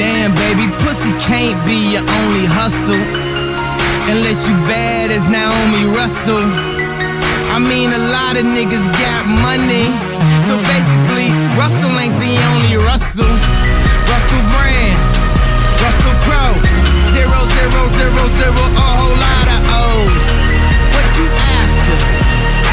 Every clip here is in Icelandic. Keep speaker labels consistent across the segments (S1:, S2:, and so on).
S1: Damn, baby, pussy can't be your only hustle. Unless you bad as Naomi Russell. I mean, a lot of niggas got money. So basically, Russell ain't the only Russell. Russell Brand, Russell Crowe. Zero, zero, zero, zero, a whole lot of O's. What you after?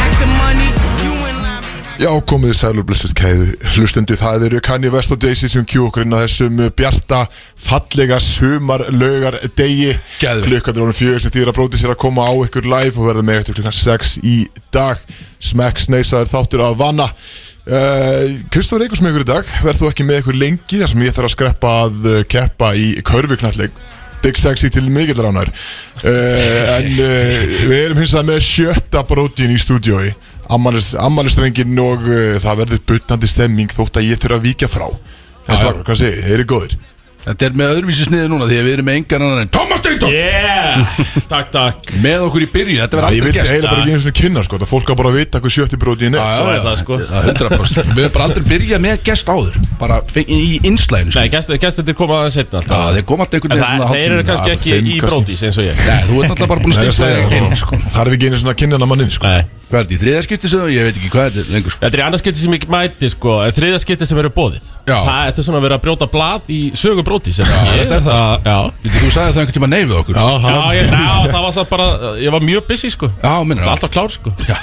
S1: After money, you in line behind.
S2: Já, komið sælur blessust kæðu hlustundi, það eru Kanye West og Daisy sem kjú okkur inn á þessum uh, bjarta fallega sumar laugar degi
S3: Geðveikt.
S2: klukkan er honum fjögur sem þýðir að bróti sér að koma á ykkur live og verða með ykkur klukkan 6 í dag smekk sneisa er þáttur að vanna uh, Kristofur Eikos með ykkur í dag verð þú ekki með ykkur lengi þar sem ég þarf að skreppa að uh, keppa í körfuknalleg Big Sexy til mikill ránar uh, En uh, við erum hins að með sjötta brótin í stúdiói Ammalistrengin og uh, það verður butnandi stemming þótt að ég þurfa að víkja frá En
S3: Já, já.
S2: slag, hvað segir, þeir eru góðir
S3: Þetta er með öðruvísi sniði núna því að við erum með engan annan en Thomas Steindor
S4: Yeah, takk, takk
S3: Með okkur í byrjun, þetta
S2: Já,
S3: verður
S2: Ég
S3: aldrei
S2: vildi
S3: gest
S2: eiginlega bara ekki einu svona kynna sko, það fólk á bara að vita hvað sjötti brótin er
S4: Svo er það, sko.
S3: já, 100% Við höfum bara aldrei byrjað með gest áður Bara fe- í innslæðinu
S4: Nei,
S3: sko.
S4: gæstindir koma aðeins setna
S3: Já,
S4: alltaf
S3: Þeir kom alltaf einhvern
S4: En
S3: veginn
S4: það-
S3: svona
S4: Þeir eru
S3: hálftíma.
S4: kannski
S2: Já,
S4: ekki
S2: fimm
S4: í
S2: kannski.
S4: brótis eins og ég
S3: Nei, þú ert alltaf bara búin
S2: Nei,
S3: að
S2: ég segi,
S3: stikla þig
S2: sko, Það er ekki einu svona kynna mannin sko.
S4: Nei.
S3: Hvað er þetta í þriðaskipti sem þú? Ég veit ekki hvað þetta er lengur sko.
S4: Þetta er í annað skipti sem ég mæti sko En þriða skipti sem eru bóðið
S3: Já.
S4: Það þetta er svona að vera að brjóta blað í sögu brótis Já,
S3: þetta er það, sko.
S4: Já,
S3: Þú sagði það einhvern tíma nei við okkur
S2: Já,
S4: já,
S2: það
S4: ég,
S2: er
S4: já það var satt bara Ég var mjög busy sko
S3: sko. Já, minnur
S4: Alltaf klár sko
S3: Já,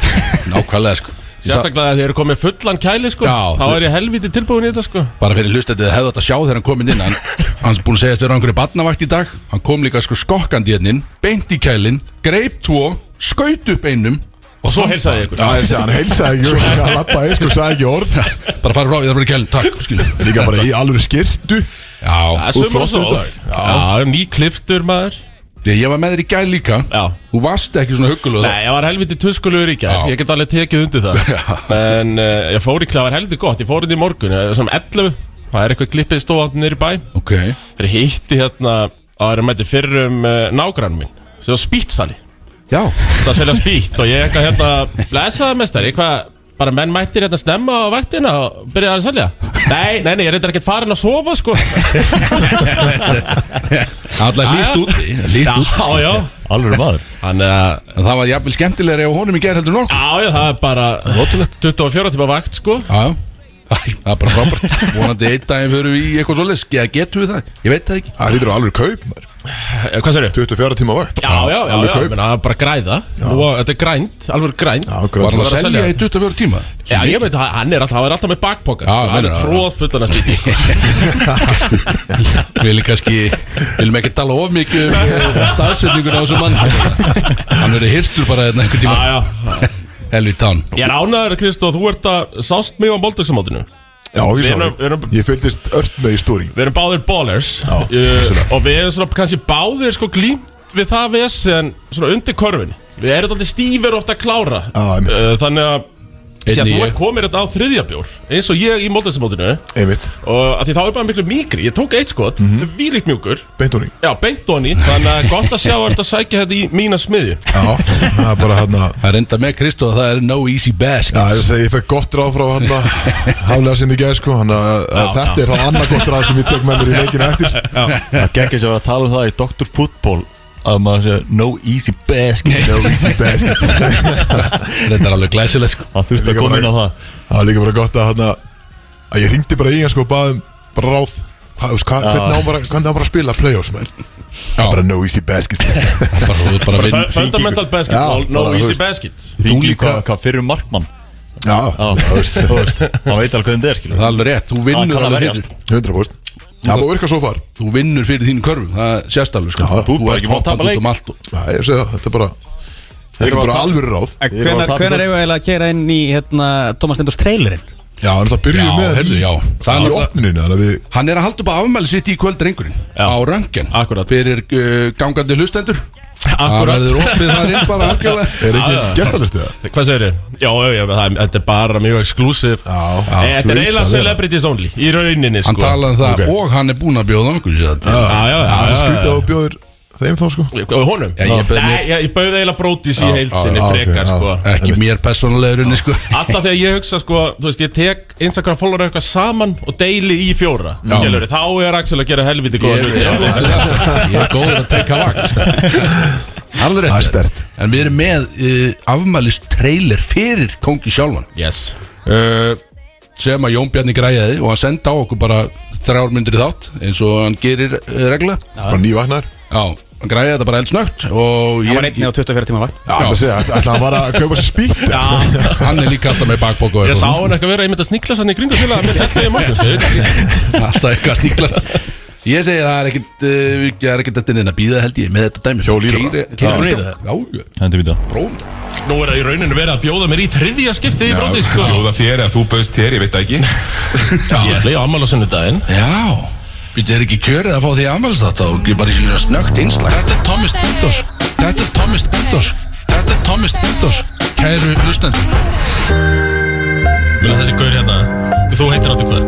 S3: nákvæmlega sko Ég sa-
S4: Sérstaklega þegar þið eru komið fullan kæli sko
S3: Já,
S4: Þá
S3: þau-
S4: er ég helviti tilbúin í þetta sko
S3: Bara fyrir hlustandi þið hefðu átt að sjá þegar hann kom inn Hann, hann er búin að segja að vera á einhverju barnavakt í dag Hann kom líka sko skokkandi hérna inn Beint í kælin, greip tvo Skaut upp einum Og
S4: Svo heilsaði ég ykkur
S2: Já, ég segi, hann heilsaði ekki, hann lappaði, sko, sagði ekki orð
S3: Bara fara frá, ég þarf að vera í kælin, takk skilur.
S2: Líka bara í alveg skirtu
S3: Já,
S4: Það er sumar og
S2: flottur í
S4: sól
S2: dag.
S4: Já, ný kliftur maður
S3: ég, ég var með þér í gæl líka
S4: Já
S3: Þú varst ekki svona huggulega
S4: Nei, ég var helviti tuskulugur í gær
S3: Já.
S4: Ég get alveg tekið undir það En uh, ég fór í klað, það var helviti gott Ég fór inn í morgun, uh, sem 11 Það er eitthvað klippið stóðan nýri bæ
S3: Ok,
S4: Þeir hitti hérna Það er að mæti fyrrum uh, nágrann minn Sem var spýtsali
S3: já,
S4: Það selja spýtt og ég eitthvað hérna Blesaði mestari, hvað Bara menn mættir hérna snemma á vaktina og byrjaði að selja Nei, nei, nei, ég er reyndar ekkert farin að sofa sko
S3: allar lít úti Lít
S4: Já,
S3: úti sko.
S4: já
S5: Alveg maður
S4: Þannig að,
S3: En það var jafnvel skemmtilegri á honum í gæl heldur en okkur
S4: já, já, það er bara
S3: Rótulegt
S4: 24 tíma vakt sko
S3: Já, já Æ, það er bara frábært Vonandi einn daginn fyrir við í eitthvað svoleiðis Eða getum við það, ég veit það ekki
S2: Það lítur á alveg kaup, maður.
S4: Eh, Hvað serðu?
S2: 24 tíma vakt
S4: Já, já, já,
S2: Alveg
S4: já,
S2: kaup.
S4: menn, það er bara græða Nú, þetta er grænt, alveg grænt
S2: Já,
S3: Var
S2: grænt.
S3: hann
S4: Bara
S3: að
S4: að
S3: selja
S4: selja.
S3: í 24 tíma?
S4: Já, ég veit, hann- hann er alltaf, hann er alltaf með
S3: Já,
S4: bakpoka sko, Hann er
S3: meinar það.
S4: tróð fullan að stíti
S3: Viljum kannski, viljum ekki tala of mikið um staðsetningun á þessu mann Hann verið hirstur bara hérna einhvern
S4: Já,
S3: tíma
S4: já,
S3: Helvið tán
S4: ég er ánæður, Kristó, þú ert að sást mig á Moldagsamótinu
S2: Já, ég
S4: Við
S2: sá
S4: erum- við
S2: það.
S4: erum-
S2: Ég fylgdist ört með í stóring
S4: Við erum báðir ballers
S2: Já,
S4: uh,
S2: vissulega.
S4: Og við erum svona kannski báðir sko glímt við það ves En svona undir korfin Við erum alltaf stífir ofta að klára
S2: Já, einmitt.
S4: uh, Þannig að Sér,
S3: Einnig
S4: þú
S3: ég.
S4: ert komin þetta á þriðja bjór Eins og ég í Moldagsamótinu
S2: Einmitt,
S4: Og að því þá er bara miklu mýkri Ég tók eitt skot, mm
S2: Mhm.
S4: vílíkt mjúkur
S2: beintóning
S4: Já, beint onni, þannig að gott að sjá að þetta sækja þetta í mína smiðju
S2: Já, það er bara hann að
S3: Það er enda með Kristó að það er no easy
S2: Já, ég
S3: baskets
S2: segi, ég fekk gott ráð frá hann að haflega sinni í gæð, sko hann að að þetta er þá annað gott ráð sem ég tök með mér í leikinu eftir
S5: Það gekk eins og var að tala um það í Dr. Football Að maður sé no easy basket
S2: No easy basket Það
S3: Þetta er alveg glæsileg sko
S5: Það þurfti að
S2: Líka
S5: koma
S2: bara-
S5: inn á það
S2: var líka bara gott að hann að að ég ringdi bara í hann, sko, og baði um bara ráð Hvað, þú veist, hvað- hvernig á bara, hvernig á bara að spila playoffs, menn Það er bara no easy basket
S3: Bara, þú ert bara vinn
S4: Fun- Fundamental basketball,
S2: Já,
S4: no
S2: bara, þú
S4: easy
S2: veist.
S4: basket
S5: Ringi
S3: líka-
S5: hvað, hvað fyrir um markmann
S2: Já,
S5: Já,
S2: þú veist,
S5: þú veist Hann veit alveg hvernig þetta er skilur
S3: Það er alveg rétt, þú
S5: Hann
S3: vinnur
S5: kann að
S3: alveg
S5: verjast
S3: fyrir
S2: hundra Það er bara að virka svo far
S3: Þú vinnur fyrir þínu körfum, það sést alveg sko
S2: Já, þú
S5: bara
S3: ert
S5: ekki mátt
S3: hoppandi
S5: tapa leik.
S3: út um allt og-
S2: Já, ég segi það, þetta er bara Þetta er
S5: Ég var
S2: bara
S5: að-
S2: alvöru
S6: En
S2: ráð
S5: Ég var að
S6: Hvenar,
S5: tala
S6: hvenar
S5: um-
S6: eigum við eiginlega að kera inn í hérna, Thomas Stendors trailerinn?
S2: Já, en það
S3: Já,
S2: byrjuðu með
S3: heyrðu,
S2: í-
S3: já. Það er
S2: Í
S3: náttúrulega-
S2: opninu, þannig að við
S3: Hann er að halda upp að afmæli sitt í kvöld rengurinn
S4: Já.
S3: Á röngen
S4: Akkurat.
S3: Fyrir uh, gangandi hlustendur Það
S4: Akkurat,
S3: verður opið þar inn bara algjörlega
S2: Er ekki gestalistið það?
S4: hvað segir þið? Já, já, já, það, er- þetta er bara mjög exclusive
S2: Já,
S4: Eh, Þetta er
S2: hlýtur
S4: eiginlega
S2: að vera.
S4: celebrities only, í rauninni
S3: Hann
S4: sko
S3: talaði um það
S2: Ok.
S3: og hann er búinn að bjóða okkur sér þetta
S4: Já, já, já,
S2: Það er
S4: já,
S2: skrítið
S4: já.
S2: að þú bjóðir þeim þá sko
S4: Og honum?
S3: Já, ég bauð mér-
S4: Nei, ég, ég bauði eiginlega brótis í
S3: Já,
S2: já,
S4: heilsinni
S2: já, ok,
S4: frekar,
S2: já.
S4: sko
S3: Ekki
S2: Einmitt.
S3: mér persónulega í rauninni sko
S4: Alltaf þegar ég hugsa sko, þú veist, ég tek Instagram follower eitthvað saman og deili í fjóra Skilur, þá er Axel að gera helviti góða
S3: Ég
S4: hluti
S3: ég er góður að teka vakt sko. Alveg
S2: Það er
S3: rétt
S2: stert.
S3: En við erum með uh, afmælist trailer fyrir Kongi sjálfan
S4: Yes
S3: uh, sem að Jón Bjarni græjaði og hann senda á okkur bara þrjár myndir í þátt eins og hann gerir uh, regla
S2: Bara nývagnar
S3: Já, hann græjaði þetta bara eldsnögt og
S6: Það var
S3: ég,
S6: einni á 24 tíma vakt
S2: Já, ætla að segja, ætla hann var að kaupa sér spýtt
S3: hann er líka alltaf með bakbók og
S4: Ég sá
S3: eitthvað
S4: hann eitthvað vera einmitt að sniglast hann í kringu til að mér ætla ég maður, sko
S3: alltaf eitthvað að sníklast Ég segi það er ekkert uh, það er ekkert þetta neina að býða held ég með þetta dæmi
S2: Hjól í það.
S3: Keyri- keyri-
S6: Já.
S3: Já,
S5: Hendi býta
S3: prófum það.
S4: Nú er það í rauninu verið að bjóða mér í þriðja skipti í bróti, sko
S7: Bjóða þér eða þú bauðst þér, ég veit það ekki
S4: Ég ætla ég á ammala sunnudaginn
S3: Já, býttu er ekki kjörið að fá því aðmæls þetta og ekki bara síðan snögt einslag Þetta er Thomas Dindors Þetta er Thomas Dindors Þetta er Thomas Dindors Kæru lustendur
S4: Muna þessi gaur hérna, þú heitir áttu hvað?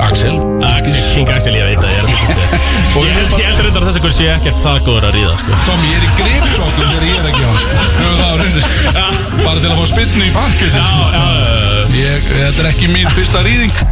S3: Axel
S4: Axel, King Axel, ég veit að ég er að þykist þig Ég held- ég held reyndar að þessi gaur sé ekkert það góður að ríða, sko
S3: Tommy, ég er í gripsokkum þegar ég er ekki á hans Höfum það á reyndu sko. Bara til að fá spilnu í parkinu sko.
S4: Já, já, já.
S3: Ég, þetta er ekki mín fyrsta rýðing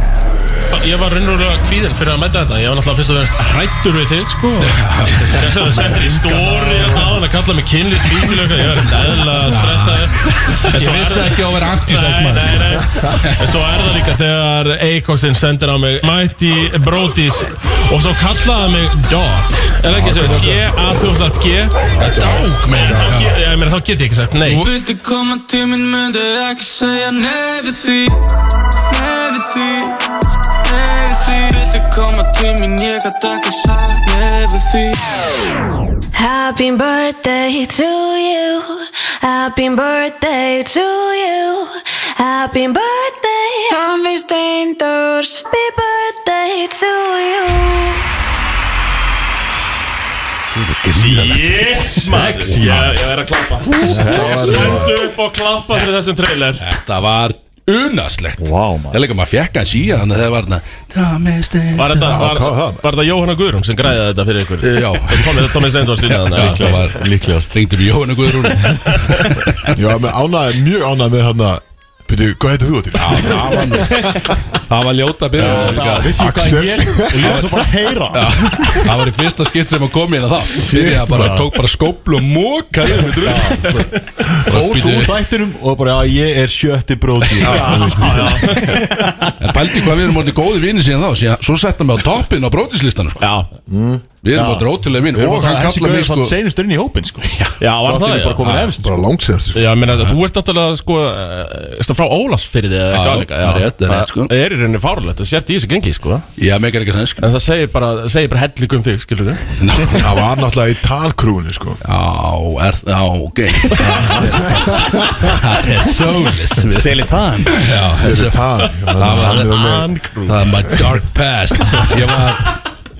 S4: Ég var raunverulega kvíðinn fyrir að mæta þetta Ég var náttúrulega fyrst og fremst hrættur við þig sko Settur þú settur í stóri að hann að kalla mig kynli spíkilega Ég var eðlilega stressaði
S3: Ég vissi ekki á að vera
S4: Nei,
S3: antisexmaður
S4: nei, nei En Svo er það líka þegar Eikosinn sendir á mig Mighty Brodís Og svo kallaði mig Dog Er það ekki svo? G-A-2-G Dog, meina ég. Ég meina, Þá get ég ekki sagt nei
S1: Viltu koma til minn myndi ekki segja nei við því Nei við því Nei við því Viltu koma til minn ég gat ekki sagt nei við því
S8: Happy birthday to you. Happy birthday to you. Happy birthday. Tommy Steindors. Happy birthday to you.
S4: Yes, Max Ég ég er að klappa Stendu upp og klappa fyrir þessum trailer
S3: Þetta var unaslegt
S5: Vá, maður.
S3: Það er líka maður fekk hans í að þannig að það var Tommy Steindors
S4: Var þetta, var,
S2: hvað var það?
S4: var þetta Jóhanna Guðrún sem græði þetta fyrir ykkur?
S3: Já.
S4: Tómi, Tómi Steindór stýrði
S3: Já,
S4: þannig
S3: það var
S5: Líklegast
S3: Ringdum Jóhann og Guðrún
S2: Já, með ánæði, mjög ánæði með hann að Pítur, hvað heitir þú til?
S3: Það var ljóta að byrja líka.
S5: Vissi
S2: Axel.
S5: Ég var svo bara að heyra
S3: Það var í fyrsta skitt sem að kom hérna þá Byrja bara, tók bara skóplu og móka yfir með drögg
S5: Fór svo úr þættinum og bara að ég er sjötti bróti
S3: En pældi hvað við erum orðið góði vini síðan þá síðan, Svo settum við á toppin á brótislistanum sko.
S4: Já,
S3: Við erum orðið ótrúlega vini Og hann kallaði mig sko
S5: Seinust inn í hópin sko
S4: já var það
S5: Þáttir bara komin
S4: já.
S5: efst
S2: Bara langt séðast sko.
S4: Já, ég meina, þú ert náttúrulega, sko, erstu frá Ólasfyrði
S3: Já,
S4: eða eitthvað
S3: já,
S4: líka
S3: það er rétt, það er rétt, sko.
S4: Það er í rauninni fárlegt, þú sért í þessu gengi, sko En
S3: Já, megar ekki sann sko.
S4: það segir bara, segir bara hellikum þig, skilur við
S2: Það var náttúrulega í talkrúinu sko
S3: Já, er það, ok Það er soulless við-
S6: Selitan
S3: Já,
S2: Sér
S3: þessu-
S2: við tal
S3: Það var-
S2: Þannig að
S3: Það er my dark past Ég var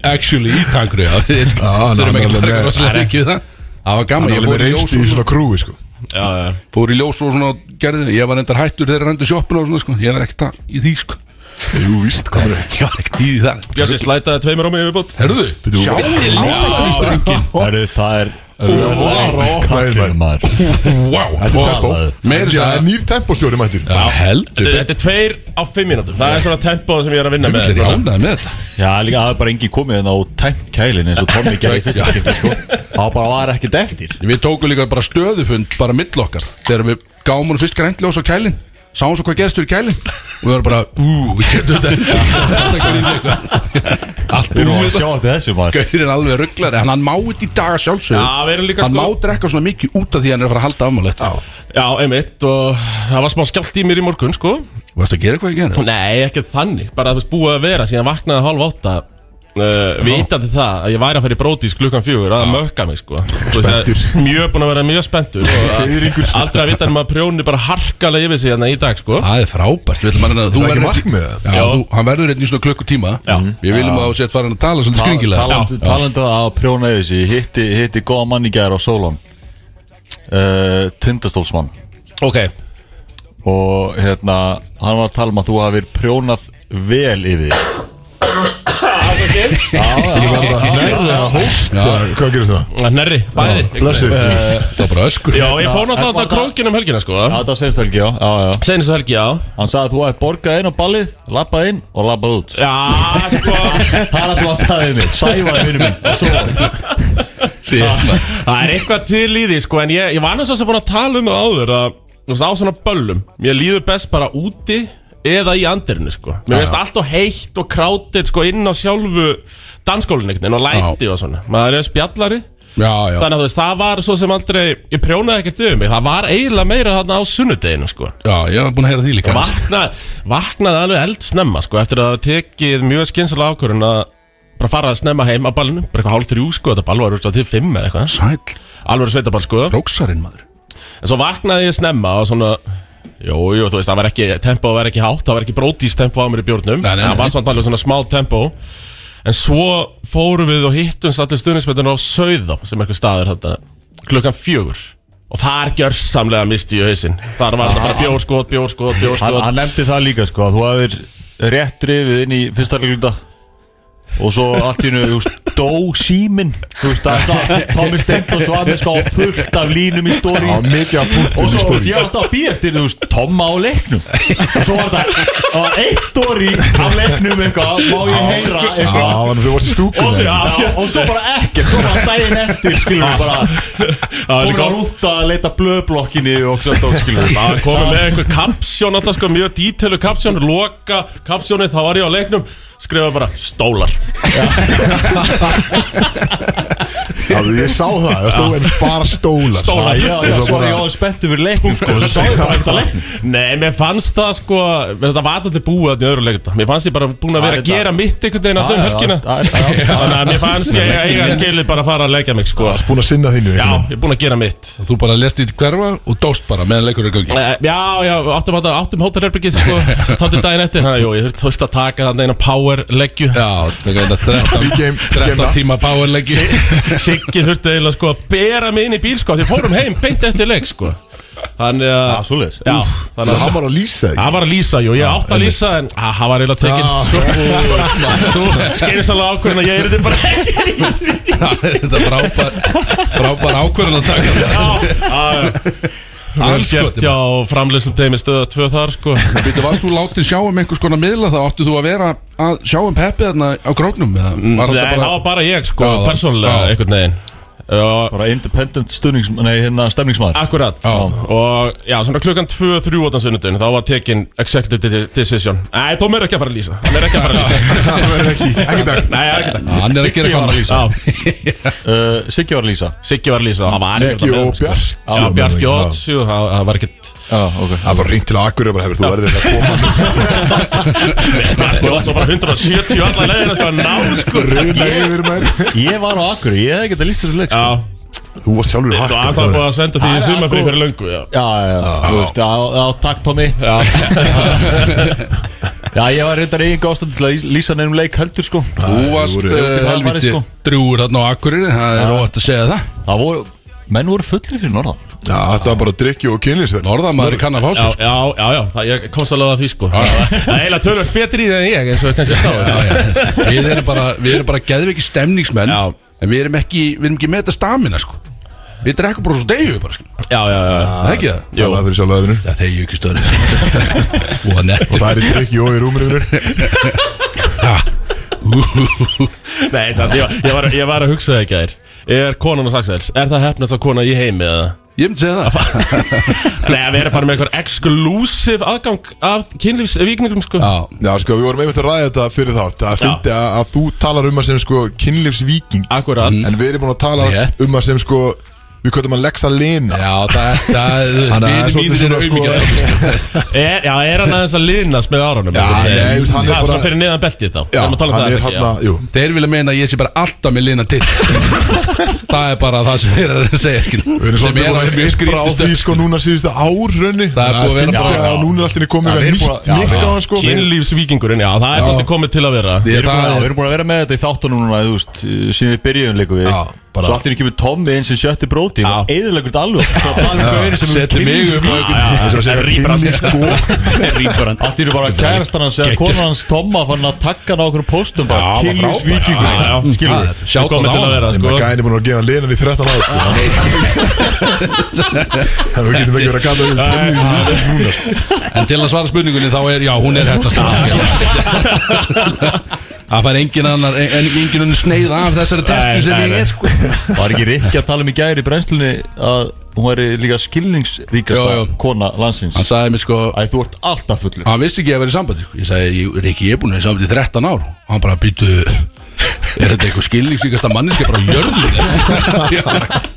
S3: actually í tankru já.
S2: ná,
S3: Þurfum
S2: ná,
S3: ekki að
S2: ná,
S3: taka
S2: ná.
S3: rosalega mikið við það Það var gaman,
S2: hann
S3: ég
S2: er með
S3: fór í ljós
S2: reynstu í
S3: og
S2: svona krúi sko
S4: Já, já,
S3: fór í ljós og svona gerði Ég var endar hættur þegar rendu sjoppuna og svona sko Ég var ekkert að- í því sko
S2: Jú, víst, komur þau
S3: Ég var ekkert í því þar
S4: Bjössi slætaði tveimur á mig yfirbót
S3: Herðu,
S2: Bíddu,
S3: sjáðu
S2: Átakvístöngin
S5: Herru, það er
S2: var opnaðið,
S5: Kallir
S2: maður.
S5: maður
S3: Wow,
S2: Þetta er tempo
S3: Meira
S2: Já,
S3: þess
S2: Það er
S3: að
S2: nýr tempostjóri mættir
S3: Já, heldur
S4: Þetta
S3: betur
S4: þetta er tveir á fimm mínútum Það er svona tempóð sem ég er að vinna með
S3: Þetta er
S4: núna.
S3: ánægð með þetta
S5: Já, líka það er bara engi komið en á tæmt kælin eins og Tommy gerði í fyrsta skipti sko Það bara var ekkert eftir
S3: Við tókum líka bara stöðufund bara mill okkar Þegar við gáum hún fyrst græntljós á kælin Sáum svo hvað gerst fyrir kælin Og við varum bara, ú, við getum þetta Þetta gerðum eitthvað Allt
S5: Við erum að
S3: búið
S5: sjá eftir þessu maður
S3: Gaurin alveg rugglar En hann má þetta í dag að sjálfsögðu
S4: Já, við erum líka,
S3: Hann
S4: sko-
S3: má drekka svona mikið út af því að hann er að fara að halda afmálegt
S4: Já, einmitt, og það var smá skjált í mér í morgun, sko
S3: Varst að gera eitthvað í gerð?
S4: Nei, ekkert þannig, bara að þú veist búið að vera síðan vaknaði hálf átta uh, vitandi það að ég væri að fara í brótis klukkan fjögur að mökka mig sko Þú veist, það er
S2: Spenntur.
S4: Mjög búin að vera mjög spenntur og að-
S2: Fiðringur.
S4: Aldrei að vita en maður prjóni bara harkalega yfir sig hérna í dag sko
S3: Það er frábært Við ætlum að reyna að þú
S2: Það er ekki
S3: verður
S2: markmið, eða?
S3: Já,
S4: Já.
S3: þú, hann verður einn í svona klukkutíma Við viljum að þú sért farin að tala svolítið skringilega
S5: Talandu talandu að prjóna yfir sig Ég hitti, hitti góða mann í gæðar á Sólon uh, Tindastólsmann
S4: Ok,
S5: Og hérna, hann var að tala um að þú hafir prjónað vel yfir þig
S2: Ég var það nærðið að hóta Hvað hvað gerist það?
S4: Nerri, bæði
S2: Blessið
S3: Það var bara öskur
S4: Já, ég fór náttúrulega
S5: Var
S4: að krókin um helgina sko
S5: Já, það var senst helgi, já, já, já
S4: Seinustu helgi, já
S5: Hann sagði að þú hefði borgað inn á ballið, labbað inn og labbað út
S4: Já, sko
S5: Það er það sem hann sagði við mig, sæfaði vinnu minn og svo
S4: Það er eitthvað til í því sko En ég, ég var annars að búin að tala um það áður að, þú veist, Á svona böllum Mér líður best bara úti eða í andirinu sko Mér finnst allt og heitt og krátið sko inn á sjálfu dansskólinu einhvern veginn og læti og svona Maður er spjallari
S3: Já, já
S4: Þannig að þú veist, það var svo sem aldrei Ég prjónaði ekkert yfir mig, það var eiginlega meira þarna á sunnudeginu sko
S3: Já, ég var búin að heyra því líka
S4: vaknaði, vaknaði alveg eld snemma sko, eftir að hafa tekið mjög skynsalega ákvörun að bara fara að snemma heim að ballinu bara eitthvað hálf þrjú sko, þetta ball var örugglega til fimm eða eitthvað
S3: Sæl
S4: alveg sveitaball sko
S3: Róksarinn maður
S4: en svo vaknaði ég snemma og svona Jú, jú, þú veist, það var ekki, tempo var ekki hátt, það var ekki brótís tempo á mér í bjórnum
S3: Nei, nei, nei.
S4: Það var samt alveg svona smá tempo En svo fórum við og hittum allir stundinspöldinu á Sauðá, sem er eitthvað staður þetta, klukkan fjögur Og þar gjörsamlega misti ég hausinn Þar var þetta bara bjórskot, bjórskot,
S5: hann,
S4: bjórskot
S5: hann nefndi það líka sko að þú hafðir rétt drifið inn í fyrsta leikluta og svo allt í hennu, þú veist, dó símin þú veist, það er það Tommy Steindor svo að mér sko á fullt af línum í stóri
S2: Já, mikið að punktum í
S5: og svo, þú veist,
S2: stóri
S5: ég var alltaf að býja eftir, þú veist, Tomma á leiknum og svo var það, það var eitt stóri af leiknum eitthvað, má ég heyra
S2: Já,
S5: eitthvað
S2: þannig að þú varst í
S5: Og svo,
S2: stúkunni
S5: já, og svo bara ekkert, svo bara daginn eftir skilur við bara fór að rúta að leita blöðblokkinni og svo stóð skilur við
S4: Það komið með einhver kapsjón alltaf sko mjög dítölu kapsjón Loka kapsjónið þá var ég á leiknum Skrifa bara stólar
S2: Já, ég sá það, það stóð eins bara stólar
S4: Stólar,
S5: Já, já,
S2: Eins og
S5: svo var
S2: bara-
S5: ég á spenntu fyrir leiknum sko, svo sá ég bara ekkert að leiknum
S4: Nei, mér fannst það sko Þetta var alltaf búið að öðru leikta Mér fannst ég bara búin að vera að
S5: Þetta-
S4: gera mitt einhvern veginn að döm helgina Þannig að mér fannst ég eiga skilið bara að fara að leggja mig sko
S2: Það er búin að sinna þínu
S4: Já,
S2: einhvern
S4: ég er búin að gera mitt
S3: Þú bara lest í hverfa og dóst bara meðan leikur er í gangi
S4: Eh, Já, já, áttum, áttum, áttum hótelherbyggið sko Þáttu daginn eftir Þannig að jú, ég þurfti- þurfti að taka þannig eina power leggju
S3: Já, það er
S2: Í game- í
S3: 13,
S2: game
S3: 13
S2: það.
S3: tíma powerleggi
S4: Siggi þurfti eiginlega sko að bera mig inn í bíl sko Því við fórum heim beint eftir leik sko Þannig að
S5: Já, Ah, svoleiðis.
S4: Já, þannig
S2: veginn
S4: að
S2: Hann var að lýsa því
S4: Það var að lýsa, jú, ég átti að
S2: einmitt.
S4: lýsa en að, það var eiginlega
S2: Ah,
S4: tekinn Svo skerðis alveg ákveðin að ég er þetta bara
S3: Það er þetta frábær Frábær ákvörðan að taka það
S4: Já, já Alls gert
S3: Anskotinn.
S4: hjá framlýsum teimi stöða tvö þar sko
S3: Býttu, varst þú látið sjá um einhvers konar miðla þá áttu þú að vera að sjá um peppi þarna á gróknum eða
S2: Mm,
S3: var
S4: Nei,
S3: þetta
S4: það
S3: bara
S4: var bara ég sko,
S3: Já, já.
S4: persónulega
S3: Já.
S4: einhvern veginn Já,
S5: Bara independent stuðnings, nei, hérna stemningsmaður
S4: akkurat Og já, svona klukkan 2-3 á sunnudin Þá var tekin executive de- decision Nei, Tom er ekki að fara að lýsa Hann er ekki að fara að lýsa
S2: Það verður ekki, ekki dag
S4: Nei, ekki að
S3: hann er að gera eitthvað annað í sig.
S4: Já,
S5: uh, Siggi var að lýsa
S4: Siggi var að lýsa Það var
S2: Siggi og Bjart
S4: Já, Bjarki Óts, jú, það það var ekkert
S5: Já, ok
S2: Það er bara reynt til að akkur bara hefur þú verður að koma sko.
S4: Bjarki Óts var bara 170 allar leiðin Þetta var náð sko
S2: Runa yfir mér
S5: Ég var á Akurey, ég hef ekki að lýsa þessu leik sko.
S4: Já,
S2: Þú var sjálfur
S4: þú
S2: hakkur
S4: var það búið Sko, að senda því í sumar fyrir fyrir löngu Já,
S5: Já, já, já, þú veist, já, já, takk Tommy Ah. Já Já, ég var reyndar eigin ástand til að lýsa nefnum leik heldur sko
S3: Þú varst
S2: voru-
S3: eh,
S5: Jóti Kalmari,
S3: helviti
S5: sko.
S3: drúur þarna á Akureyri það er óvægt að segja það
S5: Það voru, menn voru fullir fyrir norðan
S2: Já, þetta var bara drikki og kynlýsverð
S3: Norðamaður kann að fá
S4: já,
S3: sér
S4: já, já, já það, ég komst alveg að því sko Það það er eiginlega tölvöld betri í því en ég eins og kannski sá
S3: Já, já. Við erum bara, við erum bara geðviki stemningsmenn
S4: Já.
S3: En við erum ekki, við erum ekki með þetta stamina sko Við drekkum bara svo deyju bara sko
S4: Já, já, já
S3: Það er ekki það?
S2: Það fyrir sjálf aðeinu
S3: Það þegju ekki stöður Og nett
S2: Og það er í drikki og í rúmur yfir mér
S4: Nei, það, ég, var- ég, var, ég var að hugsa það ekki að Er konan á Saxels, er það hefnast að kona í heimi eða?
S3: Ég myndi segja það
S4: Nei, að vera bara með einhver exclusive aðgang af kynlífsvíkningum sko
S3: Já,
S2: Já, sko, við vorum einmitt að ræða þetta fyrir þátt Að fyndi að, að þú talar um að sem sko kynlýfsvíking
S4: Akkurat
S2: En við erum búin að tala
S3: Rétt.
S2: um að sem sko Við köttum að leggsa lina
S3: já það, það
S2: Þannig að það er
S3: Vinir
S2: svolítið
S3: mínir
S2: svona
S3: eru
S2: sko
S3: aumingjar
S4: er, Já, er hann aðeins að liðnast með
S2: Já,
S4: árunum einhvern veginn?
S2: nei, þú veist, hann er
S4: Það
S2: bara-
S4: svona fyrir neðan beltið þá
S2: Já,
S4: Við erum að tala um
S2: hann
S4: það,
S2: er
S4: ekki?
S2: hann að, jú
S3: Þeir vilja meina að ég sé bara alltaf með lina til Það er bara það sem þeir eru að segja skil.
S2: Við erum
S3: Sem
S2: svolítið
S3: er
S2: búin að
S3: að mjög
S2: vera á
S3: skrítist
S2: því sko núna síðustu ár raunni
S3: Það er búið að vera bara-
S2: bara
S3: já.
S2: Núna er alltaf komið
S5: Já, við
S2: eitthvað
S5: erum
S2: nýtt
S5: búin að- já,
S2: nýtt á
S5: já.
S2: hann sko Við-
S4: Kynlífsvíkingurinn, já, það er alltaf komið til að vera
S5: Við erum búin að-
S3: Það
S5: við
S3: er
S5: erum búin að vera með þetta í þáttunum núna, þú veist, síðan við byrjuðum leikum við
S2: Já.
S5: Svo allt í henni kemur Tommy inn sem sjötti bróti
S4: Já.
S5: Eðilegur þetta alveg Svo talið um gauðinu sem
S3: Setti mig
S2: sko.
S3: upp á einhvern-
S5: Allt
S2: Það er rýbrandi sko
S5: í henni bara kærastan hans eða
S3: Geggjað.
S5: konan hans Tomma fann að taka hann á okkur póstum
S3: Já,
S5: bara
S3: var
S5: Killis
S3: frábær. Já, já.
S5: vikingur Skilur við
S3: Sjátt á
S4: komið til að
S3: það
S4: vera sko
S2: Það gæði búin að gefa linan í 13 ára sko. Það við getum ekki verið að kalla um tennis lítið núna sko.
S3: En til að svara spurningunni þá er, já, hún er hættast Það fær engin annar en- en engin unni sneið af þessari tertu
S4: Nei,
S3: sem
S4: nei,
S3: ég
S4: nei.
S3: er sko
S5: Var ekki Rikki að tala um í gæri í brennslunni að hún væri líka skilningsríkasta
S3: Jú, jú.
S5: kona landsins
S3: Hann sagði mér sko
S5: Æ, þú ert alltaf fullur
S3: Hann vissi ekki að vera í sambandi sko. Ég sagði, ég, Riki, ég er búin að vera í sambandi í 13 ár Og hann bara býtu Er þetta eitthvað skilningsvíkasta manneski bara jörðu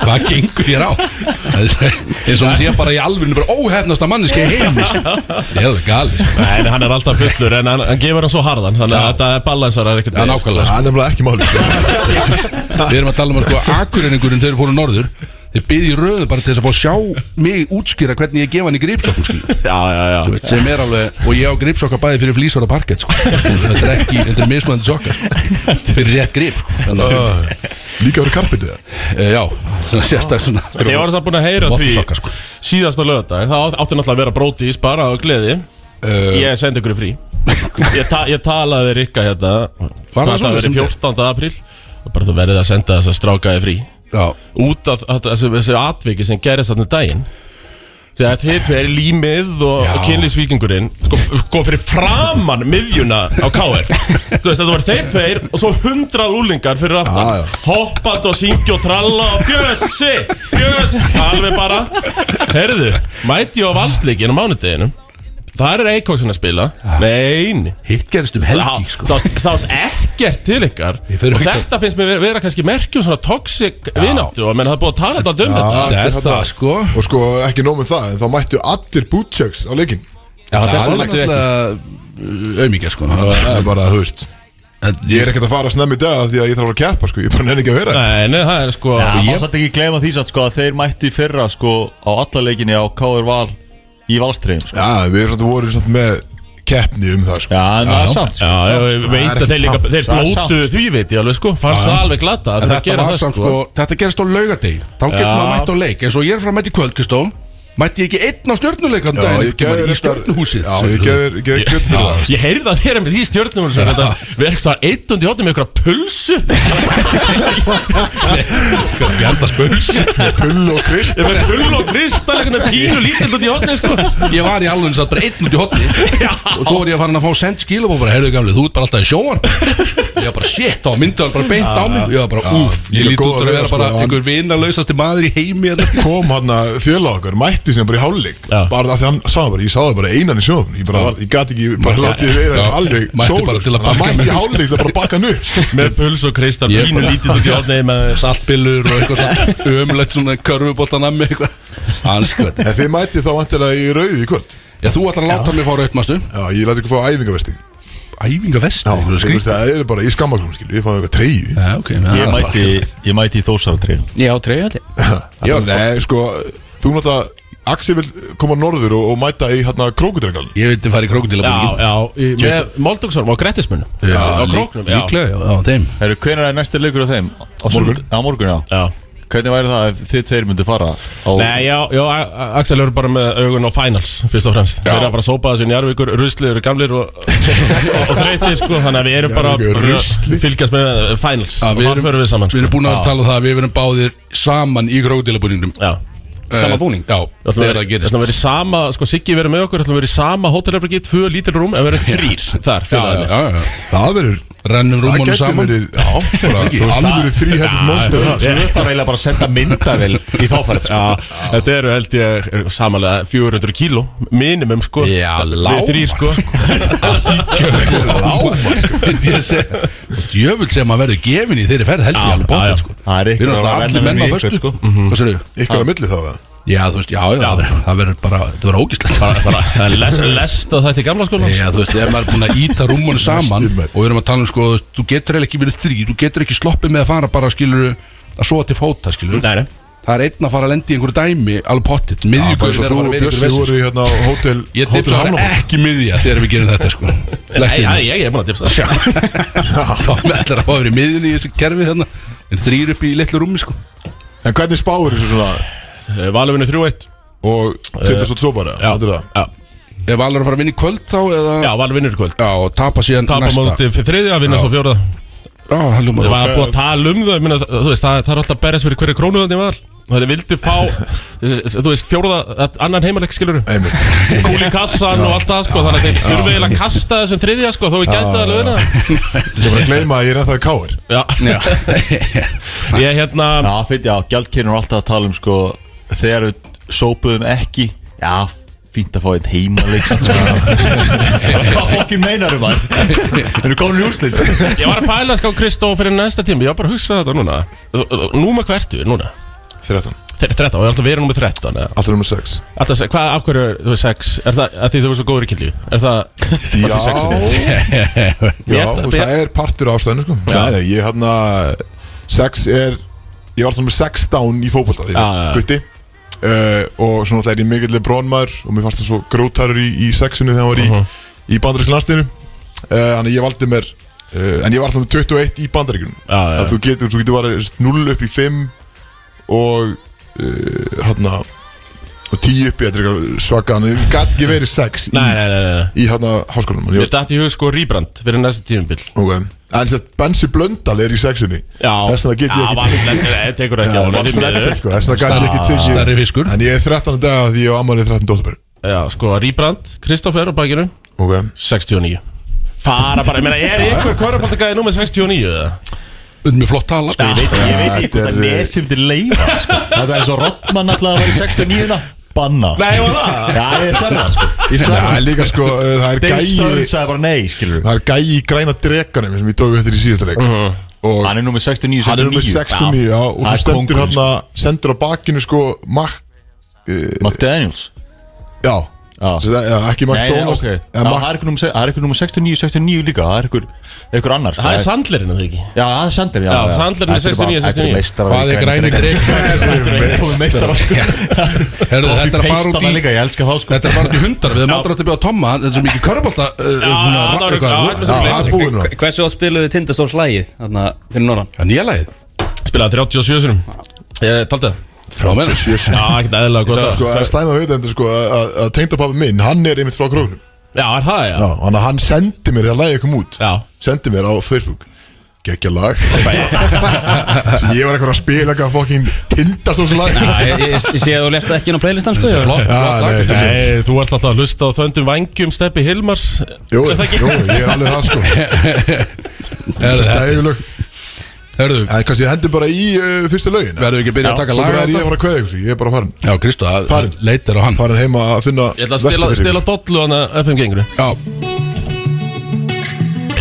S3: Hvað gengur þér á Það er eins og hann sé bara í alvörinu bara óhefnasta manneski í heimi sko. Ég er alveg gali sko.
S4: Nei, en hann er alltaf fullur en hann, hann gefur hann svo harðan Þannig að þetta er balansar er ekkert
S3: Já, nákvæmlega sko.
S2: Það er nefnilega ekki máli sko.
S3: Við erum að tala um að sko Akureiningurinn þegar þeir fóru norður Þeir byði í röðu bara til þess að fá að sjá mig útskýra hvernig ég gefa hann í gripsokkum skilur.
S4: Já, já, já
S3: Þú veit, sem er alveg, og ég á gripsokka bæði fyrir flýsar og parkett sko. þetta er ekki, þetta er mismunandi sokka sko. fyrir rétt grip sko. Þannig, uh,
S2: Líka verið karpitið það
S3: já, svona sérstak svona
S4: Ég var það búin að heyra því
S3: Vottosokka sko
S4: síðasta lögadag Það átti náttúrulega að vera brótis bara á gleði
S3: uh,
S4: Ég sendi ykkur í frí Ég, ta ég talaði við Rikka hérna
S3: Var það
S4: Hvað
S3: svona
S4: það verið
S3: sem
S4: 14. apríl Og bara þú verðið að senda þess að strákaði frí
S3: Já,
S4: Út af af þessu, þessu atviki sem gerist þarna um daginn Því að þið fyrir límið og
S3: Já.
S4: kynlísvíkingurinn sko, sko fyrir framan miðjuna á KR Þú veist, þetta var þeir tveir og svo hundra rúlingar fyrir
S2: Já,
S4: aftan
S2: já.
S4: Hoppandi og syngi og tralla og bjössi, bjössi, alveg bara Herðu, mæti ég á valsleikin á mánudeginum Þar er Eikóksson að spila Nein
S3: hitt gerist um helgi sko
S4: sást, sást ekkert til ykkar
S3: Ég fer
S4: Og
S3: ekki
S4: þetta finnst mér vera, vera kannski merkjum svona toxic vináttu Og menn það er búið að tala þetta um þetta
S3: Það er
S2: þetta-
S3: það sko
S2: Og sko ekki nóg með það En þá mættu allir bootchecks á leikin
S5: Já,
S3: Það
S5: þessu
S3: er
S5: mættu við ekki
S3: náttúrulega auðmíkja sko Það var-
S2: Það er bara, þú veist Ég er ekkert að fara snemmi í dag Því að ég þarf að keppa sko Ég bara nenni ekki að vera
S4: Nei, nei, það er sko
S5: Já, maður satt ekki að gleyma því satt sko að þeir mættu í fyrra sko á alla leikinni á K.R. Val í Valstreim sko.
S2: Já, við erum svolítið vorum svolítið með keppni um það sko
S5: Já, en það er samt sko.
S4: Já, ég
S2: Það
S4: veit
S2: er
S4: að
S2: ekkert
S4: þeir líka,
S2: samt.
S4: þeir
S5: Það er
S4: blótu
S5: samt.
S4: því veit ég alveg sko Fannst það alveg glata
S3: En
S4: að þeir
S3: þetta
S4: gera
S3: var
S4: það
S3: samt
S4: sko
S3: sko, þetta gerist á laugadegi Þá getur
S4: Já.
S3: maður mætt á leik eins og ég er frá mætt í kvöld, Kristó Mætti ég ekki einn á stjörnuleikann
S2: Já,
S3: daginn
S2: ég
S3: einhvern tímann
S2: geður
S3: Í stjörnuhúsið
S2: Já, ég geður kjöld fyrir það sko.
S4: Ég heyrði það þeirra með því stjórnum Þetta verkst það eittundi hotni með ykkur að pulsu Bjardas pulsu
S2: Pull og krist
S4: Þeir verður pull og kristall Eitthvað pínu lítill út í hotni sko
S3: Ég var í alveg satt bara einn út í hotni Og svo var ég að fara að fá send skilum og bara Herðu gamli, þú ert bara alltaf í sjóar Ég var bara shit, þá myndi hann bara beint á mig Ég var bara úf, ég
S2: líka
S3: líti
S2: góð
S3: út
S2: að
S3: að
S2: vera,
S3: vera
S2: sko,
S3: bara
S2: hann-
S3: einhver vinalausasti maður í heimi hérna.
S2: kom hann að fjöla okkar, mætti sem bara í hálfleik
S4: Já.
S2: bara af því hann sagði bara, ég sagði bara einan í sjóðum ég bara, var, ég gati ekki, bara látið
S3: Já.
S2: vera alveg
S3: Mætti bara til
S2: sólur, hann
S3: að bakka
S2: mætti
S3: mig.
S2: í hálfleik til að bara bakka hann upp sko.
S4: Með puls og kristall
S3: Ég-
S4: Pínu lítill út í hotni með
S3: Saltbillur og eitthvað svona Ömlegt svona körfuboltan að mig eitthvað Anskvæmt
S2: en þið mætti þá vantilega í rauði í kvöld
S3: Já, þú ætlar að láta mig fá rautmastu
S2: já, ég læti ykkur fá æfingavesti já,
S3: Æfingavest
S2: þú veist, það er bara í skammaklum skilju, ég fann eitthvað treyju
S3: Já, ok,
S5: Ég mætti, ég mætti í Þósaraldri
S6: Ég á treyju allir
S3: Já,
S2: nei, sko, þú náttúrulega Axi vil koma norður og, og mæta í hérna krókudrengal
S3: Ég vildi fara í krokodila
S4: Já, já, í- með Moldóksarm og Grettismunum Á króknum, já
S3: Líklega, já, á þeim
S5: Herru, hvenær er næsti leikur á þeim? Á
S2: Morgun.
S5: sunnud- Á morgun, já
S4: Já
S5: Hvernig væri það ef þið tveir myndu fara á
S4: Nei, já, já A- A- Axel eru bara með augun á finals fyrst og fremst, þeir eru bara að sópa þessu njarvíkur rusli eru gamlir og, og, og þreytir sko, þannig að við erum bara
S2: Njarðvíkur,
S4: bara
S2: rusli.
S4: fylgjast með uh, finals
S3: Já,
S4: og
S3: við
S4: þar
S3: erum-
S4: förum við
S3: Við
S4: saman sko.
S3: erum búin að tala um það að við erum báðir saman í krokodilabúningnum
S4: Já,
S6: Sama búning?
S3: Já,
S4: ætlum
S3: þegar það
S4: við við ætlum að vera
S3: gerist
S4: í sama, sko Siggi verið með okkur ætlum við verið í sama hótelherbyggi, tvö lítil rúm en við erum þrýr þar,
S3: Já, já,
S4: félagið
S3: já, já.
S2: það verður,
S3: Rennum
S2: það
S3: rúmunum
S2: getur
S3: saman
S2: verið já, bara,
S3: Ekki.
S2: þú veist, alvöru þrýhendur monster það,
S5: Ég þarf eiginlega bara að senda myndavel í þáfærið sko.
S4: Já, þetta eru held ég er samanlega 400 kíló, minimum sko
S3: Já,
S4: Við þrýr sko
S3: Ég seg- Djöfull sem að verður gefin í þeirri ferð held ég alveg
S4: já,
S3: bóttið sko
S5: Það er
S3: Við
S5: ykkur
S3: erum
S5: að
S3: alltaf
S5: renna
S3: allir
S5: með
S3: menn á
S5: mig í
S3: föstu
S5: einhvern, sko.
S3: Hvað sér þau?
S2: ykkur á milli þá eða?
S3: Já, þú veist, já, já, það verður- það verður bara, þetta verður ógíslegt
S4: Það er lest, lest að þetta í gamla skóla
S3: Já, þú veist, ef maður er búin að íta rúmunum saman
S2: Næstum, maður.
S3: og við erum að tala um sko, þú veist, þú getur eiginlega ekki verið þrý, þú getur ekki sloppið með að fara bara, skilur, að sofa til fóta, skilur
S4: sko. Nei, nei
S3: Það er einn að fara að lendi í einhverju dæmi Alveg pottitt,
S2: Já, bara eins
S3: miðjugurinn
S2: og þú og
S3: er að fara að vera í
S2: Bjössi
S3: einhverju
S2: voru
S3: vesins
S2: hérna á hótel
S3: Ég dipsa það
S2: Hamnafjörð.
S3: er ekki miðja þegar við gerum þetta sko
S4: Nei,
S3: Lekkinu.
S4: já, ég er búin að dipsa það Já.
S3: Tommi ætlar að fá að vera í miðjunni í þessu kerfi þarna En þrýr upp í litlu rúmi sko
S2: En hvernig spáir þessu svona
S4: Eh, Valur vinur 3-1
S2: Og eh, tippast út svo bara þetta er það.
S4: Já,
S3: Ef Valur er að fara að vinna í kvöld þá eða
S4: já Valur vinur í kvöld
S3: Já, og tapa síðan
S4: Tapa
S3: næsta
S4: móti fyrir þriðja, vinna svo fjóruða
S3: Já, hann
S4: Það
S3: ljómar
S4: var búin að tala um það, minna, þú veist, það, það er alltaf að berjast fyrir hverju krónu þannig var Það vildu fá, þú veist, fjóruða, annan heimaleg skilur
S2: Einmitt.
S4: Kúli kassan og allt það, sko, þannig að þeir þurfið eiginlega að kasta þessum þriðja, sko, þó við gæta það alveg vinna
S2: Ég var að gleyma að ég er ennþá í káir
S4: Já, ég hérna,
S5: Já, fyrir, já, gjaldkynur alltaf að tala um sko Þegar við sópuðum ekki Já, fínt að fá einn heimaleik samt, sko. Hvað fokkin meinar um það? Erum komin í úrslit
S4: ég var að pæla, sko, Kristó, fyrir næsta tíma, ég var bara að hugsa þetta núna Núma hvað ertu, núna?
S2: 13
S4: Þeir- 13, og ég er alltaf verið númer 13, eða?
S2: Alltaf nummer 6
S4: Alltaf, se- hvað, af hverju, þú veist, 6, er það, að því þú veist svo góður í kynlíf, er það,
S2: Já Já,
S4: Ég-
S2: þú veist, það er partur af ástæðinu sko Nei, nei, ég hann að 6 er Ég var alltaf með 6 down í fótbolta því
S4: Já, já, já.
S2: Gutti uh, Og svo náttúrulega er ég mikill brónmaður Og mér fannst það svo grótarur í, í sexinu Þegar hann var í,
S4: Mhm.
S2: í bandarísk landstinu uh, Þannig að ég valdi mér uh, En ég var alltaf með 21 í bandaríkunum
S4: Já, já, já.
S2: Að þú getur, þú getur bara 0 upp í 5 Og uh, hann að Og 10 upp í þetta er eitthvað svaka Þannig að ég gæti ekki verið 6 í,
S4: nei, nei, nei, nei, nei.
S2: í hann að háskólanum
S4: Mér dætti í hug sko rýbrand fyrir næsta tímabil
S2: Ok, en sérst, Bensi Blöndal er í sexunni Þess vegna get ég ekki tekið-
S4: tekið Tekur ekki
S2: Já,
S4: á honum, því
S2: vanskilegt,
S4: miður.
S2: sko, Þess vegna get ég ekki
S3: Starri
S2: tekið
S3: fiskur
S2: En ég er 13 dag að því ég á ammálið 13. dóttabur
S4: Já, sko rýbrand, Kristoffer á bakinu
S2: Ok,
S4: 69 Fara bara, ég meina, er ykkur kvörupoltakaði nú með 69 eða?
S3: Unnum við flott tala sko
S5: Ég veit ekki, ég veit ekki
S2: Þetta
S5: hvað
S2: er-
S5: það lesum til leifa sko. Það er svo Rottmann alltaf að vera í 69 Banna sko.
S4: Nei, var það?
S5: Já, ég sverða sko. Ég
S2: Já,
S5: sverða
S2: en líka sko, uh, það er
S5: Dave Stern
S2: gæi
S5: sagði bara nei, skilur
S2: Það er gæi í græna dreganum sem ég dói eftir í síðasta leik Og
S5: Mhm. Hann er nummer 69, 69
S2: hann er nummer 69 já, Og
S5: Það
S2: svo
S5: er
S2: stendur
S5: kóngurinn, sko.
S2: hann að Sendur á bakinu sko Mac,
S5: McDaniels
S2: já
S5: Já.
S2: Sem það- já, Ekki
S5: Nei, nei,
S2: McDonalds
S5: ok Já,
S2: eða
S5: Það
S2: Mac-
S5: er ykkur númer se- það er ykkur nummer 69, 69 líka Það er ykkur, ykkur annar sko.
S4: Það er sandlerinn, það ekki?
S5: Já, það er Sander, já,
S4: Já, Sandler er 69, 69.
S3: Hvað er græni dreg
S5: Tómi meistar
S3: Herðu, þetta er að fara út
S5: Peistana
S3: í
S5: líka, ég elska þá sko
S3: Þetta er að fara út í hundar Við erum aldrei átt að bjóða Tomma Þetta er svo mikið uh, körbólta
S4: já, það var- já, það var-
S2: Já, það er búin nú
S6: Hversu átt spiluðu Tindastóls lægið Þannig að fyrir norðan
S3: Það er nýja lagið
S4: Spilaði 37 sinum Ég taldi það
S3: Hvað meina?
S4: Eh, Já, ekkert eðlilega gott það
S2: Sko, það er slæma að vita endur sko að- að að tengdapappi minn, hann er einmitt frá króknum
S4: Já, er það, já
S2: Já, þannig að hann sendi mér þegar lagið kom út
S4: Já.
S2: Sendi mér á Facebook Gekkja lag Svo Ég var eitthvað að spila eitthvað fokkin Tindast á þessu lag
S6: Ég, ég, ég sé að þú lest það ekki inn á playlistan sko ég-
S3: Flott,
S2: Já,
S3: flott
S2: nei,
S3: lag
S2: þetta er mér.
S4: Nei, þú ert alltaf að hlusta á þöndum vangjum Steppi Hilmars
S2: Jú, jú, ég er alveg það sko Þetta er stæðilög
S3: Herðu,
S2: En kannski ég hendur bara í uh, fyrstu lögin
S3: verðum við ekki að byrja að taka
S2: Svo
S3: laga
S2: bara
S3: á
S2: er ég að
S3: þetta?
S2: fara að kveða ykkur Ég er bara farin
S3: Já, Kristó, það
S2: Farin.
S3: leitir á hann
S2: Farin heim að finna
S4: Ég ætla að stela,
S2: verslun fyrir
S4: stela
S2: ykkur.
S4: dollu hana FM genguru
S3: Já,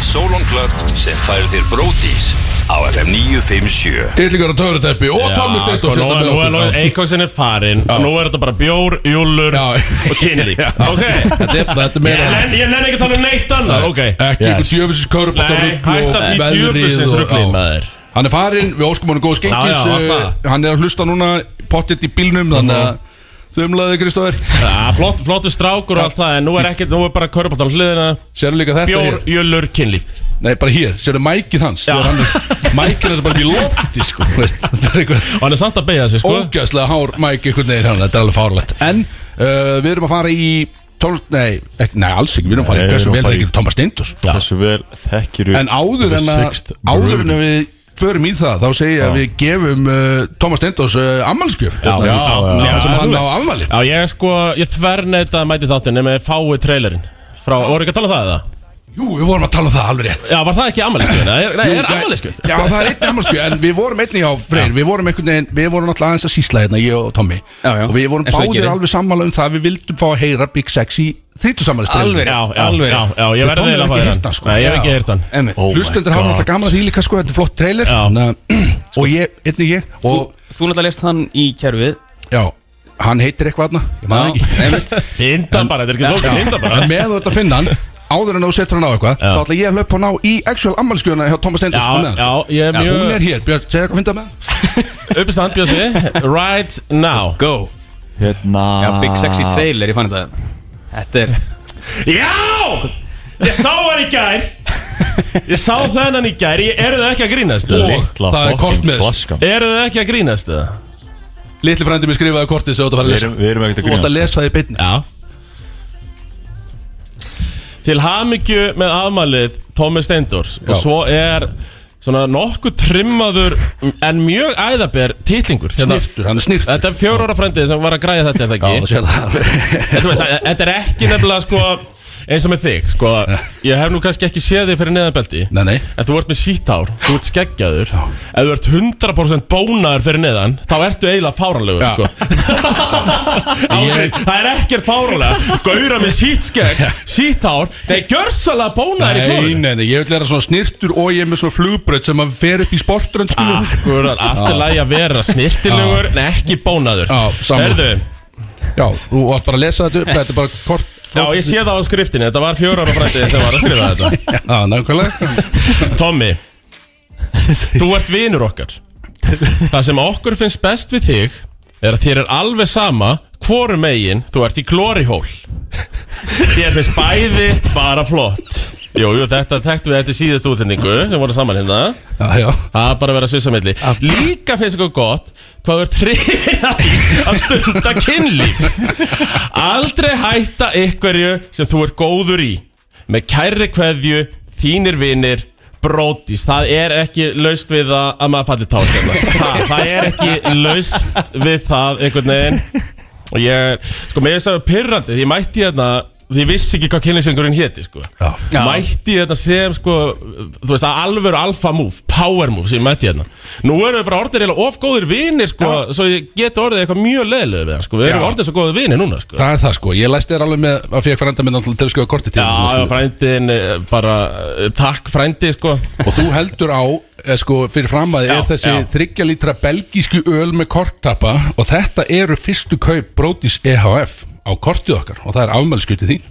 S9: Solon Club sem færir þér bródís á FM 957
S3: Dillingar og Töruteppi og Tommi Steint og
S4: sko, nú er- nú er- nú er Eikóksin er farin og Nú er þetta bara bjór, júllur
S3: Já.
S4: og kynlíf Ok
S3: Þetta er- þetta er
S4: Ég
S3: meira
S4: nenni- Ég nenni ekki að tala um neitt annað Ok
S3: Ekki ykkur
S5: Yes.
S3: djöfisins körbólta
S4: Nei, hætt að því djöfusins ruglið maður
S3: Hann er farinn, við óskum honum góðs
S4: Já,
S3: gengis
S4: já, allt
S3: eh,
S4: það.
S3: Hann er að hlusta núna pottitt í bílnum Þannig að þumlaði Kristóður
S4: Ja, flott, Flottu strákur og allt það En nú er ekkert, nú er bara körbátt á hliðina
S3: Sérðu líka þetta
S4: Bjór, júllur, kynlíf
S3: hér Nei, bara hér, sérðu mækinn hans
S4: Já.
S3: þegar hann er- Mækinn hans er bara upp í lofti sko. þú veist, Þetta er eitthvað
S4: Og hann er samt að beigja sig sko
S3: ógæslega hár mæk einhvern veginn hann, þetta er alveg fárlegt en uh, við erum að fara í tól, nei, ek, nei, alls ekki, við erum að fara
S5: Nei,
S3: í
S5: við
S3: hversu
S5: erum að
S3: vel
S5: fara í-
S3: þekkir Thomas Steindus
S5: Þessu vel þekkir
S3: en áður en að áður en að við förum í það þá segi ég að við gefum uh, Thomas Steindus uh, ammalskjöf já,
S4: já, já, já,
S3: sem hann
S4: þú
S3: á afmæli
S4: Já, ég er sko, ég þverneita að mæti þáttin Nefnir fái trailerinn Frá, voru ekki að tala um það eða?
S3: jú, við vorum að tala um það alveg rétt
S4: Já, var það ekki ammæliskuð? Nei,
S3: Jú,
S4: er
S3: já,
S4: ammæliskuð?
S3: Já, það er einn ammálskjöf En við vorum einnig á Freyr Við vorum einhvern veginn Við vorum náttúrulega aðeins að sísla hérna Ég og Tommy
S6: Já, já.
S3: Og við vorum
S6: Eins og það
S3: báðir
S6: gerir.
S3: alveg sammála um það Við vildum fá að heyra Big Sexy 30 sammála
S6: Alveg
S4: Já,
S6: rétt,
S4: já,
S6: alveg
S4: já,
S6: rétt
S4: já, ég verði
S3: Tommy
S4: eiginlega
S3: hefur
S4: að
S3: ekki heyrt hann, sko.
S4: fæða hann Nei, ég hef ekki heyrt hann
S6: Einmitt.
S5: Oh my
S3: Hlustendur hafa
S5: God.
S3: náttúrulega gaman að því líka sko, þetta er flott trailer
S4: Já.
S3: Þannig að- Og ég, einnig ég Og
S6: Þú þú náttúrulega lest hann í kerfið
S3: já, hann heitir eitthvað aðna Ég maður það ekki
S6: einmitt
S4: Finda bara, þetta er ekki
S6: Já.
S4: lókin, finda bara
S3: En með þú ert að finna hann áður en þú setur hann á eitthvað
S5: Já.
S3: þá ætla ég að löpa hann á í actual ammálskjöðuna hjá Thomas Steindors
S4: Já, já, ég er mjög-
S3: sko. hún er hér, Björn, segja eitthvað að fynda með
S4: Uppistand Bjössi Right now
S6: Go
S5: Hérna
S6: Já, Big Sexy Trailer, ég fann þetta Þetta er
S4: Já! Ég sá hann í gær Ég sá þennan í gær Ég- Eru þið ekki að grínast?
S5: Littla
S3: Það er kort
S5: fokkin
S3: með þessu.
S5: flaskan
S4: Eru þið ekki að grínast? eða?
S3: Litli frændi mér skrifaði kortið sem þú átt að fara að
S5: Við
S3: lesa
S5: erum, við erum ekkert
S3: Þú
S5: að
S3: átt að
S5: grínast
S3: lesa það í beinni
S4: Já Til hamingju með afmælið Tómi Steindors
S3: Já.
S4: og svo er svona nokkuð trimmaður en mjög æðaber titlingur Hérna,
S3: Snirtur, hann Hérna. er hérna. snirtur
S4: Þetta er fjóra ára frændið sem var að græja þetta er það
S3: Já,
S4: ekki
S3: þú sér það
S4: En þú veist, að- Þetta er ekki nefnilega sko eins og með þig sko, ég hef nú kannski ekki séð þig fyrir neðanbelti
S3: Nei, nei
S4: en þú ert með sítár, þú ert skeggjaður ef þú ert 100% bónaður fyrir neðan þá ertu eiginlega fáranlegur
S3: Já.
S4: sko. Ágrið, það er ekkert fáranlega gauðra með sítskegg, sítár þeir gjörsalega bónaður í
S3: Nei,
S4: klófinu
S3: nei, nei, ég vil vera svona snirtur og ég er með svona flugbröð sem að fer upp í sportrönd skilur við.
S4: Akkurat, allt er lagi að vera snirtilegur en ekki bónaður
S3: Já, sammála.
S4: Herðu,
S3: Já, þú átt bara að lesa þetta upp Þetta er bara kort
S4: já, ég sé það á skriftinni, þetta var fjóra ára frændið sem var að skrifa þetta
S3: Já, nákvæmlega
S4: Tommy Þú ert vinur okkar Það sem okkur finnst best við þig Er að þér er alveg sama Hvorum megin þú ert í glórihól Þér finnst bæði Bara flott Jú, jú, þetta tektum við eftir síðast útsendingu sem voru saman hérna
S3: Já, já
S4: Það er bara að vera svissamilli Líka finnst ykkur gott hvað þú ert hrifin af því að stunda kynlíf Aldrei hætta ykkurju sem þú ert góður í Með kærri kveðju, þínir vinir, brótis Það er ekki laust við það að maður falli tár hérna. það, það er ekki laust við það einhvern veginn Og ég, sko, mér er það pyrrandi Því ég mætti hérna Því ég vissi ekki hvað kynlýsingurinn héti, sko
S3: Já.
S4: Mætti ég þetta sem, sko Þú veist, alvöru alfa move, power move Sem ég mætti hérna Nú erum við bara orðin eiginlega of góðir vinir, sko Svo ég geti orðið eitthvað mjög leðilega við hann, sko Við erum
S3: Já.
S4: orðin svo góðir vinir núna, sko
S3: Það er það sko, ég læsti þér alveg með að fyrir frænda minn náttúrulega til að skjóða kortið til
S4: Já,
S3: þín,
S4: já,
S3: sko.
S4: frændin, eh, bara eh, Takk, frændi, sko
S3: Og þú heldur á, eh, sko, fyrir fram að er
S4: Já,
S3: þessi
S4: já.
S3: þryggja lítra belgísku öl með korttappa og þetta eru fyrstu kaup Brodís EHF á kortið okkar og það er afmælskjötið þín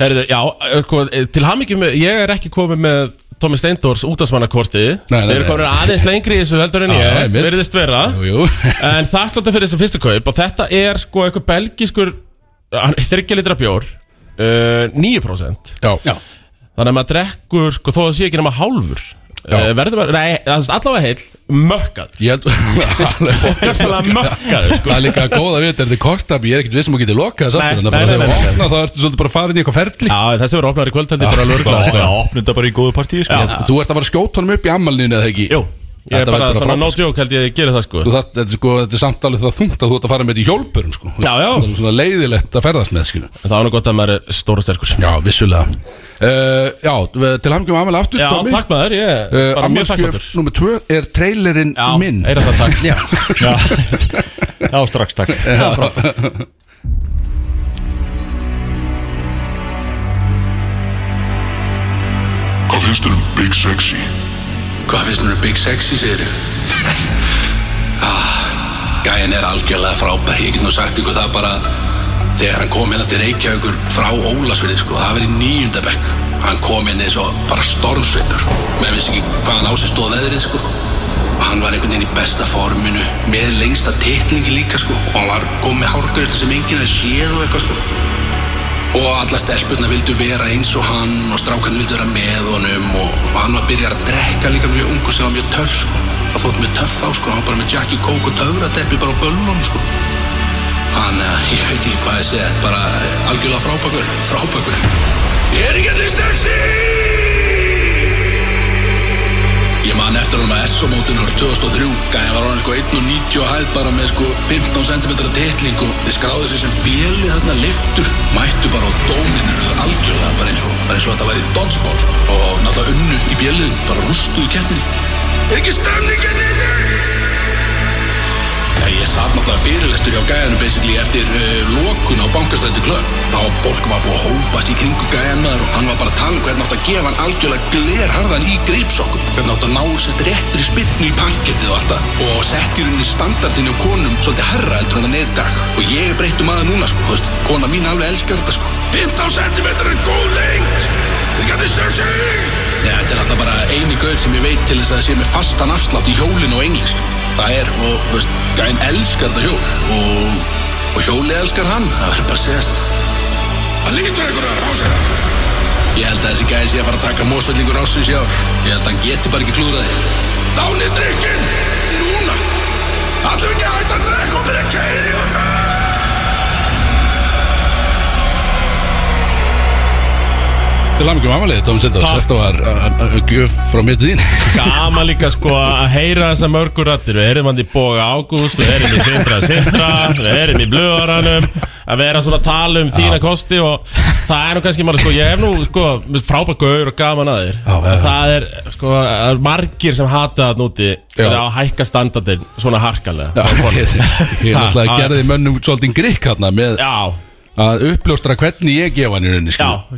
S4: Herðu, já, eh, sko, eh, til hamingjum Ég er ekki komið með Tómi Steindors útasmannakorti
S3: Nei, nei,
S4: Við erum
S3: nei.
S4: komin aðeins lengri í þessu heldur en
S3: Já,
S4: ég
S3: einmitt.
S4: Verðist vera
S3: Jú, jú.
S4: En þakkláttu fyrir þessi fyrstu kaup og þetta er sko eitthvað belgiskur þryggja litra bjór uh, 9%
S3: Já, já,
S4: þannig að maður drekkur sko þó að sé ekki nema hálfur uh, verður maður, nei, það er allavega heill mökkað,
S3: ég held
S4: gjörsalega mökkað sko.
S3: Það er líka góð að vita, þetta er korttapi, ég er ekkert vissum að geta lokað þess
S4: Nei,
S3: aftur, en það
S4: nei,
S3: bara
S4: nei,
S3: þegar
S4: nei,
S3: þú
S4: nei.
S3: opna þá ertu svolítið bara farin í eitthvað ferli
S4: Já, þessi verður opnar í kvöld heldur bara alveg
S5: Það
S4: örglað
S5: er
S4: sko.
S5: að opna þetta bara í góðu partíu sko.
S3: Þú- Þú ert að fara að skjóta honum upp í ammælinu eða ekki
S4: Jú, ég
S3: Þetta
S4: er bara
S3: verður bara
S4: svona
S3: frábært,
S4: no joke held ég gera það sko
S3: Þú þarft, þetta, er sko, þetta er samt alveg það þungt að þú ert að fara með þetta í hjólpurum sko.
S4: Já, já.
S3: Það er Svona leiðilegt að ferðast með skilu.
S4: En Það var nú gott að maður er stóra sterkur
S3: Já, vissulega uh, Já, við- til hamngjum amal aftur
S4: Já, takk maður, ég er
S3: uh,
S4: bara
S3: Amalskjöf
S4: mjög þakkláttur
S3: nummer tvö er trailerinn
S4: Já,
S3: minn
S4: heyra það takk
S3: Já,
S5: Já, já strax takk
S7: Hvað finnst þér um Big Sexy?
S9: Hvað finnst mér um Big Sexy, segir ég? ah, gæin er algjörlega frábær, ég get nú sagt ykkur það bara þegar hann kom hérna til Reykjavíkur frá Ólasverði, sko, það verið nýjunda bekk. Hann kom hérna eins og bara stormsveipur, maður vissi ekki hvað hann á sig stóð veðrið, sko. Hann var einhvern veginn í besta forminu, með lengsta titlingi líka, sko, og hann var komið með hárgreistu sem enginn að séð og eitthvað, sko. Og alla stelpurna vildu vera eins og hann og strákarnir vildu vera með honum og og hann var að byrja að drekka líka mjög ungu sem var mjög töff sko. Það þótt mjög töff þá sko, hann var bara með Jackie Coke og töfradeppi bara á böllunum sko. Hann, eh, ég veit ekki hvað ég segja, bara eh, algjörlega frábækur, frábækur. Ég er ekki allir sexy! Ég man eftir honum að S-mótinu árið 2003 Gæði var honum sko 1.90 og hæð bara með sko 15 cm titling og þið skráðu sig sem bjeli þarna liftur mættu bara á dóminur algjörlega bara eins og bara eins og þetta væri dodgeball sko. og náttúrulega unnu í bjeliðum bara rústuðu kettinni Ekki stemninginni Já, ég satt náttúrulega fyrirlestur hjá gæðanum basically eftir uh, lokun á bankastrættu klöpp. Þá var fólk var búið að hópast í kringu gæðan maður og hann var bara að tala um hvernig átt að gefa hann algjörlega glerharðan í greipsokkum. Hvernig átt að ná sérst réttri spytnu í panketið og allt það. Og sett í rauninni standardinu á konum svolítið herra heldur en það neðdag. Og ég er breytt um aða núna sko, þú veist. Kona mín alveg elskar þetta sko. 15 cm er góð lengt Þið gæti sexy Já, þetta er alltaf bara eini gaur sem ég veit til þess að það sé með fastan afslátt í hjólinu og englisk Það er, og þú veist, gæn elskar þetta hjól og, og hjóli elskar hann Það verður bara að segjast Það lítur einhverjar á sig Ég held að þessi gæði sé að fara að taka mósvellingur ásins í ár Ég held að hann geti bara ekki klúðrað þig Dánið drikkin Núna Allir ekki að hætta að drekka og byrja að keiri okkar
S3: Til langt um amalegi, Tóms Eldós
S4: Takk.
S3: Þetta var uh, uh, gjöf frá mér til þín
S4: Gaman líka sko að heyra þessa mörgur rættir Við erum hann í Boga Ágúst Við erum í Sindra Sindra Við erum í Blöðaranum Að vera svona að tala um þína kosti Og það er nú kannski margir sko Ég hef nú sko frábæk gaur og gaman að þér
S3: Já, já, já.
S4: Það er sko það eru margir sem hata það núti Það er að hækka standardin svona harkalega
S3: Já, ég, ég náttúrulega gerði mönnum svolítið grikk hérna með
S4: Já,
S3: að uppljóstra hvernig ég gefa hann í rauninni sko.
S4: já
S3: skilur.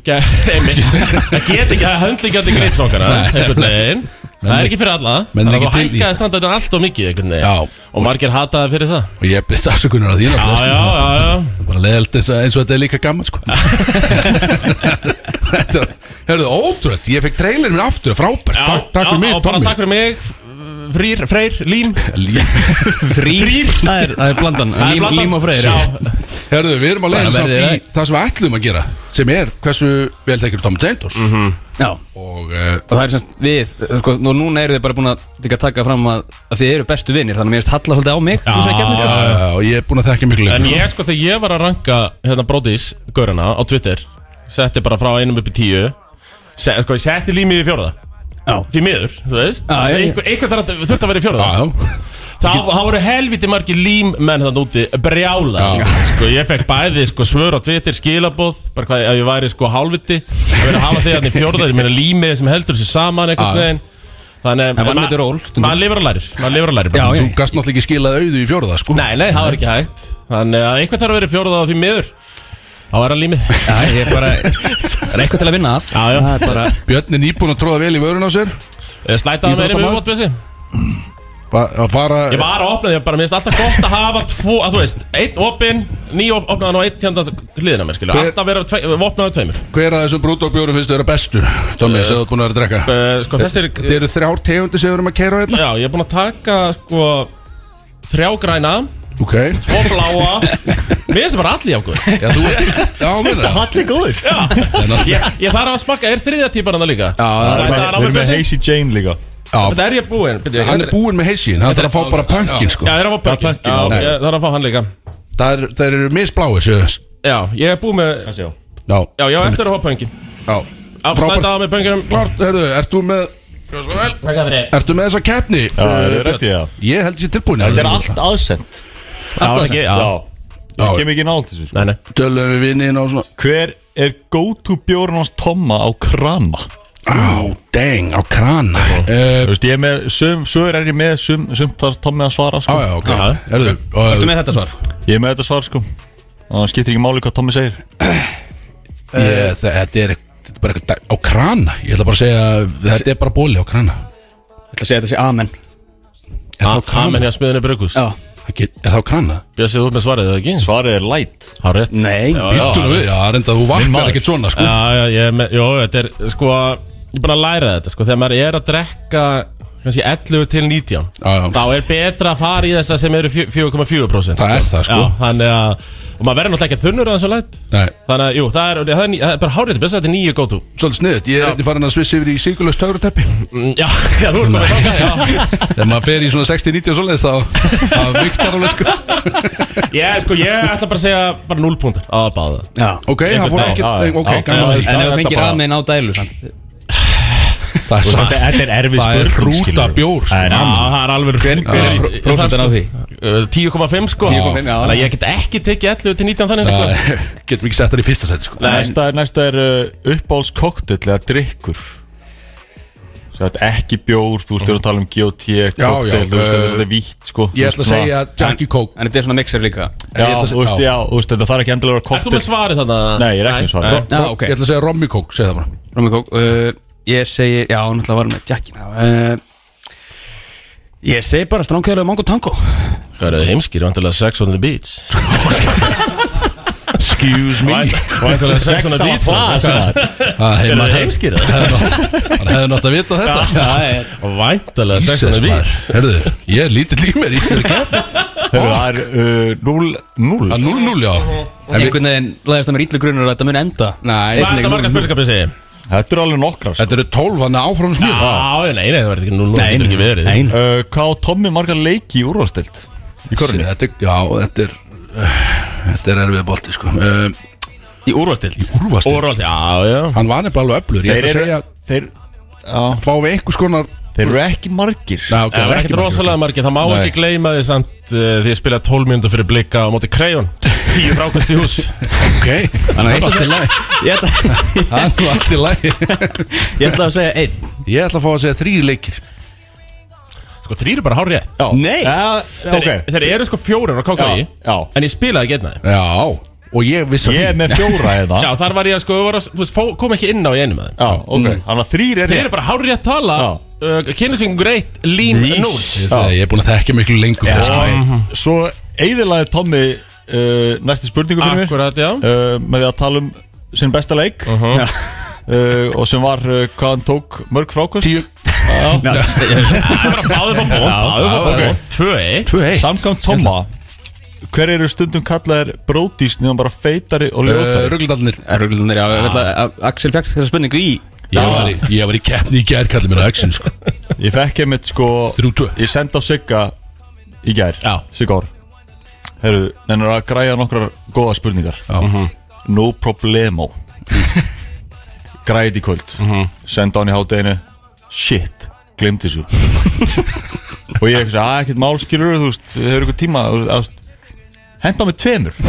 S4: ge- einmitt. Það get ekki, það höndla ekki allir greit svona einhvern veginn Það er ekki fyrir alla
S3: menn
S4: Það er
S3: ekki
S4: að
S3: til í-
S4: hækka standardin alltof mikið einhvern veginn.
S3: Já.
S4: Og margir hata það fyrir það
S3: og ég byrst afsökunar á því
S4: Já,
S3: náttúrulega,
S4: já,
S3: skilur.
S4: já, já
S3: bara leðalt eins, og- eins og þetta er líka gaman sko Þetta er- Hörðu, ótrútt, ég fekk trailer minn aftur, frábært
S4: Já,
S3: Takk, takk fyrir
S4: já,
S3: mig,
S4: og bara
S3: Tommy
S4: Takk fyrir mig, frýr, freyr, lín
S6: Frýr Það er, það er blandan,
S4: Það er
S6: lím,
S4: blandað.
S6: lím og freyr
S4: Já,
S3: Hörðu, við erum að leiða
S6: Bara
S3: samt
S6: verðið
S3: í
S6: það.
S3: það sem við ætlum að gera sem er hversu vel þekkir Tommy Tendos
S4: Mhm.
S6: Já,
S3: og uh,
S6: og það er semst við uh, sko, nú- Núna eru þið bara búin að líka taka fram að, að þið eru bestu vinnir Þannig að mér erst halla svolítið á mig í þessari keppni, sko.
S3: uh, og ég er búin að þekka miklu
S4: En
S3: lengur
S4: ég sko, þegar ég var að ranka hérna bróðis, gaurana, á Twitter Setti bara frá einum upp í tíu se, Sko, ég setti límið í fjórða
S6: Já,
S4: Því miður, þú veist
S6: Já, já, já.
S4: Einhver- Einhver þarf að- þurfti að vera í fjórða
S3: Já, já.
S4: Þá þá voru helviti margir límmenn þannig úti brjála sko, Ég fekk bæði sko, svör á Twitter skilabóð bara hvað ef ég væri sko hálfviti að vera að hafa þegar þannig fjórðar ég meina límið sem heldur sér saman einhvern
S3: Já.
S4: veginn Þannig
S6: En vann þetta ról stundum.
S4: Maður lifur að lærir Maður lifur að lærir
S6: já,
S4: bara.
S6: já
S3: Þú gast náttúrulega ekki skilað auðu í fjóruða sko
S4: Nei, nei, það var ekki hægt Þannig að einhvern þarf að vera í fjórða á því miður Þá er hann límið
S6: Já, ég er bara Það er eitthvað til að vinna að
S4: Já, já.
S6: Það er bara
S3: Björn er nýbúin að tróða vel í vörun á sér
S4: Ég Slæta hann verið með umvotbjössi
S3: Ba- að fara
S4: Ég var að opna því bara Mér finnst alltaf gott að hafa tvo að Þú veist, einn opinn Ný op- opnaðan og einn tjöndan hliðina mér skilur
S3: Hver-
S4: Alltaf vera tve, opnaðan tveimur
S3: hver að þessum brútókbjórum finnst að vera bestur Tommy, sem þú er búin að vera að drekka
S4: Uh, sko, þessi er
S3: Þetta eru þrjár tegundir sem við erum að keira hérna
S4: Já, ég er búinn að taka sko þrjá græna,
S3: Ok Já,
S4: tvo bláa Mér finnst bara allir jákuð
S3: þú Já, með það
S5: Allir góður Já,
S4: ég, ég þarf að smakka, er þriðja típar hann það líka?
S3: Já, það
S4: Slæta
S3: er-
S4: hann á mig
S5: Við erum með
S4: blessi
S5: Hazy Jane líka
S4: Það er ég búinn Bíddu,
S3: Hann er
S4: þetta
S3: búinn með heisin, hann þarf að fá bara pönkin sko
S4: Já, það er að fá pökkin
S5: pönkinn, já.
S4: Já, það er að fá hann líka
S3: Það er- þeir eru misbláir, séu þess
S4: Já, ég er búinn með
S5: Þessi já
S3: Já,
S4: Já, ég á eftir að fá pönkin
S3: já
S4: Afslæta
S3: Frábært
S4: á mig pönkinum
S3: Klart, herðu, ert þú með
S4: Takk fyrir
S3: Ertu með þessa keppni? Uh,
S5: Já, er þið
S3: Björn?
S5: ready, já?
S3: Ég held ég tilbúin
S5: Þetta er allt aðsend
S4: Alltaf ekki, já
S5: Já
S3: Já.
S5: Það kem ekki nált þessu sko.
S4: Nei, nei
S3: Tölum við vinnin á svona
S5: Hver er go-to bjórn hans Tomma á krana?
S3: Á, dang, á krana Eh,
S5: Þú veist, ég er með, sum, sögur er ég með, sum, sum þar Tommi að svara,
S3: Á,
S5: sko
S3: já, ok Herðu,
S6: Ertu
S3: og-
S6: með þetta svar?
S5: Ég er með þetta svar, sko Og það skiptir ekki máli hvað Tommi segir Eh,
S3: Ég- þa- Þetta er þetta er bara eitthvað dag- á krana Ég ætla bara að segja Þetta er bara bóli á krana
S6: Ég ætla að segja þetta sé amen
S3: Er
S5: Ah,
S3: það á
S4: Ah, Amen
S3: krana?
S4: hjá smiðinu Brugus
S6: Já
S3: Það get- Er það á krana?
S4: Bjössið út með svarið, eða ekki?
S5: Svarið er light
S4: Há rétt
S6: Nei
S4: Já, já.
S3: Býttu nú við, já, reynda þú vaknar
S5: maður.
S3: ekkert svona, sko
S4: Já, já, ég, er með- jó, þetta er sko Ég er búinn að læra þetta sko Þegar maður er að drekka kannski 11 til 19
S3: Já, já.
S4: Þá er betra að fara í þessa sem eru fjö- 4,4%
S3: Það er
S4: sko.
S3: það, sko.
S4: Já, þannig að Og maður verður náttúrulega ekki þunnur að þessu læt
S3: Nei,
S4: Þannig að, jú, það er, það er, ný- það er bara hárið Best að þetta er nýju gótu
S3: svolítið sniðut, ég er einnig farin að svissi yfir í sigurlaus tögruteppi
S4: mm, Já, já, þú erum bara þáka Já,
S3: Þegar maður fer í svona 60-90 og svoleiðis þá þá viktar alveg, sko
S4: ég, sko, ég ætla bara að segja bara 0 púntar að báða
S6: Já
S3: Ok, það fór
S5: dag. Já, já.
S3: ekkert, ok,
S5: Já,
S3: gaman að
S5: já,
S3: því.
S6: En ef
S5: Þetta
S6: þú fengir
S5: bara-
S6: amen á dælu samt
S3: Það er satt,
S5: Þetta er
S3: það er
S5: erfið spurning,
S3: hrúta
S5: skilurðu.
S3: bjór, sko
S4: Já, það er alveg
S6: Hver, hver er pró- prósentan á því?
S4: Uh, 10,5 sko
S6: 10,5, já.
S4: Þannig að ég get ekki tekið 11 til 19 þannig sko.
S3: Það getum ekki sett það í fyrsta seti, sko
S4: Nei.
S5: Næsta er, næsta er uh, uppáhalds koktel eða drikkur Svo þetta er ekki bjór, þú veist, við erum að tala um GOT,
S3: Já,
S5: koktel,
S3: já,
S5: þú veist,
S3: uh,
S5: þetta er vítt, sko
S3: Ég ætla að segja Jackie Coke
S6: En þetta er svona mixer líka
S3: ég
S5: Já,
S3: ætla að
S5: þú veist,
S3: segja-
S5: já, þú veist, þetta þarf ekki endilega að
S4: Ert
S5: vera
S4: þú með
S5: koktel
S4: svarið Eh, þannig að
S5: Nei, ég er ekki með svarið.
S6: Já, ok
S3: Ég ætla að segja Rommi Coke, segja það bara
S6: Rómi Kók uh, Ég segi, já, náttúrulega var hann með Jackina uh, Ég segi bara stránkæðilega mango tango
S4: Það eru heimskir, vantilega Sex on the Beach
S5: Excuse me
S4: Og eitthvað er sex svona dýt
S3: Það
S4: Eru þið heimskir, eða?
S3: Hann hefði nátt að vita þetta
S4: Og væntalega sex
S3: Jesus
S4: svona dýt
S3: maður Herðu, ég er lítið límer í sér kemp
S5: Hérna, Það er eh, 0-0
S3: Að 0-0 já
S6: Einhvern veginn laðist það mér illu grunur að þetta mun enda
S3: Nei,
S4: Hvað er þetta marga spurningar að segja?
S5: Þetta er alveg nokkrar
S3: þetta eru 12 hann er áfram smjög
S4: Já, já, nei, nei, það verður ekki 0-0 Nei, ekki verið
S6: Nein
S5: Uh, Hvað á Tommi margar leiki í úrvalstild? Í körunni
S3: Þetta er, já, þetta er Þetta er erfið bolti sko uh,
S6: Í úrvastild
S3: Úrvast
S4: Úrvald, já, já
S3: Hann var nefnilega alveg öflur Ég
S5: Þeir
S3: ætla að
S5: eru
S3: segja
S5: þeir,
S3: Fá við einhvers konar
S5: þeir eru ekki margir
S3: Nei, ok,
S4: Það var Eh, ekkert
S3: margir,
S4: rosalega margir, það má
S5: Nei.
S4: ekki gleyma því samt uh, því að spila 12 minnum fyrir blika á móti Krejon 10 frákvæmst í hús
S3: Ok, það er allt í lagi
S6: Ég ætla,
S3: Það er nú allt í lagi
S6: ég ætla að segja einn
S3: Ég ætla að fá að segja þrý leikir
S4: Sko þrýr er bara hárið
S5: Já.
S6: Nei.
S5: Ja,
S4: þeir,
S5: Ok
S4: þeir eru sko fjórir á KKI
S5: Já, já.
S4: En ég spilaði ekki einn af þeim
S3: Já, og ég vissi
S5: Ég er með fjóra eða
S4: Já, þar var ég að sko, var að, þú veist, fó- kom ekki inn á í einum af þeim
S5: Já, ok Þannig að þrýr er
S4: Þeir eru bara hárið að tala
S5: Já.
S4: uh, Kynnesvingur 1, lín 0
S3: Ég, segi, ég er búin að þekka miklu lengur fyrir þessu leik.
S5: bara Svo eigðilaði Tommi uh, næstu spurningu fyrir mér
S4: Akkurat, já
S5: uh, Með því að tala um sinn besta leik uh
S4: Mhm.
S5: Og sem var uh, hvað hann tók mörg frákvöst
S3: Tíu.
S4: Það er bara báðið på bóð
S3: já,
S4: Báðið på
S3: ok.
S4: bóð 2-1
S3: Tvö eitt
S5: Samkvæmt Tomma Hver eru stundum kallaðir bródís Nefnum bara feitari og
S3: uh,
S5: ljótari
S3: Ruggldalnir
S6: Röglunir, já, ég ætla að Axel fjakk þessa spurningu í
S3: ég, var í- ég var í keppni í gær kallið mér að Exxon sko.
S5: Ég fekk einmitt sko
S3: Þrjú tvö
S5: Ég sendi á Sigga í gær
S4: Já.
S5: Siggar Herru, nennir að græja nokkrar góða spurningar
S3: Já.
S5: No problemo Græði í kvöld Senda hann í hátteginu Shit, glemdi þessu Og ég ekki að ekkert mál skilur Þú veist, hefur ykkur tíma þú veist, ást, Henda með tveimur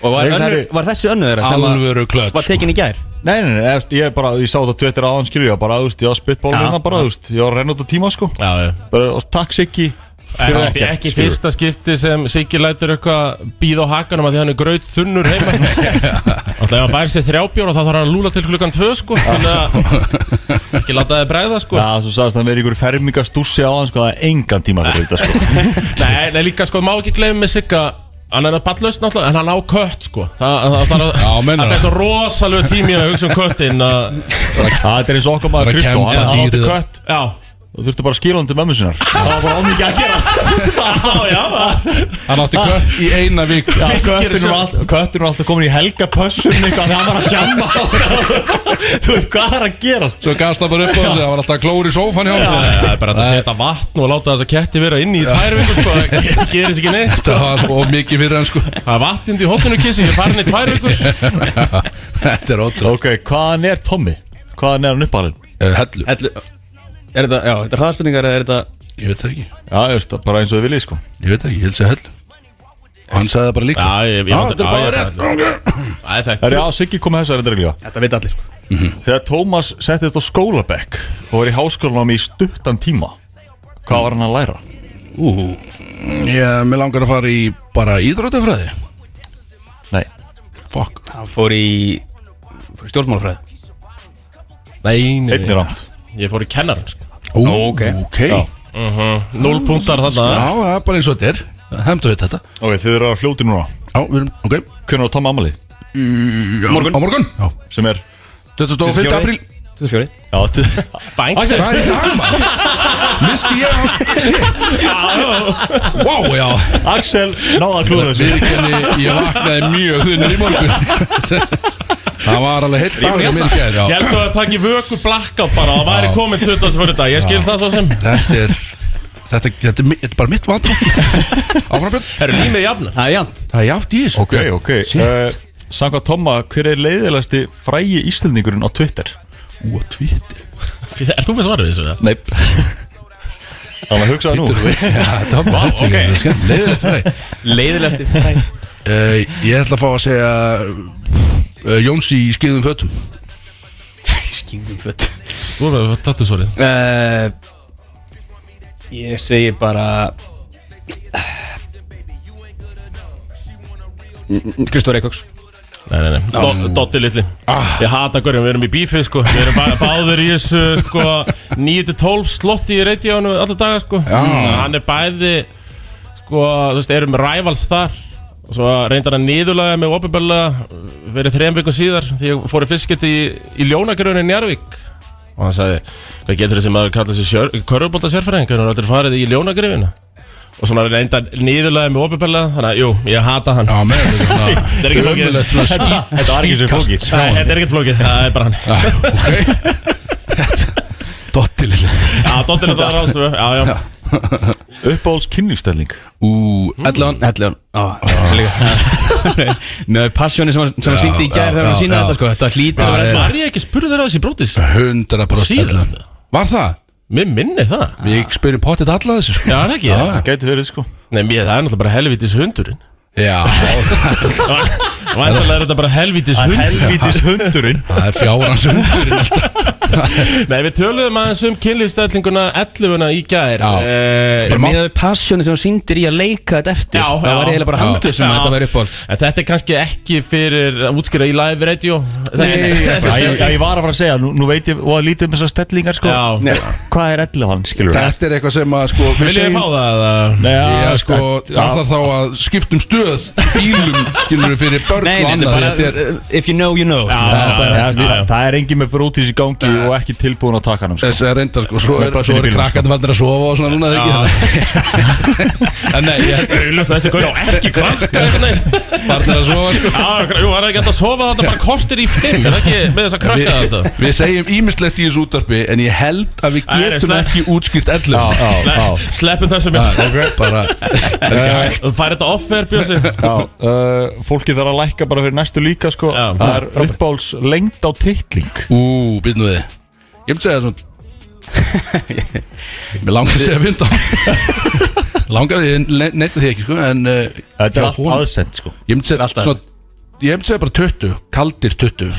S6: Og var,
S5: Nei, það
S6: önnur,
S5: eru-
S6: var þessi önnu þeirra sem að
S3: Alvöru klöts
S6: var tekin í gær
S5: Nei, nei, nei, þú veist, ég bara, ég sá þetta tveitir aðan skilur Ég var bara, þú veist, ég var spittból
S6: Já.
S5: hérna bara, þú veist Ég var að renna út á tíma, sko
S4: Já, já
S5: bara, og, Takk Siggi fyrir
S4: Ekki,
S5: ekkert,
S4: ekki
S5: skilurðu.
S4: fyrsta skipti sem Siggi lætur eitthvað býð á hakanum að því hann er gröð þunnur heima Alltaf ef hann bæri sér þrjábjór og þá þarf hann að lúla til klukkan tvö sko Þannig að ekki láta þið bræða sko
S5: Já, svo sagðist hann verið ykkur fermingastússi á hann sko, það er engan tíma fyrir þetta sko.
S4: Nei, nei líka sko, má ekki gleyma með Sigga Hann er að ballast náttúrulega, en hann á kött sko Það, það, það,
S3: Já,
S4: það,
S3: meinar það.
S4: það er svo rosalegu tími að hugsa um köttin að,
S5: Bara- Það er eins og okkar maður
S3: Bara
S5: Kristó,
S3: kemja
S5: hann hann átti
S3: dýrið.
S5: kött
S4: Já,
S5: og þurfti bara að skila hann til mömmu sinnar Það var bara ómikið að gera
S4: já, já
S3: Hann átti kött í eina vik
S5: Já,
S4: Fylgir
S5: Kötturinn
S4: þessu.
S5: var, all, kötturinn var alltaf komin í helgapössum eitthvað, hann var að jamma á það. Þú veist, hvað er að gerast? sko?
S3: Svo gafst það bara upp á þessu Það var alltaf klóri í sófan hjá honum.
S4: Það er bara að setja vatn og láta þess að ketti vera inni í tvær vikur sko Það gerist ekki neitt sko.
S3: Það var of mikið fyrir hann sko
S4: Það er vatnind í hotinu kissi, ég er farin í tvær vikur
S3: Þetta er ótrúlega
S5: Ok, hvaðan er Tommy? Hvaðan er hann uppalinn?
S3: uh, Hellu,
S6: Ætlu, Er þetta, já, þetta er hraðspurningar eða er þetta
S3: ég veit það ekki
S5: Já, ég veist, bara eins og þið viljið sko
S3: Ég veit það ekki, ég held segja hellu Hann sagði það bara líka
S4: Já, ég- ég-
S3: Já, þetta er
S4: já, ég-
S3: bara rétt
S4: Það er þekkt
S5: Það er já, Siggi komið þessar endur líka
S6: Þetta veit allir sko
S5: Þegar Tómas setti þetta á skólabekk og var í háskólanum í stuttan tíma Hvað var hann að læra?
S3: Ég, mér langar að fara í bara íþrótafræði
S5: Nei,
S3: Fuck
S6: Hann fór í, fór í stjórnmálafræð
S4: Nei, nei,
S5: einnig rámt
S4: ég fór í kennaran sko.
S3: Ó,
S6: ok.
S3: Já,
S4: Null punktar þarna
S3: það er bara eins og þetta er Það hefndu við þetta
S5: Ok, þið eru að fljóti núna
S3: Já, við erum, ok
S5: Hvernig var Tom Amali?
S3: Já,
S6: Morgun.
S3: Á morgun Já,
S5: Sem er
S3: 25.
S5: 24.
S3: apríl
S6: 24
S5: Já, t-
S4: Bang
S3: Hvað er í dag maður? Misti ég á Shit Vá, já
S5: Axel náða að klúða þessu
S3: Viðkenni, ég vaknaði mjög þunnur í morgun Það var alveg heilt dag hjá mér í gær,
S4: Ég
S3: já.
S4: held að það taki vöku blackout bara Það væri
S3: Já.
S4: komin 24. dag, ég skil það svo sem
S3: Þetta er Þetta, þetta, er, mi- þetta er bara mitt vandum Áframbjörn
S4: Herru, límið jafnar
S6: Það er jant
S3: Það er játt í þessu
S5: Ok, ok
S3: Shit
S5: uh, Sanga Tomma, hver er leiðilegasti frægi Íslandingurinn á Twitter?
S3: Ú, að tvítir
S4: Er þú með svarið þessu það?
S5: Nei Þannig að hugsaða nú
S3: Það var bara
S4: ok.
S3: okay. Leðið þetta vei
S6: Leiðilegasti
S3: uh, Ég ætla að fá að segja uh, Jóns í skýðum fötum
S6: Skingum fött
S4: Þú er með tattu svarið
S6: uh, Ég segi bara Kristóri Eikoks
S4: Nei, nei, Um, Ah. nei, Do- Dotti litli Ég hata hverjum, við erum í bífi sko Við erum bara báður í þessu sko 9-12 slotti í reytíðanum alla daga sko
S3: Já.
S4: Hann er bæði sko, þú veist, erum rivals þar og svo reyndar hann niðurlega með ofinbarlega verið þrejum uh, vikum síðar því ég fór í fiskit í, í ljónagröðinu Njarvík og hann sagði hvað getur þessi maður kallað sér körfubólta sérfræðing hann er aldrei farið í ljónagröðinu og svona reyndar niðurlega með ofinbarlega þannig að jú, ég hata hann
S3: Já, með
S4: Þetta er ekki flókið.
S5: Þetta var ekki svo flókið.
S4: Nei, þetta er ekkert flókið, það er bara hann
S3: Ah, Ok Dotti lilla
S4: Já, dottirinn það er ástöfu, já, já
S5: Uppáhalds kynlífstelling
S3: Ú,
S6: Mm.
S3: 11
S6: Ellegan Með passjóni sem hann sem hann
S3: Já,
S6: sýndi í gær
S3: já,
S6: þegar hann
S3: já,
S6: sína
S3: já.
S6: þetta sko Þetta hlýtur að
S3: Já,
S6: vera
S3: já.
S6: ellegan
S4: Var ég ekki spurður af þessi brótis?
S3: 100%
S4: Síðast.
S3: 11. Var það?
S4: Mér minnir það
S3: Ég spyrir potið alla þessu sko
S4: Já, það er ekki
S3: Já,
S5: Gæti verið sko
S4: Nei, mér, það er náttúrulega bara helvitis hundurinn
S3: Já,
S4: Væntalega er þetta bara helvitis hundur
S5: Helvítis hundurinn
S3: það er fjárans hundur
S4: Nei, við töluðum aðeins um kynlífstællinguna 11 í gær
S3: Já.
S4: Eh,
S3: Bara má-
S6: Með passjóni sem hann sýndir í að leika þetta eftir
S4: Já,
S6: Það
S4: já.
S6: var eiginlega bara
S4: Já.
S6: handur sem
S4: Já.
S6: þetta væri uppáhalds
S4: En þetta er kannski ekki fyrir að útskýra í live radio Þessi- þessi-
S5: Æ, ég, ég var að fara að segja, nú, nú veit ég og að lítið um þessar stellingar sko
S4: Já.
S5: Hvað er ellu hann, skilur við?
S3: Þetta er eitthvað sem að sko við
S4: Viljum við fá það? eða?
S5: Nei,
S3: Já, sko, það
S5: já,
S3: þarf þá að skiptum stöð í bílum, skilur við fyrir börn
S6: Nei,
S3: og
S6: nei, þetta
S3: annað
S6: er
S3: þetta
S6: bara
S3: er,
S6: If you know, you know sko.
S4: Já,
S5: það er bara-
S4: já,
S5: það-
S4: já, já.
S5: Það er engin með brótis í gangi og ekki tilbúin að taka hann sko.
S3: þessi er reyndar sko, svo
S5: Með
S3: er,
S5: börn
S3: svo
S5: í
S3: er
S5: bílnum, sko.
S3: krakkandi vandir að sofa og svona núna eða ekki En nei, ég
S4: Auðvitað þessi gaur á ekki krakka Nei,
S3: barnir að sofa sko
S4: Já, jú, var ekki hægt að sofa þetta bara kortir í fimm Er það ekki með þess að krakka þetta?
S3: Við, við segjum ímislegt í þessu útvarpi en ég held að við
S4: Nei, nei,
S3: getum
S4: slepp.
S3: ekki útskýrt ellum
S5: Já, já, já.
S4: Sle- Sleppum þessu mér
S3: okay. bara
S5: Eh,
S4: Þú fær þetta offer, Bjössi
S5: já, eh, Fólki þarf að lækka bara fyrir næstu líka sko
S4: Já.
S5: Það er uppáhalds lengt á titling
S3: Ú, býtum við Ég myndi segja svona Mér langar að segja 15 Langar, ég ne- neita því ekki sko En uh,
S5: Þetta
S3: Já,
S5: er allt
S3: hún.
S5: aðsend sko
S3: ég myndi segja
S6: Alltaf.
S3: svona Ég myndi segja bara 20, kaldir 20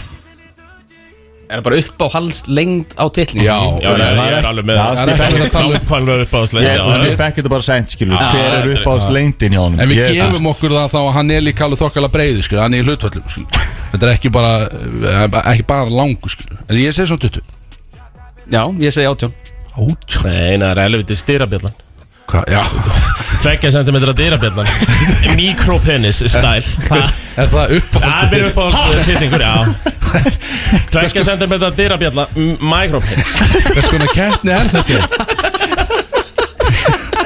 S6: Er það bara uppáhalds lengd á tillning
S3: Já,
S4: Já, nei, ég er alveg með
S5: Já,
S4: það.
S5: það er
S4: Það
S3: ekki
S4: er
S3: að tala um.
S4: nákvæmlega upp á þess
S5: Ég, þú veist, ég
S4: leið
S5: fekk þetta bara sent, skilur við. Hver
S4: þetta
S5: er
S4: er-
S5: uppáhalds lengdin hjá honum?
S3: En við
S5: Ég-
S3: gefum okkur það þá að hann er líka alveg þokkala breiðu skilur, hann er í hlutföllum skilur. Þetta er ekki bara, eh, ekki bara langu skilur. En ég segi svona 20
S6: Já, ég segi átjón
S3: Ótjá,
S4: Nei, það er elviti styrabjallan
S3: hvað, já
S4: Tvekja sentimetra dyrabjallan Mikropenis stæl Það
S3: Er það
S4: það er
S3: uppáhald?
S4: mér upp á þess tittingur, já Tvekja sentimetra dyrabjalla Mikropenis
S3: Hvers konar keppni er þetta?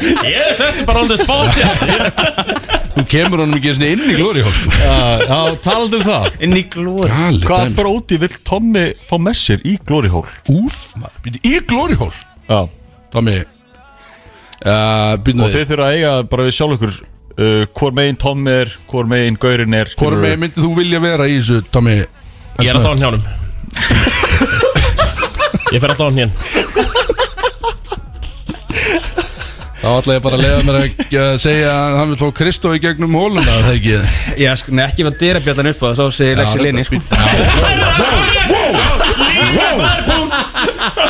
S4: Ég setti bara hérna. aldrei spátt
S3: Þú kemur honum ekki einu sinni inn í glóri hóf sko.
S5: Já, já, talandi um það
S6: Inn í glóri
S3: Galið
S5: Hvað
S3: dæmi.
S5: bróti vill Tommi fá með sér í Glory Hall?
S3: Úf, maður, býtu, í glóri hóf
S5: Já
S3: Tommy uh, Býtum
S5: Og
S3: við
S5: þið þurfa að eiga bara við sjálf ykkur uh, Hvor megin Tom er, hvor megin Gaurin er
S3: Hvor með myndið þú vilja vera í þessu, Tommy?
S4: Ég er að þána hjánum Ég fer að um þána hján
S3: Þá ætla ég bara að leiða mér að eh, segja að hann vil fá Kristó í gegnum hóluna er Það ekki
S6: Já, sko, nei, ekki var dyrabjallan upp á það, þá segi Lexi Linni, sko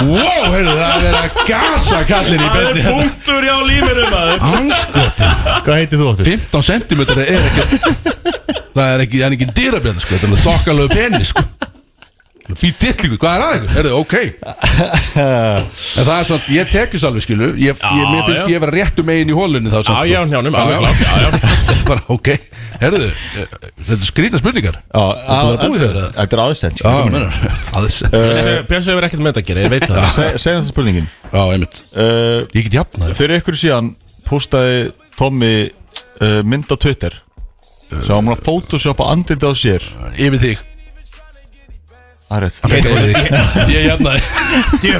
S3: Wow, heyrðu, það er verið að gasa kallin í
S4: Það er
S3: beinni hérna.
S4: punktur hjá lífinu maður
S3: Anskotin,
S5: Hvað heitir þú áttur?
S3: 15 cm er ekki Það er ekki, það er ekki dýrabjörn sko, þetta er alveg þokkalögu penis sko Fýr dillingu, hvað er aðeins? Heyrðu, ok En það er svona, ég tekis alveg skilu ég, ég, Mér finnst
S4: já.
S3: ég vera réttu megin í hólunni þá sko.
S4: Já, já, hjánum, alveg klart, já, já.
S3: klart Bara, ok, heyrðu, eh, þetta er skrýta spurningar Þetta var búið þegar það
S5: Þetta er aðstænt
S3: Já, mennur, aðeins Já,
S4: Bjössi hefur ekkert með þetta að gera, ég veit það
S5: Segjum þetta spurningin
S3: einmitt,
S5: uh,
S3: ég get jafnað
S5: Fyrir ykkur síðan postaði Tommi uh, mynd á Twitter Svo hann var að photoshopa andindi á sér
S3: Yfir þig
S5: Það er rétt
S3: Hann fekk það yfir þig Ég jafnaði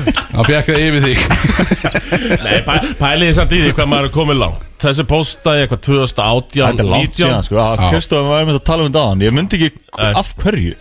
S3: Hann fekk það yfir þig
S4: Nei, pæ, pæliði samt í því hvað maður er komið langt Þessi postaði eitthvað 2018
S5: Þetta er langt
S4: 19.
S5: síðan sko Kristofan var með að tala um þetta aðan Ég myndi ekki af hverju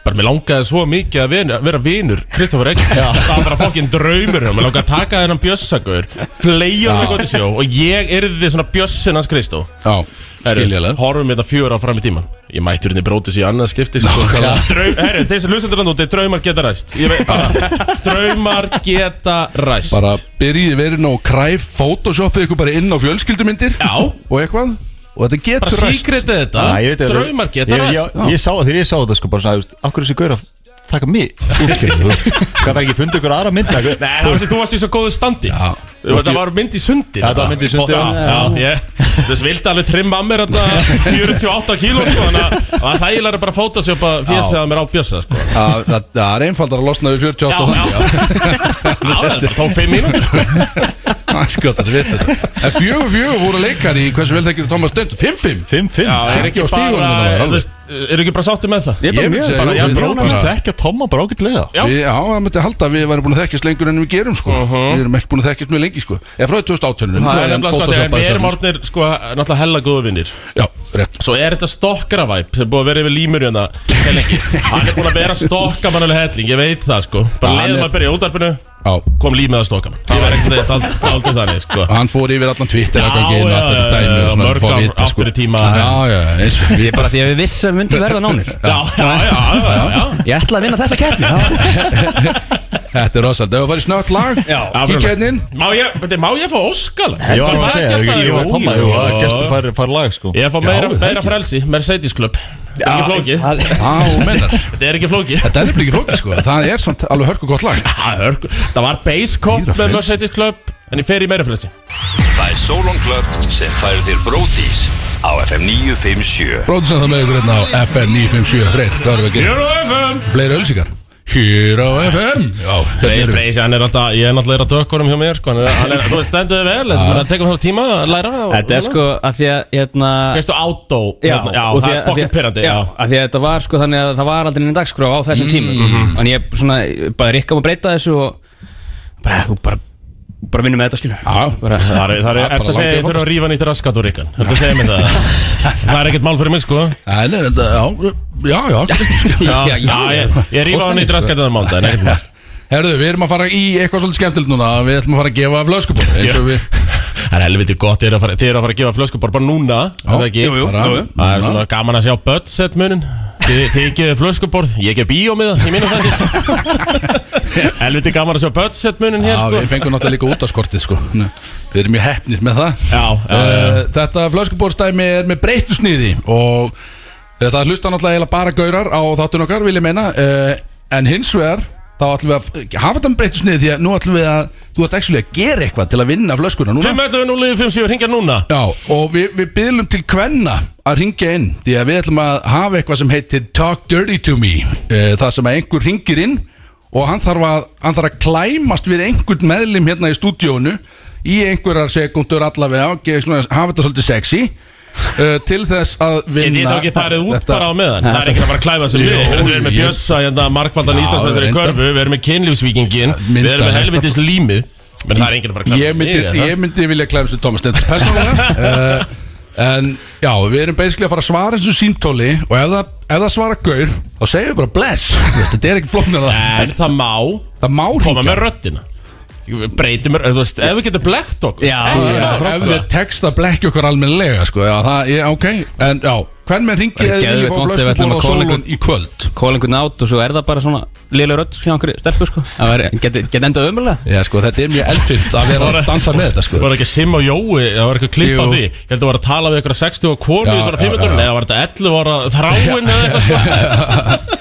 S4: Bara mér langaði svo mikið að vina, vera vinur Kristofur Egg Það var bara fokkin draumur hjá Mér langaði að taka þennan bjössagur Fleja hann eitthvað til sjó Og ég erði svona bjössin hans Kristó
S3: Já, skiljaðlega
S4: Horfum þetta fjör á fram í tíman Ég mættur henni brótis í annað skipti sko.
S3: Nákvæmlega.
S4: Draum, Herru, þeir sem lusendur hann úti Draumar geta ræst Ég veit bara Draumar geta ræst
S3: bara byrjið verið nóg kræf photoshopið ykkur bara inn á fjölskyldumyndir
S4: Já
S3: og eitthvað og þetta
S4: Bara
S3: getur ræst
S4: síkretið þetta
S5: Æ, ég veit að-
S4: Draumar geta
S5: ég,
S4: ræst
S5: ég, ég sá það þegar ég sá þetta sko bara svona, þú veist, Akkur þessi gaur að taka mig útskriðu Hvað það ekki fundið ykkur aðra mynda
S4: Nei, það veist, þú varst í svo góðu standi
S3: Já,
S4: Þetta var mynd í sundin
S5: Þetta var mynd í sundi,
S4: Já,
S5: já.
S4: já, ég Þess vildi alveg trimma að mér þetta 48 kíló sko Þannig að það er þægilega bara að fóta sig upp að fjesið að mér á bjössa sko Já,
S3: Það það- það er einfaldar að losna við 48 og
S4: já,
S3: 100
S4: já Það tók 5 mínútur sko
S3: Það er skjótt að vita þessu. En fjögur fjögur voru leikar í hversu vel þekkir Thomas Dönd 5-5
S5: 5-5
S4: Er
S3: Siggi á
S4: ekki
S3: stígunum
S4: bara,
S3: þarna var alveg.
S4: þú veist, eru ekki bara sátti með það?
S3: Ég bara mjög bara,
S4: já,
S3: ég
S4: bara-
S3: bara
S5: Rókist ekki að Tomma bara ágætlega
S4: Já.
S3: Við- Já, það myndi halda að við væri búin að þekkjast lengur en við gerum sko Við erum ekki búin að þekkjast mjög lengi sko Eða frá 2018 -unum,
S4: Uh-huh. Það er
S3: en
S4: nefnilega
S3: Photoshop
S4: sko, þegar
S3: aðeins
S4: við erum
S3: saman.
S4: orðnir sko, náttúrulega hella góðu vinnir
S3: Já, rétt
S4: Svo er þetta stokkaravæp sem er búið að vera yfir límur hérna hellingi Hann er búin að vera stokkamannuleg helling, ég veit það sko Bara
S3: Hann er-
S4: leiðum maður að byrja í útarpinu,
S3: Já,
S4: kom límið að stokkamann Ég verð ekki að segja þetta aldrei þannig sko
S3: hann fór yfir allan Twitter
S4: Já,
S3: eitthvað ekki inn og
S4: já,
S3: allt þetta
S4: já,
S3: dæmi
S4: já,
S3: og svona,
S4: mörg
S3: fá að
S4: ár
S3: vita, sko.
S4: aftur í tíma.
S3: Já, já, eins og
S6: Ég er bara því að við vissum að myndum verða nánir
S4: Já, já, já, já, já, já.
S6: Ég ætla að vinna þessa keppni það-
S3: Þetta er rosald, ef það var í snögt lag Kíkja hérna inn
S4: Má ég, beti, má ég fá óskala?
S5: Ég var að segja, ég- ég var að Tomma Jú, að gestur fær, fær lag sko
S4: Ég fá
S3: Já,
S4: meira,
S3: það er
S4: meira
S3: ekki.
S4: frelsi, Mercedes Club Þetta er ekki flókið,
S6: Það-
S3: Á, mennar
S4: þetta er ekki flókið
S3: Þetta er nefnilega ekki flókið sko Það er samt alveg hörku gott lag
S4: Það er hörku- það var base cop
S3: Meira
S4: með
S3: frelsi.
S4: Mercedes Club En ég fer í meira frelsi
S10: Það er Solon Club sem færir þér bródís á FM 957
S3: Bróðsson það með ykkur hérna á FN 957 Freyr, hvað erum við að gera?
S4: Euro FM
S3: Fleiri ölsingar Hér á FM Já, hérna
S4: Freyr,
S3: erum við
S4: Freyr, hann er alltaf, ég er náttúrulega að dökkunum hjá mér sko, en hann er, þú veist, stendur þið vel þetta bara tekur hann tíma að læra og-
S6: Þetta er sko að því að hérna
S4: Veistu, auto,
S6: Já,
S4: hérna, já
S6: og
S4: það
S6: því
S4: er
S6: að- því
S4: fokkin
S6: að-
S4: pyrrandi
S6: Já,
S4: Já,
S6: að því að þetta var sko þannig að það var aldrei neinn dagskrá á þessum tímum Þannig ég svona, ég bæði Rikka um að breyta þessu og bara, þú bara, bara vinnum með þetta skilu
S3: Já.
S6: bara,
S4: það er, það er,
S3: Það er bara
S4: eftir að
S3: langt í
S4: segja, ég þurfa
S3: fokkin.
S4: að rífa nýtt raskat úr ykkan Eftir að segja mér það Það er ekkert mál fyrir mig, sko
S3: Nei, nei, þetta, já, já, já
S4: Já, já, ég, ég rífa hann nýtt
S6: sko.
S4: raskat eða mánda, en ekkert mál
S3: Herðu, við erum að fara í eitthvað svolítið skemmtilegt núna Við ætlum að fara að gefa flöskubor eins og við
S4: Það er helviti gott, þið eru að fara, þið eru að, fara að gefa flöskubor bara núna er það ekki?
S3: bara-
S4: Það er svona gaman að sjá budset munin Þið, þið gefið flöskuborð, ég gef bíómiða í mínum þætti Helviti gaman að sjá budset munin
S3: Já,
S4: hér sko
S3: við fengum náttúrulega líka út af skortið sko Nú, Við erum mjög hefnir með það
S4: Já, já, já,
S3: Eh, Þetta flöskubórstæmi er með breyttu sniði Og þetta hlusta náttúrulega eiginlega bara gaurar á þáttun okkar vil ég meina eh, En hins vegar Þá ætlum við að hafa þetta með breyttu sniði Því að nú ætlum við að Þú ætlum actually að gera eitthvað til að vinna flöskuna núna
S4: 511 057 ringja núna
S3: Já, og við, við byrjum til kvenna að ringja inn Því að við ætlum að hafa eitthvað sem heitir Talk Dirty To Me eh, Það sem að einhver ringir inn Og hann þarf að, hann þarf að klæmast við einhvern meðlim hérna í stúdíónu Í einhverjar sekundur allavega og gefa svona- Hafa þetta svolítið sexy uh, Til þess að
S4: Ég
S3: vinna
S4: þið þá ekki farið út
S3: þetta-
S4: bara á meðan Það er ekki að bara að klæfa sem við
S3: Jú,
S4: Við erum með
S3: ég-
S4: Bjössa, hérna, markvaldan
S3: Já,
S4: Íslandsmessari í
S3: reyndar.
S4: körfu Við erum með kynlífsvíkingin Við
S3: Mynda
S4: erum með
S3: þetta.
S4: helvitis límið Men það er enginn að fara að klæfa
S3: ég myndi, ég myndi vilja klæðast við Thomas Stendur persónulega uh, en já, við erum basically að fara að svara þessu símtóli og ef það, ef það svara gaur þá segjum við bara bless Þú veist, þetta er ekki flóknar
S4: En það má
S3: það má
S4: koma
S3: hringa
S4: með röddina breytum, þú veist, ef við getum blekt okkur
S6: Já,
S4: ekki,
S6: já,
S4: bara
S3: ef
S4: frábæra.
S3: við texta blekki okkur almennilega sko, já, það, ég, ok, en já hvern menn ringið
S6: Það er
S3: eða vilja
S6: geðveikt
S3: fá
S6: vont ef við ætlum að
S3: flöskuból á
S6: kóla
S3: sólun
S6: einhvern-
S3: í kvöld
S6: kóla einhvern átt og svo er það bara svona liðlega rödd hjá einhverju stelpu sko Það var- geti get enda ömulega
S3: já, sko, þetta er mjög eldfimt að vera að dansa með þetta sko.
S4: var það ekki Sim og Jói, það var eitthvað klipp á
S3: Jú.
S4: því ég held að það var að tala við ykkur 60 og konu
S3: Já,
S4: í svona
S3: já,
S4: 500
S3: já, já.
S4: eða var þetta 11 ára þráin eða eitthvað sko.
S3: Það-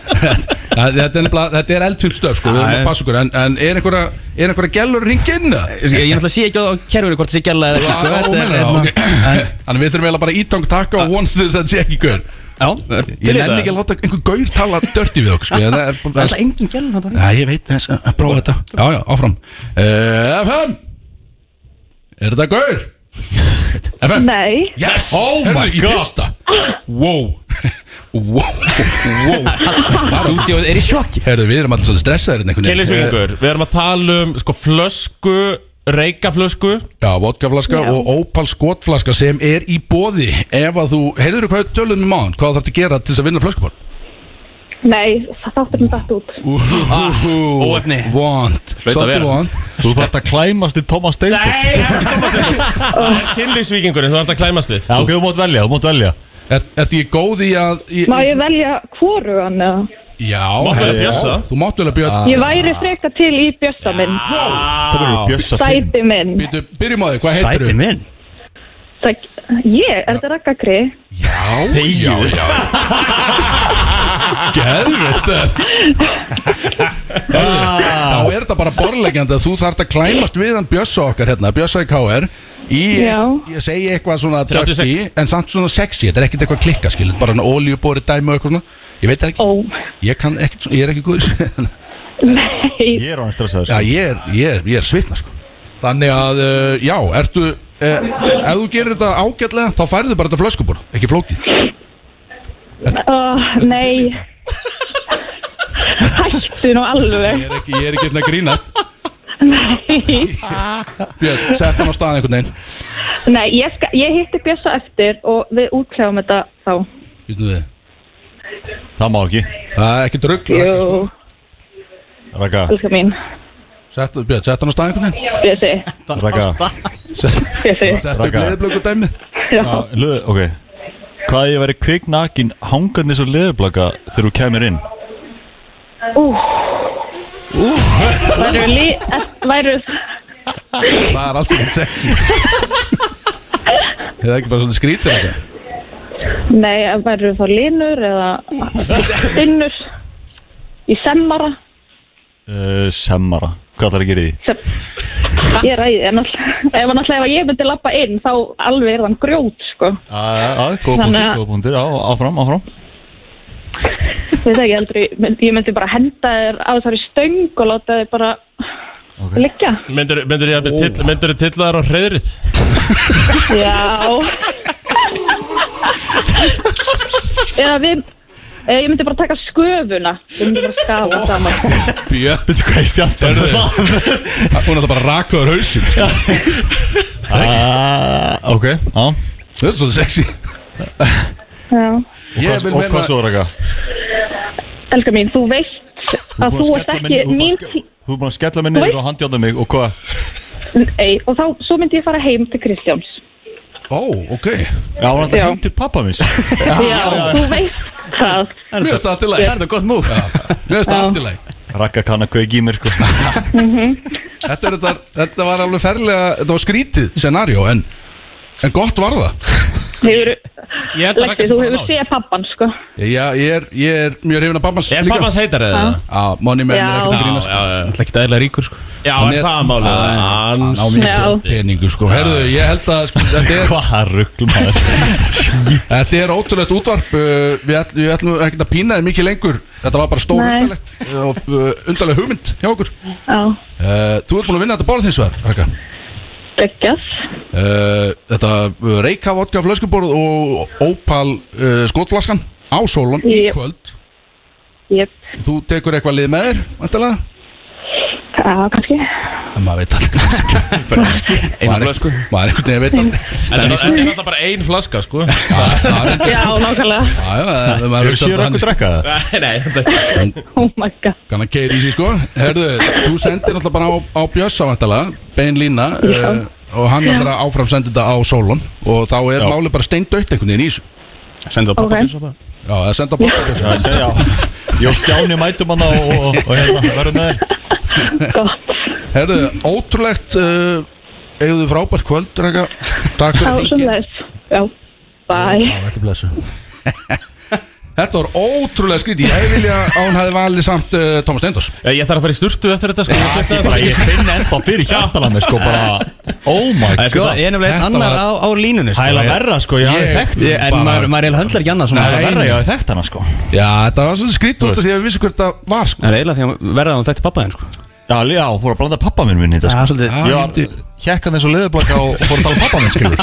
S3: þetta er, nefnilega- þetta er eldfimt stöf sko, við erum að passa okkur en, en er einhverja, er einhverja gælur ringin?
S6: Ég ég náttúrulega sé ekki á kerfinu hvort það sé gæla eða
S3: Já,
S6: Þetta er-
S3: meinar það,
S6: hérna-
S3: ok. Þannig við þurfum eiginlega bara ítang taka og vonst þess að það sé ekki gaur
S6: Já, er- til
S3: Ah.
S6: í
S3: Ég nenni
S6: þetta
S3: ekki að láta einhver gaur tala dörti við okkur sko. Það er
S6: Það er alltaf engin gæla
S3: Já, ég veit, þess að að prófa þetta Já, já, áfram uh, FM Er þetta gaur? FM Nei yes. Oh my god Wow Wow, wow
S6: Stúdíóið er í sjokki
S3: Herðu, við erum alltaf svolítið stressaðir hérna einhvern veginn.
S4: kynlífsvíkingur, við erum að tala um sko flösku, reykaflösku
S3: Já, vodkaflaska og Opal skotflaska sem er í bóði ef að þú, heyrður þú hvað við tölum um áðan hvað þarf að gera til þess að vinna flöskuból?
S11: Nei, þátturinn dætt út.
S4: Ah,
S6: Óefni
S3: Vont, svolítið vont
S5: Þú þarft að klæmast í Tomma Steindor
S4: nei, það er kynlífsvíkingurinn, þú ert að klæmast þið
S5: Já, ok, þú mátt velja, þú mátt velja
S3: Er, Ertu ekki góð í að í,
S11: Má ég velja hvorugan eða?
S3: Já,
S4: máttu
S3: herðu,
S4: að bjössa
S3: þú máttu vel að bjöta
S11: Ég væri frekar til í bjössa minn,
S5: Það verður bjössa fimm
S11: sæti minn.
S3: Býtu, byrjum á þig, hvað heitir
S6: Sæti
S3: þú?
S6: minn
S11: Það, ég, er þetta rakkakri?
S3: Já, já, já Geðvilt eh. Þá er þetta bara borlegjandi að þú þarft að klæmast við hann Bjössa okkar hérna, Bjössa í KR í,
S12: Já.
S3: ég segi eitthvað svona dirty, en samt svona sexy, þetta er ekkert eitthvað klikka skil, bara hann oljubóri dæmi og eitthvað svona ég veit það ekki, ég, kann ekkert, svona- ég er ekki góður í þessu.
S11: Nei
S5: Ég er hann stressaður
S3: Já, ég er, ég er, ég er svitna sko Þannig að, uh, já, ertu uh, Ef þú gerir þetta ágætlega Þá færðu bara þetta flöskubor, ekki flókið
S11: oh, Nei Hættu nú
S3: Ég
S11: alveg
S3: er ekki, ég er ekki hérna að grínast
S11: Nei
S3: Björn, sett hann á stað einhvern veginn
S11: Nei, ég, ska, ég hitti Bjössa eftir og við útklæðum þetta þá
S3: Býtum við
S5: Það má ekki
S3: Það er ekki drugg
S11: Jú,
S5: Raka
S11: elskar mín
S3: Sett, Björn, sett hann á stað einhvern veginn
S11: Bjössi
S5: Raka
S11: Bjössi
S3: Sett upp
S5: Raka.
S3: leðblöku dæmi
S11: Já,
S5: Löð, ok Hvað ég væri kviknakin hangandi svo leðurblaka þegar þú kemur inn?
S11: Ú Ú Væru lí Væru
S3: Það er alls ekkert sexy Það er ekki bara svona skrítir þetta
S11: Nei, væru þá linur eða Stinnur Í semmara
S5: Uh, semmara Hvað ætlar að gera í því?
S11: sem, Ég ræði en alltaf Ef hann alltaf ef ég myndi lappa inn þá alveg er hann grjót sko
S5: Ah, Góða
S11: Þannig
S5: punktur,
S11: að-
S5: góða punktur á- Áfram, áfram
S11: Ég veit ekki heldur, ég myndi, ég myndi bara henda þér á þessari stöng og láta þér bara liggja.
S4: Myndur þú tilla þær á hreðrið?
S11: Já. Eða við, eða ég myndi bara taka sköfuna, ég myndi bara skafa saman.
S3: Björn Býttu hvað ég fjallta Hún er það bara rakaður hausum
S5: Ah, Ok, á
S3: Það er svo sexy
S11: Já.
S5: Og hvað- og hvað svo Raka?
S11: Elskar mín, þú veist að þú ert ekki mín tí...
S5: Þú er búin að skella mig niður og handjáta mig og hvað?
S11: Nei, og þá, svo myndi ég fara heim til Kristjáns.
S3: Ó, ok
S5: Já, hún er alltaf
S11: Já.
S5: heim til pappa minns
S11: Já, þú veist það.
S3: Mér finnst það allt í lagi.
S5: þetta gott múf
S3: Mér finnst það allt í lagi
S5: Raka kann að kveiki í mér sko
S3: þetta, er, þetta, þetta var alveg ferlega Þetta var skrítið scenario en, en gott var það
S11: Hefur,
S4: Ég held að Ragga sé
S11: þú
S4: bara
S11: hefur
S4: náð.
S11: séð pappan, sko.
S3: Ég, ég, er, ég er mjög hrifin af pappans
S4: Er pabbans heitar eða?
S11: Já.
S3: Já, Money Man er
S11: Já.
S3: ekkert að grínast sko.
S4: Það
S6: er ekkert aðeins ríkur sko
S4: Já,
S3: Hann
S4: er
S3: er-
S4: það málið
S3: Já, já.
S4: Hans
S3: Ná mikið peningu sko Herðu, ég held að sko, þetta er
S5: Hvað rugglum að
S3: Þetta er ótrúlegt útvarp uh, Við, ætl, við ætlum ekki að pína þið mikið lengur Þetta var bara stór
S11: Nei.
S3: undarlegt uh, og uh, undarleg hugmynd hjá okkur uh,
S11: Já,
S3: Þú ert búin að vinna þetta borð þins vegar, Raka
S11: geggjast.
S3: uh, Þetta uh, Reykja vodka flöskuborð og Opal uh, skotflaskan á Solon í
S11: Jep.
S3: kvöld
S11: Jep,
S3: Þú tekur eitthvað lið með þér, vantilega
S11: já, kannski.
S3: En maður veit aldrei Einu flösku Maður einhvern veginn veit aldrei
S4: Þetta er þetta er alltaf bara ein flaska sko
S3: Það er
S11: Já, nákvæmlega.
S3: eitthvað
S5: Sér okkur drekka það?
S4: Nei, nei, þetta er ekki
S11: Oh my god
S3: Kann að keira í sig sko Herðu, þú sendir náttúrulega bara á, á Bjössa vantilega Bein lína
S11: Já.
S3: uh, Og hann ætlar að áfram senda þetta á Solon Og þá er málið bara steindautt einhvern veginn í þessu
S6: Sendu á
S11: Ok.
S6: pappa bjösa bara
S3: Já, það senda á Bobba Bjössa
S5: Já, ég segi já Jó, Stjáni mætum hann og, og, og hérna, verðum með þér
S3: Herðu, ótrúlegt uh, Eigðu þið frábært kvöld, Raka Takk
S11: Já,
S3: fyrir
S11: sem
S3: hringið.
S11: þess Já, bæ
S3: Já, verður blessu Þetta var ótrúlega skrítið Ég vilja að hún hefði valið samt uh, Thomas Steindors
S4: Eh, Ég þarf að fara í sturtu eftir þetta sko Ég þurfti
S5: Ég
S4: aðeins
S5: bara,
S4: að-
S5: ég finn ennþá fyrir hjartala mér sko bara Oh my
S6: Það er sko,
S5: god
S6: ég er nefnilega einn
S3: Þetta
S6: annar á,
S3: var-
S6: á línunni sko.
S5: Það er að verra sko, ég hafi
S3: Ég-
S5: þekkt
S6: Ég- En
S3: bara-
S6: maður, maður er höndlar ekki annað svona
S5: Það er að
S3: Nei.
S5: verra, ég hafi þekkt hana sko
S3: Já, þetta var svolítið skrítið út af því að við vissum hvert það var sko
S6: Það er eiginlega því að verða að hún þekkti pappa henn sko
S5: Já, já, hún fór að blanda pappa minn minn í
S6: Það
S5: þetta sko
S6: er svolítið
S3: Já,
S5: Ég var
S3: ég-
S5: hjekkan eins og leðurblaka og fór að tala um pappa minn skilur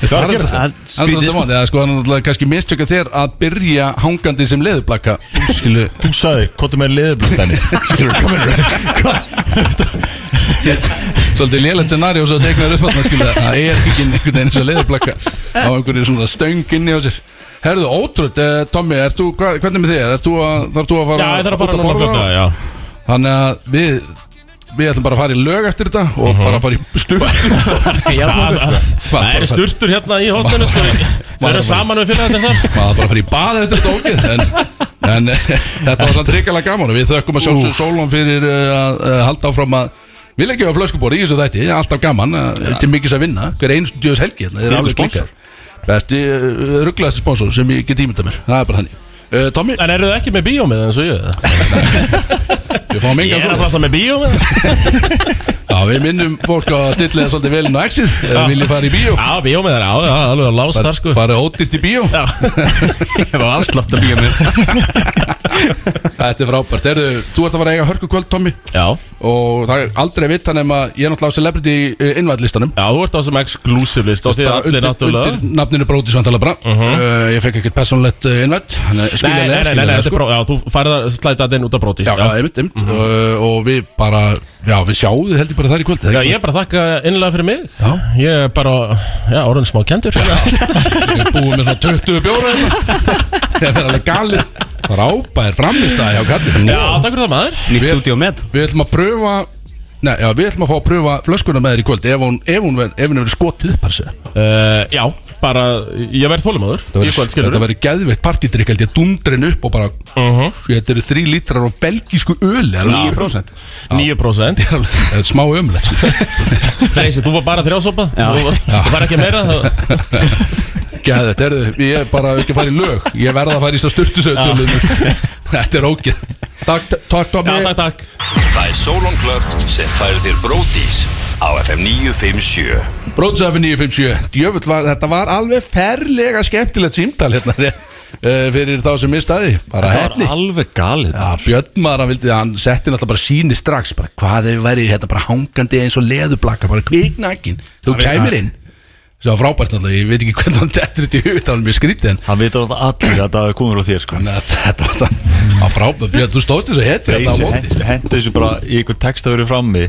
S5: Hvað er að gera það?
S6: Það er
S3: Skrítið
S6: skrítið
S3: sko. Eða sko, hann er náttúrulega kannski mistökja þér að byrja hangandi sem leðublaka Þú skilu
S5: Þú sagði, hvað er með leðurblöndani? Skilur, hvað minn
S3: Svolítið lélegt scenaríu og svo tegnaður upp að skilu Það er ekki einhvern veginn sem leðublaka Á einhverju svona stönginni á sér Herðu, ótrútt, eh, Tommy, ert þú, hva, hvernig með þig? Ert þú að, þarf þú að
S4: Já,
S3: fara
S4: ég þarf
S3: út
S4: að fara núna sko.
S3: borða?
S4: fljótlega, já
S3: Þannig að við Við ætlum bara að fara í lög eftir þetta Og
S4: Mhm.
S3: bara að fara í stund
S4: Það eru sturtur hérna í hóttunum sko Það eru saman við fyrir þetta þar
S3: Maður bara að fara í bað eftir þetta ógið En, en eh, þetta var samt ríkala gaman og Við þökkum að sjálfsög Sólon fyrir uh, að uh, halda áfram að Við leggjum á flöskubóri í þessu þætti Það er alltaf gaman, uh, til mikils að vinna Hver einstu djöðs helgi, hérna, það er eh,
S5: Hvílíkur
S3: alveg sponsor Besti uh, rugglaðasti sponsor sem ég get ímynda mér Það er bara þannig uh, Tommy
S4: En eru þið ekki með bíómið eins og ég?
S3: Við fáum
S4: Ég
S3: engan
S4: er að passa með bíómið
S3: Já, við minnum fólk að stilla það svolítið vel inn á exit Ef
S4: Já.
S3: við viljið fara í bíó
S4: Já, bíómið er á, já, alveg að lása þar sko
S3: Farið ódýrt í bíó
S4: Já
S3: Ég var afslátt að bíó mér Þetta er frábært Erðu, þú ert að fara að eiga hörku kvöld, Tommy
S4: Já
S3: Og það er aldei að vita nema Ég er náttúrulega á celebrity eh, innvæðlistanum
S4: Já, þú ert á sem exclusive list og því að allir náttúrulega Mhm.
S3: Undir nafninu Bróti Svandala bara uh, Ég fekk ekkert eh, persónlegt innvætt
S4: Nei, nei, nei, nei, nei, þetta er Mhm. bró- já, þú færð að slæta þetta inn út af sko. brotis
S3: sko. Já, já, einmitt, einmitt uh, Og við bara, já, við sjáum þið heldur bara þar í kvöld
S4: Já, ég er bara að þakka innlega fyrir mig
S3: Já.
S4: Ég er bara, já, orðin smá kendur
S3: Ég búið með svona 20 bjóra hérna. Það er alveg galið Rápaðir framist að hjá kallið
S4: Já, takk fyrir það maður
S6: Nýtt stúdíu með
S3: Við ætlum að pröfa Nei, já, við ætlum að fá að pröfa flöskuna með þér í kvöld Ef hún, ef hún, ver, ef hún verið skotið upp parsi
S4: uh, Já, bara, ég verð þólimaður Í kvöld skilur
S3: Þetta verið geðveitt partydrykk held ég Dundrin upp og bara
S4: Uh-huh.
S3: Sko, Þetta eru þrý lítrar á belgísku öli það er alveg-
S6: 9%
S4: 9%
S3: Það er alveg- það er Smá sko. ömlega
S4: Freysi, þú var bara þrjásopa
S6: Já.
S4: Þú var- þú var ekki meira það-
S3: Geðveitt, erðu Ég er bara ekki að fara í lög Ég verða að fara í þess að styrtusauðtölum Þetta er ógeð Takk, takk,
S4: Já,
S3: Tommy
S4: takk, takk
S10: Það er Solon Club sem færir þér Brótis á FM 957
S3: Brótsafi 957 Djöfull var, þetta var alveg ferlega skemmtilegt símtal hérna uh, fyrir þá sem mistaði bara hefni
S5: alveg galið
S3: Já, Björnmar, hann, vildi, hann setti náttúrulega bara síni strax bara, hvað hefur verið hérna bara hangandi eins og leðublakka, bara kviknakin þú kæmir inn svo frábært náttúrulega, ég veit ekki hvernig hann dettur þetta í hug það var mjög skrítið en
S5: Hann vitur alltaf allir að það er komur á þér sko
S3: Þannig að þetta var það það var frábært, Björn, þú stóðst þess að heti þetta á
S5: Freysi
S3: móti sko.
S5: hent- henti þessu bara í einhver text að vera frammi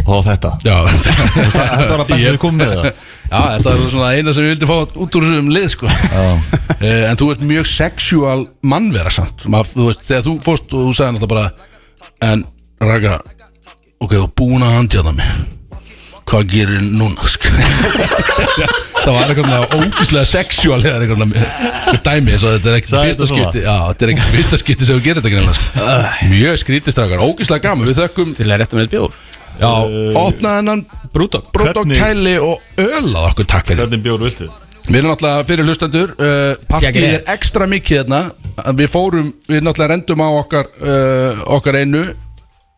S5: Og þá þetta
S3: Já,
S5: Þetta var að besta
S3: Ég-
S5: við komum með það
S3: Já, þetta er svona eina sem við vildum fá út úr þessum lið, sko Eh, En þú ert mjög sexual mannvera samt Ma, þú veist, Þegar þú fórst og þú sagði náttúrulega bara En, Raka, ok, þú er búin að handjaða mig Hvað gerir núna, sko Það var eitthvað ógíslega sexual eða eitthvað dæmi svo þetta er ekki
S5: Sagði
S3: fyrsta
S5: þetta svona?
S3: skipti Já, þetta er ekki fyrsta skipti sem þú gerir þetta greinlega, sko. Mjög skrítistrakar, ógíslega gaman Við þökkum
S6: Til að réttum með bjór
S3: Já, opnaði hennan Brúdok Brúdok
S5: Eh, Hvernig-
S3: kæli og ölaði okkur takk fyrir
S5: Hvernig bjór viltu?
S3: Við erum náttúrulega fyrir hlustendur uh, Partið
S6: Geggjað.
S3: er ekstra mikið hérna En Við fórum, við náttúrulega rendum á okkar uh, okkar einu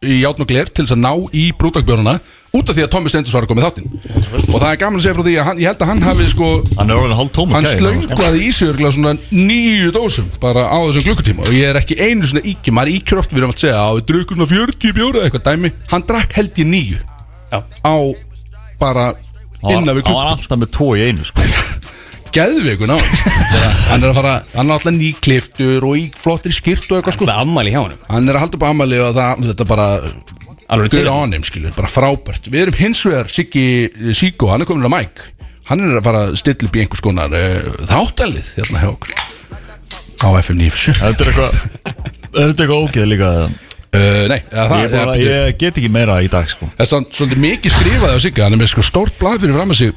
S3: í játn og gler til þess að ná í brúdokbjörnuna út af því að Tommi Steindus var að koma í þáttinn og það er gaman að segja frá því að hann, ég held að hann hafi sko
S5: Hann er orðin hálf tóma
S3: hann slöngaði í sig örgulega svona nýju dósum bara á þessum klukkutíma og ég er ekki einu svona íkjum, maður íkjur oft við erum allt að segja að við drukum svona 40 bjóra eða eitthvað dæmi hann drakk held ég nýju á bara innan við
S5: sko. Hann var
S3: klukkutíma
S5: alltaf með tvo í einu sko
S3: geðveikun á sko. Þegar hann er að fara, hann er alltaf nýkliftur og í flottri skirt og eitthvað sko
S6: Það er ammali hjá honum
S3: hann er að halda upp á amali og það, þetta bara
S6: Alveg
S3: Guður
S6: til
S3: á honum, skilur, bara frábært Við erum hins vegar Siggi eh, Siggo, hann er komin að Mike Hann er að fara að stilla upp í einhvers konar uh, þáttalið hérna hjá okkur Á FM 97 uh,
S5: Þetta er eitthvað Er þetta eitthvað ógeð líka
S3: Eh, Nei, eða það
S5: ég, bara,
S3: er-
S5: ég get ekki meira í dag sko
S3: Það er samt svolítið mikið skrifaði á Sigga Hann er með sko stórt blað fyrir fram að sig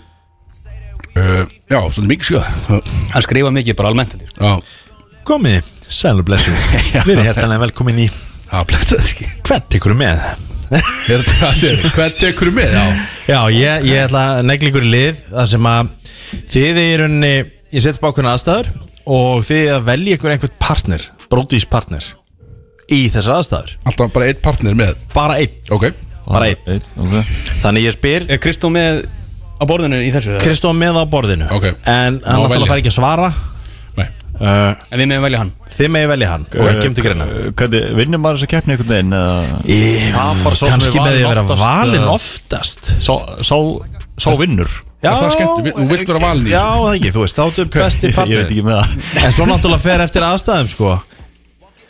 S3: uh, Já, svolítið mikið skrifaði
S6: Hann skrifa mikið bara almennt held ég, sko.
S3: Já,
S12: Komið, sæl og blessu Við erum hjertanlega velkomin í
S3: það blæsaði ekki
S12: Hvert tekur þú með?
S3: Er þetta hvað segir, hvað tekur þú með? Já
S12: Já, ég, ég ætla að negla ykkur í lið Það sem að þið er unni Ég setja upp ákveðna aðstæður Og þið er að velja ykkur einhvern partner Brodís partner Í þessar aðstæður
S3: Alltaf bara einn partner með
S12: Bara einn,
S3: Ok
S12: bara einn
S5: Eitt, okay.
S12: Þannig ég spyr
S6: Er Kristó með á borðinu í þessu? eða?
S12: Kristó með á borðinu
S3: Ok.
S12: En hann
S3: Má velja.
S12: náttúrulega fær ekki að svara
S3: Nei
S12: uh,
S6: En við meðum velja hann
S12: Þið megi velja hann Og ekki um til greina
S5: Hvernig, vinnir maður þess að keppni einhvern veginn eða
S12: Ég-
S5: eh, Tapar sá sem
S12: Kannski
S5: er
S12: með því
S5: valinn
S12: að vera
S5: oftast,
S12: valinn
S5: eða?
S12: oftast
S5: Sá, sá, sá vinnur
S12: Já,
S3: Er það skemmt? Vil- þú vilt vera valinn í
S12: Já, það ekki, þú veist, þáttu besti
S5: Ég, ég veit
S12: partner
S5: ekki með það
S12: En svo náttúrulega fer eftir aðstæðum, sko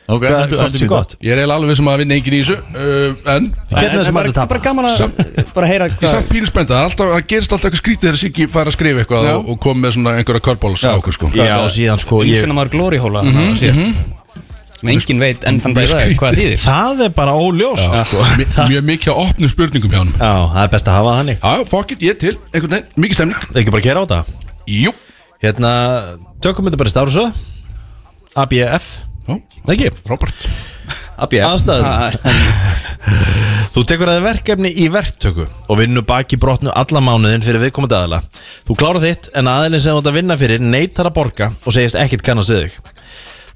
S5: Ok,
S12: Hvað
S5: endur-
S12: hvað
S5: endur
S12: sé
S5: í
S12: gott
S3: Ég er eiginlega alveg vissum að vinna engin í þessu uh, En
S12: Hvernig er sem
S6: bara,
S12: allir tapa?
S6: bara gaman að bara heyra
S3: Ég er
S6: hvað
S3: samt pínu spennta Það er alltaf- það gerist alltaf eitthvað skrítið þegar Siggi fær að skrifa eitthvað og, og kom með svona einhverja körbóls á okkur sko
S12: Já, og síðan, sko, ég Mhm,
S6: Ísuna maður glóri hóla mm -hmm, síðast sem enginn veit enn þann dag í dag hvað það þýðir
S12: Það er bara óljóst, sko
S3: Mi- Mjög mikið að opnum spurningum hjá hann
S12: Já, það er best að hafa það þannig
S3: Já, fuck it, ég til, einhvern veginn, mikið stemning
S12: Það er ekki bara að gera á það
S3: Jú
S12: Hérna, tökum þetta bara í stáru svo ABF
S3: Já,
S12: Nei, ekki,
S3: Robert
S12: aðstæður Þú tekur að þér verkefni í verktöku og vinnur baki brotnu alla mánuðin fyrir viðkomandi aðila. Þú klárar þitt en aðilin sem þú ert að vinna fyrir neytar að borga og segist ekkert kannast við þig.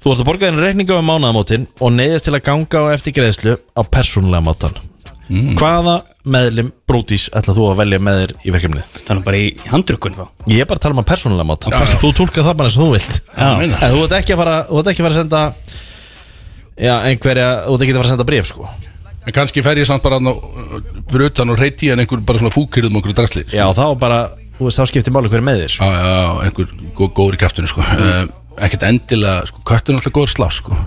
S12: Þú ert að borga þenni reikninga um mánaðamótin og neyðast til að ganga á eftir greiðslu á persónulega mátan
S6: Hmm.
S12: Hvaða meðlim brótis ætla þú að velja með þér í verkefnið? Það er bara í handrukun þá Ég er bara að tala um að persónulega mátan
S6: Já, já.
S12: Þú tólka það bara eins og þú vilt
S6: Já, ég meina.
S12: En þú ert ekki að fara, þú ert ekki að, fara að senda Já, einhverja, þú ert ekki að fara að senda bréf sko
S3: En kannski fer ég samt bara þarna, uh, fyrir utan og reyti en einhver bara svona fúkirðum okkur drastli
S12: Já, þá bara, þú veist, þá skiptir máli hver er með þér
S3: sko. Já, já, einhver gó, góður í kæftinu sko. mm. Ekkert endilega, sko, köttin er alltaf góður slá sko.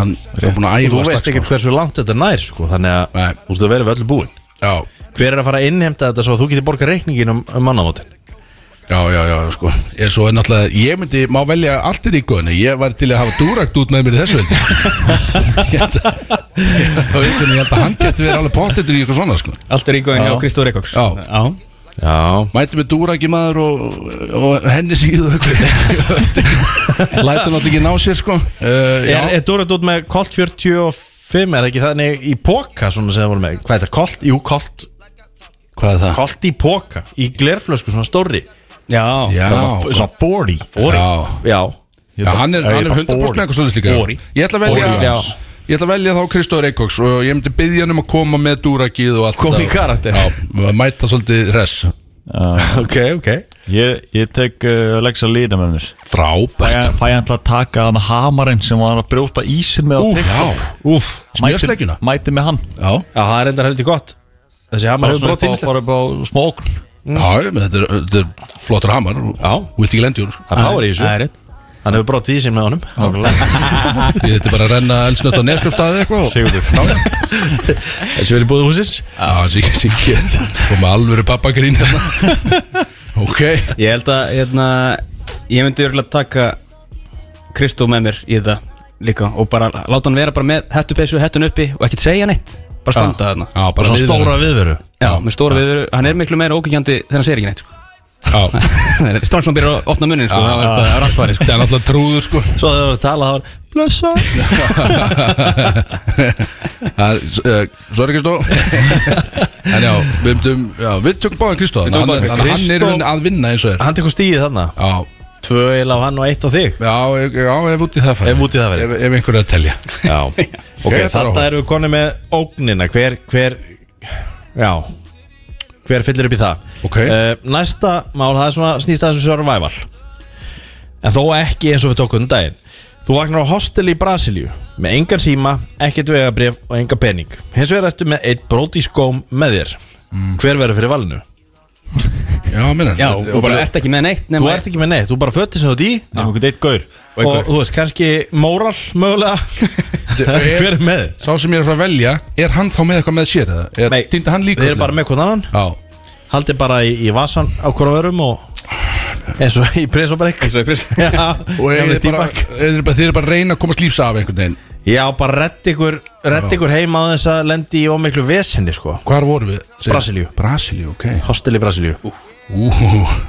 S3: Hann er búin að
S12: Og
S3: æfa
S12: Þú veist
S3: slagsmál.
S12: ekkert hversu langt þetta nær sko, þannig að þú veist að vera við öllu búin
S3: já.
S12: Hver er að fara að innheimta þetta svo að þú getur borgað reikningin um, um mannamótin
S3: Já, já, já, sko Ég, svo er náttúrulega, ég myndi, má velja allt í ríkuðinu Ég var til að hafa dúrakt út með mér í þessu veldi Ég veit ég held að hann getur verið alveg pottetur í eitthvað svona sko.
S6: Allt er í góðin hjá Kristó Reykjavíks
S3: Já,
S6: Já
S12: Já
S3: Mæti með dúraki maður og, og henni síðu og eitthvað Lætur náttúrulega ekki ná sér sko uh, já.
S12: Er, er Dórat út með Colt 45 er það ekki þannig í póka svona sem það voru með Hvað er þetta? Colt? Jú, Colt
S3: Hvað er það?
S12: Colt í póka, í glerflösku svona stóri
S6: Já,
S12: já Svona 40
S3: Já.
S12: já.
S3: Já, hann er, hann er 100% með eitthvað svolítið líka
S12: Fóri.
S3: Ég ætla að
S12: Fóri,
S3: velja
S12: já.
S3: Ég ætla að velja þá Kristóður Eikóks og ég myndi byggja hann um að koma með dúrakið og allt
S12: Koma
S3: þetta.
S12: í karakter.
S3: Já, mæta svolítið res
S12: Ok, ok
S5: Ég, ég tek uh, Alexa Lina með mér
S3: Frábært
S5: Fæ hann til að taka hann hamarinn sem var að brjóta ísin með á
S12: Úff,
S5: TikTok
S12: Úf,
S5: Mæti, mæti með hann
S3: Já,
S12: Já, það er enda heldur gott Þessi hamar
S5: Bara
S12: hefur
S5: svona upp
S12: brotið
S5: á-
S12: ýmislegt.
S5: bara upp á smókn
S3: Já, ég meina, þetta, er- þetta er flottur hamar Já Vilt ekki lendi hún sko.
S12: Það er power í þessu. Það er rétt. Hann hefur brotið í sig með honum
S3: Ég þetta bara að renna elsnött á neskjöfstaði eitthvað og-
S12: Sigurður.
S3: Já,
S12: Þessi verið búið húsins
S3: Já, sík, sík Og með alvöru pappagrín hérna Ok
S6: Ég held að hérna, ég myndi örgulega taka Kristó með mér í þetta líka og bara láta hann vera bara með hettu peysu, hettun uppi og ekki segja neitt bara standa
S3: Já.
S6: þarna
S3: Já, bara Svona viðveru. stóra viðveru.
S6: Já, með stóra viðveru, hann er miklu meira ókvækjandi þegar hann segir ekki neitt sko. Já Strax hann byrjar að opna munnin sko, það var- það var allt farið sko.
S3: Það er alltaf trúður sko
S12: Svo þegar það var að tala þá var Blessa
S3: Það er, eh, Sorry Kristó En já, við myndum já, Við tökum báðan Kristó Hann,
S12: Við tökum
S3: hann,
S12: báðan
S3: hann er í
S12: Kristó.
S3: rauninni að vinna eins og er
S12: Hann tekur stíð þarna
S3: Já
S12: Tvö eil á hann og eitt á þig
S3: Já, ég- já ef út í það færi
S12: Ef út í það færi.
S3: Ef, ef einhverju að telja
S12: Já Ok,
S3: Ég þarf
S12: þarna
S3: að-
S12: erum við konið með ógnina Hver, hver Já Hver fyllir upp í það
S3: Ok.
S12: Eh, Næsta mál, það er svona snýst aðeins um survival En þó ekki eins og við tókum um daginn Þú vagnar á hostel í Brasilíu Með engan síma, ekkert vegabrif og enga pening Hins vegar ertu með eitt bróti skóm með þér Hver verður fyrir valinu?
S3: Já, minna
S6: Já, og bara ert ekki með neitt
S12: Þú ert ekki með neitt, þú bara föttir sem þú ert í
S5: Nefnum einhvern eitt gaur
S12: Og, þú veist, kannski móral mögulega Hver er með?
S3: Sá sem ég er að fara að velja Er hann þá með eitthvað með sér eða? Er,
S12: Nei,
S3: týndi hann líka
S12: Þeir eru bara með hvern annan
S3: Já
S12: Haldið bara í, í vasan á hverjum örum og eins og í prins og brekk Eins og í prins Já,
S3: Og er,
S12: gamli
S3: er bara,
S12: tíbak.
S3: er, er, þeir eru bara að reyna að komast lífs af einhvern veginn
S12: Já, bara redd ykkur, redd ykkur heima á þess að lendi í ómiklu vesenni sko
S3: Hvar voru við? Segir-
S12: Brasilíu
S3: Brasilíu, ok
S12: Hostel í Brasilíu
S3: Ú,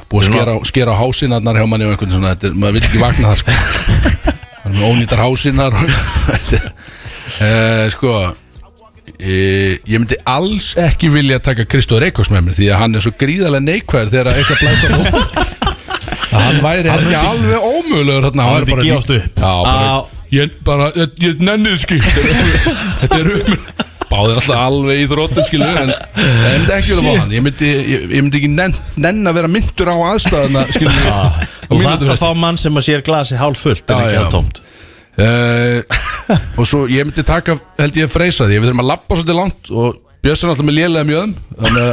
S3: búið að skera, á- skera á hásinarnar hjá manni og einhvern svona, þetta er, maður vil ekki vakna það sko Það er með ónýtar hásinnar og uh, Sko e, Ég myndi alls ekki vilja taka Kristó Reykjós með mér því að hann er svo gríðarlega neikvæður þegar eitthvað blæst á okkur að hann væri
S5: Hann
S3: ekki
S5: myndi-
S3: alveg ómögulegur þarna
S5: Hann
S3: væri
S5: myndi
S3: bara
S5: gefast
S3: lí-
S5: upp.
S3: Já, bara,
S12: Á.
S3: ég bara, ég, ég nenni þið skil Þetta er umur Báðir alltaf alveg í þróttum skilu En en ég myndi ekki vilja fá hann Ég myndi, ég, ég myndi ekki nenn, nenn að vera myndur á aðstæðuna skilu
S12: Ah. Og það er að fá mann sem að sér glasi hálf fullt en
S3: Já,
S12: ekki
S3: já.
S12: hálf tómt
S3: uh, Og svo ég myndi taka Held ég að freysa því Við þurfum að labba svolítið langt Og Björns er alltaf með lélega mjöðum Þannig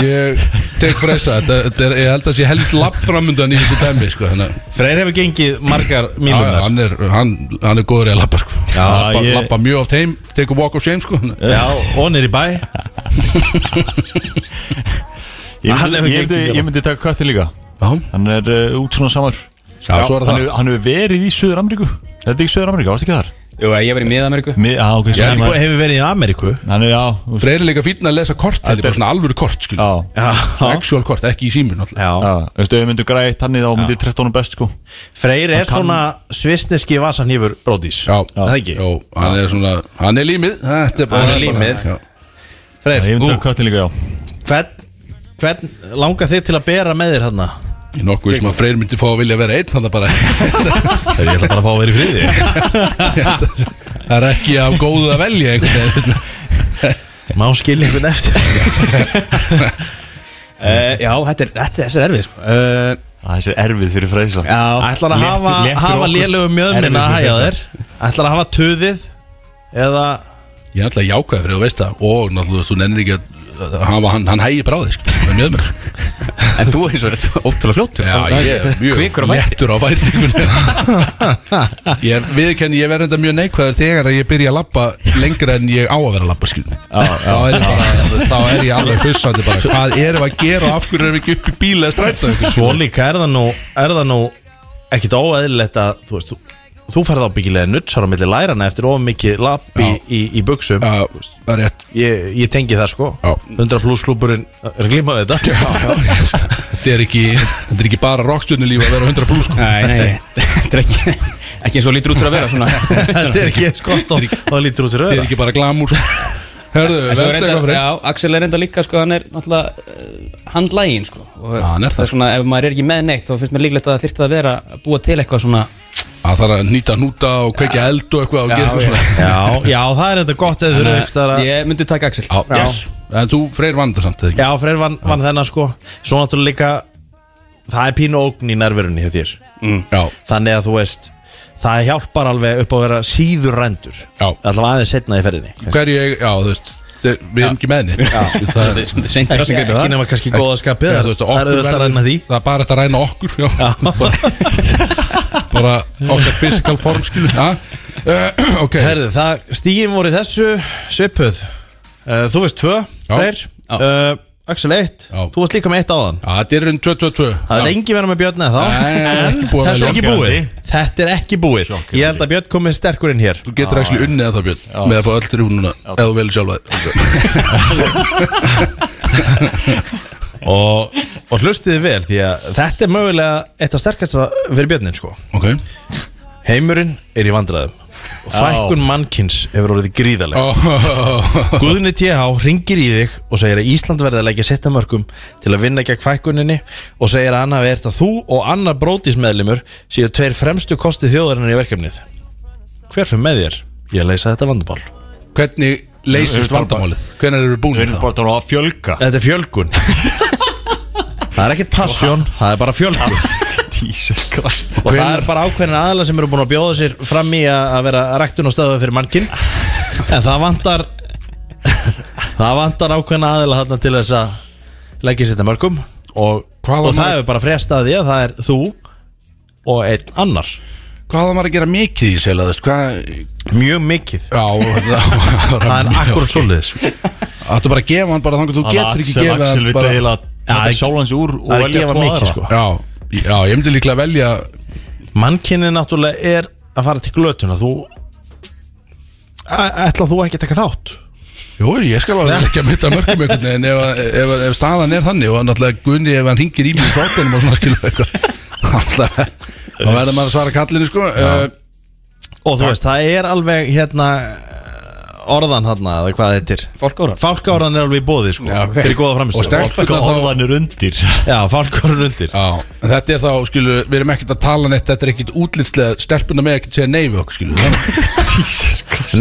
S3: að ég tek freysa þetta, þetta er, Ég held að sé helvit labb framundan í þessu dæmi sko, Þannig að
S12: Freyr hefur gengið margar
S3: Já, já,
S12: mínúndar
S3: hann er, hann, hann er góður í að labba sko.
S12: Já,
S3: labba,
S12: ég-
S3: labba mjög oft heim, tekur walk of shame sko.
S12: Já, hún er í bæ
S5: Ég myndi, ég
S12: Hann hefur
S5: myndi,
S12: gengið
S5: ég myndi taka kötti líka
S3: Já.
S5: Hann er uh, út svona samar
S3: Já, svo er það.
S5: hann, hefur- hann hefur verið í Suður Ameríku Er þetta ekki Suður Ameríku, varstu ekki þar?
S6: Jú, ég hef verið í Mið-Ameríku
S5: Mið, á, ok,
S12: Hann hefur verið í Ameríku
S5: Hann er, já þú veist,
S3: Freyr er líka fínn að lesa kort Þetta er bara svona alvöru kort skil
S5: Já,
S12: Já,
S3: Actual kort, ekki í símur náttúrulega
S12: já
S5: já, þú veist, ef við myndum grætt hann í þá myndi 13 best, sko
S12: Freyr er
S3: Hann kann-
S12: svona svissneski vasanhýfur brótis
S3: Já,
S12: Er Það ekki
S3: já, hann er svona Hann er límið Þetta bara-
S12: Hann er límið.
S3: Já.
S5: Ég
S12: Freyr,
S5: myndi taka kötti líka, já
S12: hvern, hvern langar þið til að bera með þér hérna?
S3: Ég er nokkuð sem að Freyr myndi fá að vilja vera einn Þannig bara
S12: Ég ætla bara að fá að vera í friði
S3: Það er ekki af góðu að velja einhvern veginn
S12: Má skilja einhvern eftir uh, Já, þetta er, þetta er, þessi er erfið sko. uh,
S5: Þessi er erfið fyrir freysa
S12: Já, ætlar að hafa, hafa lélögu mjöðminn að hæja þér Ætlar að hafa töðið Eða
S3: Ég ætla að jáka þér fyrir þú veist það Og náttúrulega þú nennir ekki að hafa hann, hann hægi bráði sko, með mjöðmur
S6: En þú er eins og þetta ótrúlega fljótt
S3: Já, ég er mjög
S6: Kvikur á fæti.
S3: léttur á vætingunni Ég viðkenni, ég verður enda mjög neikvæður þegar að ég byrja að labba lengra en ég á að vera að labba skil Þá er ég bara, þá er ég alveg fussandi bara Hvað erum við að gera og af hverju erum við ekki upp í bíla eða stræta
S12: Svo líka er það nú, er það nú ekkit óæðilegt að þú veist, þú, þú ferð ábyggilega nutsar á milli lærana eftir of mikið lapp í, í, í buksum
S3: Já, það er rétt
S12: Ég, ég tengi það sko
S3: Já.
S12: 100 pluss klúburinn er glímaði þetta
S3: Já, já, þetta er ekki, þetta er ekki bara rockstjörnulíf að vera 100 plus sko
S6: Nei, nei, þetta er ekki Ekki eins og lítur út fyrir að vera svona
S12: Þetta er ekki skott og það lítur út
S3: Þetta
S12: í
S3: er
S12: röða
S3: ekki bara glamúr Hörðu,
S6: En svo er
S3: verður eitthvað
S6: reyndar,
S3: fyrir
S6: já, Axel er enda líka sko, hann er náttúrulega uh, handlægin sko og
S3: Já, hann er það.
S6: er svona, ef maður er ekki með neitt þá finnst mér líklegt að það þyrfti að vera að búa til eitthvað svona
S3: Það þarf að nýta núta og kveikja eld og eitthvað og gera eitthvað svona
S12: Já, já, það er þetta gott eða þú eru
S6: Þannig að
S12: ykkur staðar að
S6: Ég myndi taka Axel
S3: Já, yes. En þú freyr vandar samt, eða ekki?
S12: Já, Freyr vann, vann þennan sko Svo náttúrulega líka Það er pínu ógn í nærverunni hjá þér
S3: Já,
S12: Þannig að þú veist Það hjálpar alveg upp á að vera síður rendur
S3: Já.
S12: Alltaf aðeins setna í ferðinni
S3: hverju ég, já, þú veist þe- Við erum ekki með henni Þú veist, Það er
S6: Þetta er seint í
S12: Ekki,
S6: rassingar
S12: ekki nema kannski góða skapið
S3: Já,
S12: Það
S3: þú veist,
S12: er það er
S3: okkur
S12: auðvitað að
S3: verður-
S12: ræna því
S3: Það er bara þetta að ræna okkur já. Bara- Bara okkar physical form skilu uh, Ok,
S12: Herðu, það stíðin voru í þessu Svipuð uh, Þú veist tvö,
S3: Já.
S12: Freyr uh, Axel eitt,
S3: Já.
S12: þú varst líka með eitt áðan
S3: Já, þetta er um 2-2-2
S12: Það vil engi vera með Björn eða þá
S3: Nei, það er
S12: En
S3: ekki búið að velja.
S12: þetta er ekki búið Þetta er ekki búið Ég held að Björn komið sterkur inn hér
S3: Þú getur ekki unnið að það Björn Með að fá öll trúnuna Eða þú velur sjálfa þér
S12: og, og hlustiði vel því að þetta er mögulega eitt af sterkast fyrir björnin sko
S3: Ok
S12: heimurinn er í vandræðum og fækkun mannkins hefur orðið gríðaleg
S3: Ó, ó, ó, ó.
S12: Guðni TH ringir í þig og segir að Ísland verði að leggja setja mörgum til að vinna gegn fækkuninni og segir að annað verð að þú og annar brótismedlimur séu tveir fremstu kosti þjóðarinnar í verkefnið hver fyrir með þér? Ég leysa þetta vandumál
S3: Hvernig leysist
S5: Við erum bara-
S3: vandamálið? Hvernig eru
S5: Við
S3: búin
S5: erum
S3: það?
S5: bara að fjölga
S12: Þetta er fjölgun Það er ekkert passion, það er bara fjölgun
S5: Jesus Christ
S12: Og það er bara ákveðin aðla sem eru búin að bjóða sér fram í að að vera rektun og stöðu fyrir mannkinn En það vantar Það vantar ákveðin aðla þarna til þess að leggja sér þetta mörgum Og,
S3: Hvaða
S12: og það
S3: mörg-
S12: hefur bara frestað því að það er þú og einn annar
S3: Hvað það maður að gera mikið í sel Hvað
S12: Mjög mikið
S3: Já, það
S12: Það er akkurat svoleiðis
S3: Þú bara að gefa hann bara þangar Þú getur ekki
S5: Axel,
S3: gefa
S5: Axel
S3: hann
S5: vil
S3: bara
S5: deila
S12: Já,
S5: Taka sjálfans úr og
S12: Það er að
S5: velja
S12: gefa
S5: tvo
S12: mikið
S5: aðra
S12: sko
S3: Já, já, ég myndi líklega velja
S12: Mannkynni náttúrulega er að fara til glötuna Þú Æ- Ætla þú ekki að taka þátt
S3: Jú, ég skal alveg ekki að mynda mörgum einhvern veginn ef, að- ef, að- ef staðan er þannig og náttúrulega Gunni ef hann ringir í mig í þáttunum og svona skilu eitthvað náttúrulega, þá verður maður að svara kallinu sko uh,
S12: Og þú veist, það er alveg hérna orðan þarna, eða hvað þetta er Fálkáran Fálkáran er alveg í bóði, sko, fyrir góða
S3: og
S12: framstöð
S3: stelpuna þá
S5: Orðan er undir
S12: Já, fálkáran undir
S3: Já, en þetta er þá, skilu, við erum ekkert að tala neitt, þetta er ekkert útlitslega, stelpuna með ekkert segja nei við okkur, skilu Nei,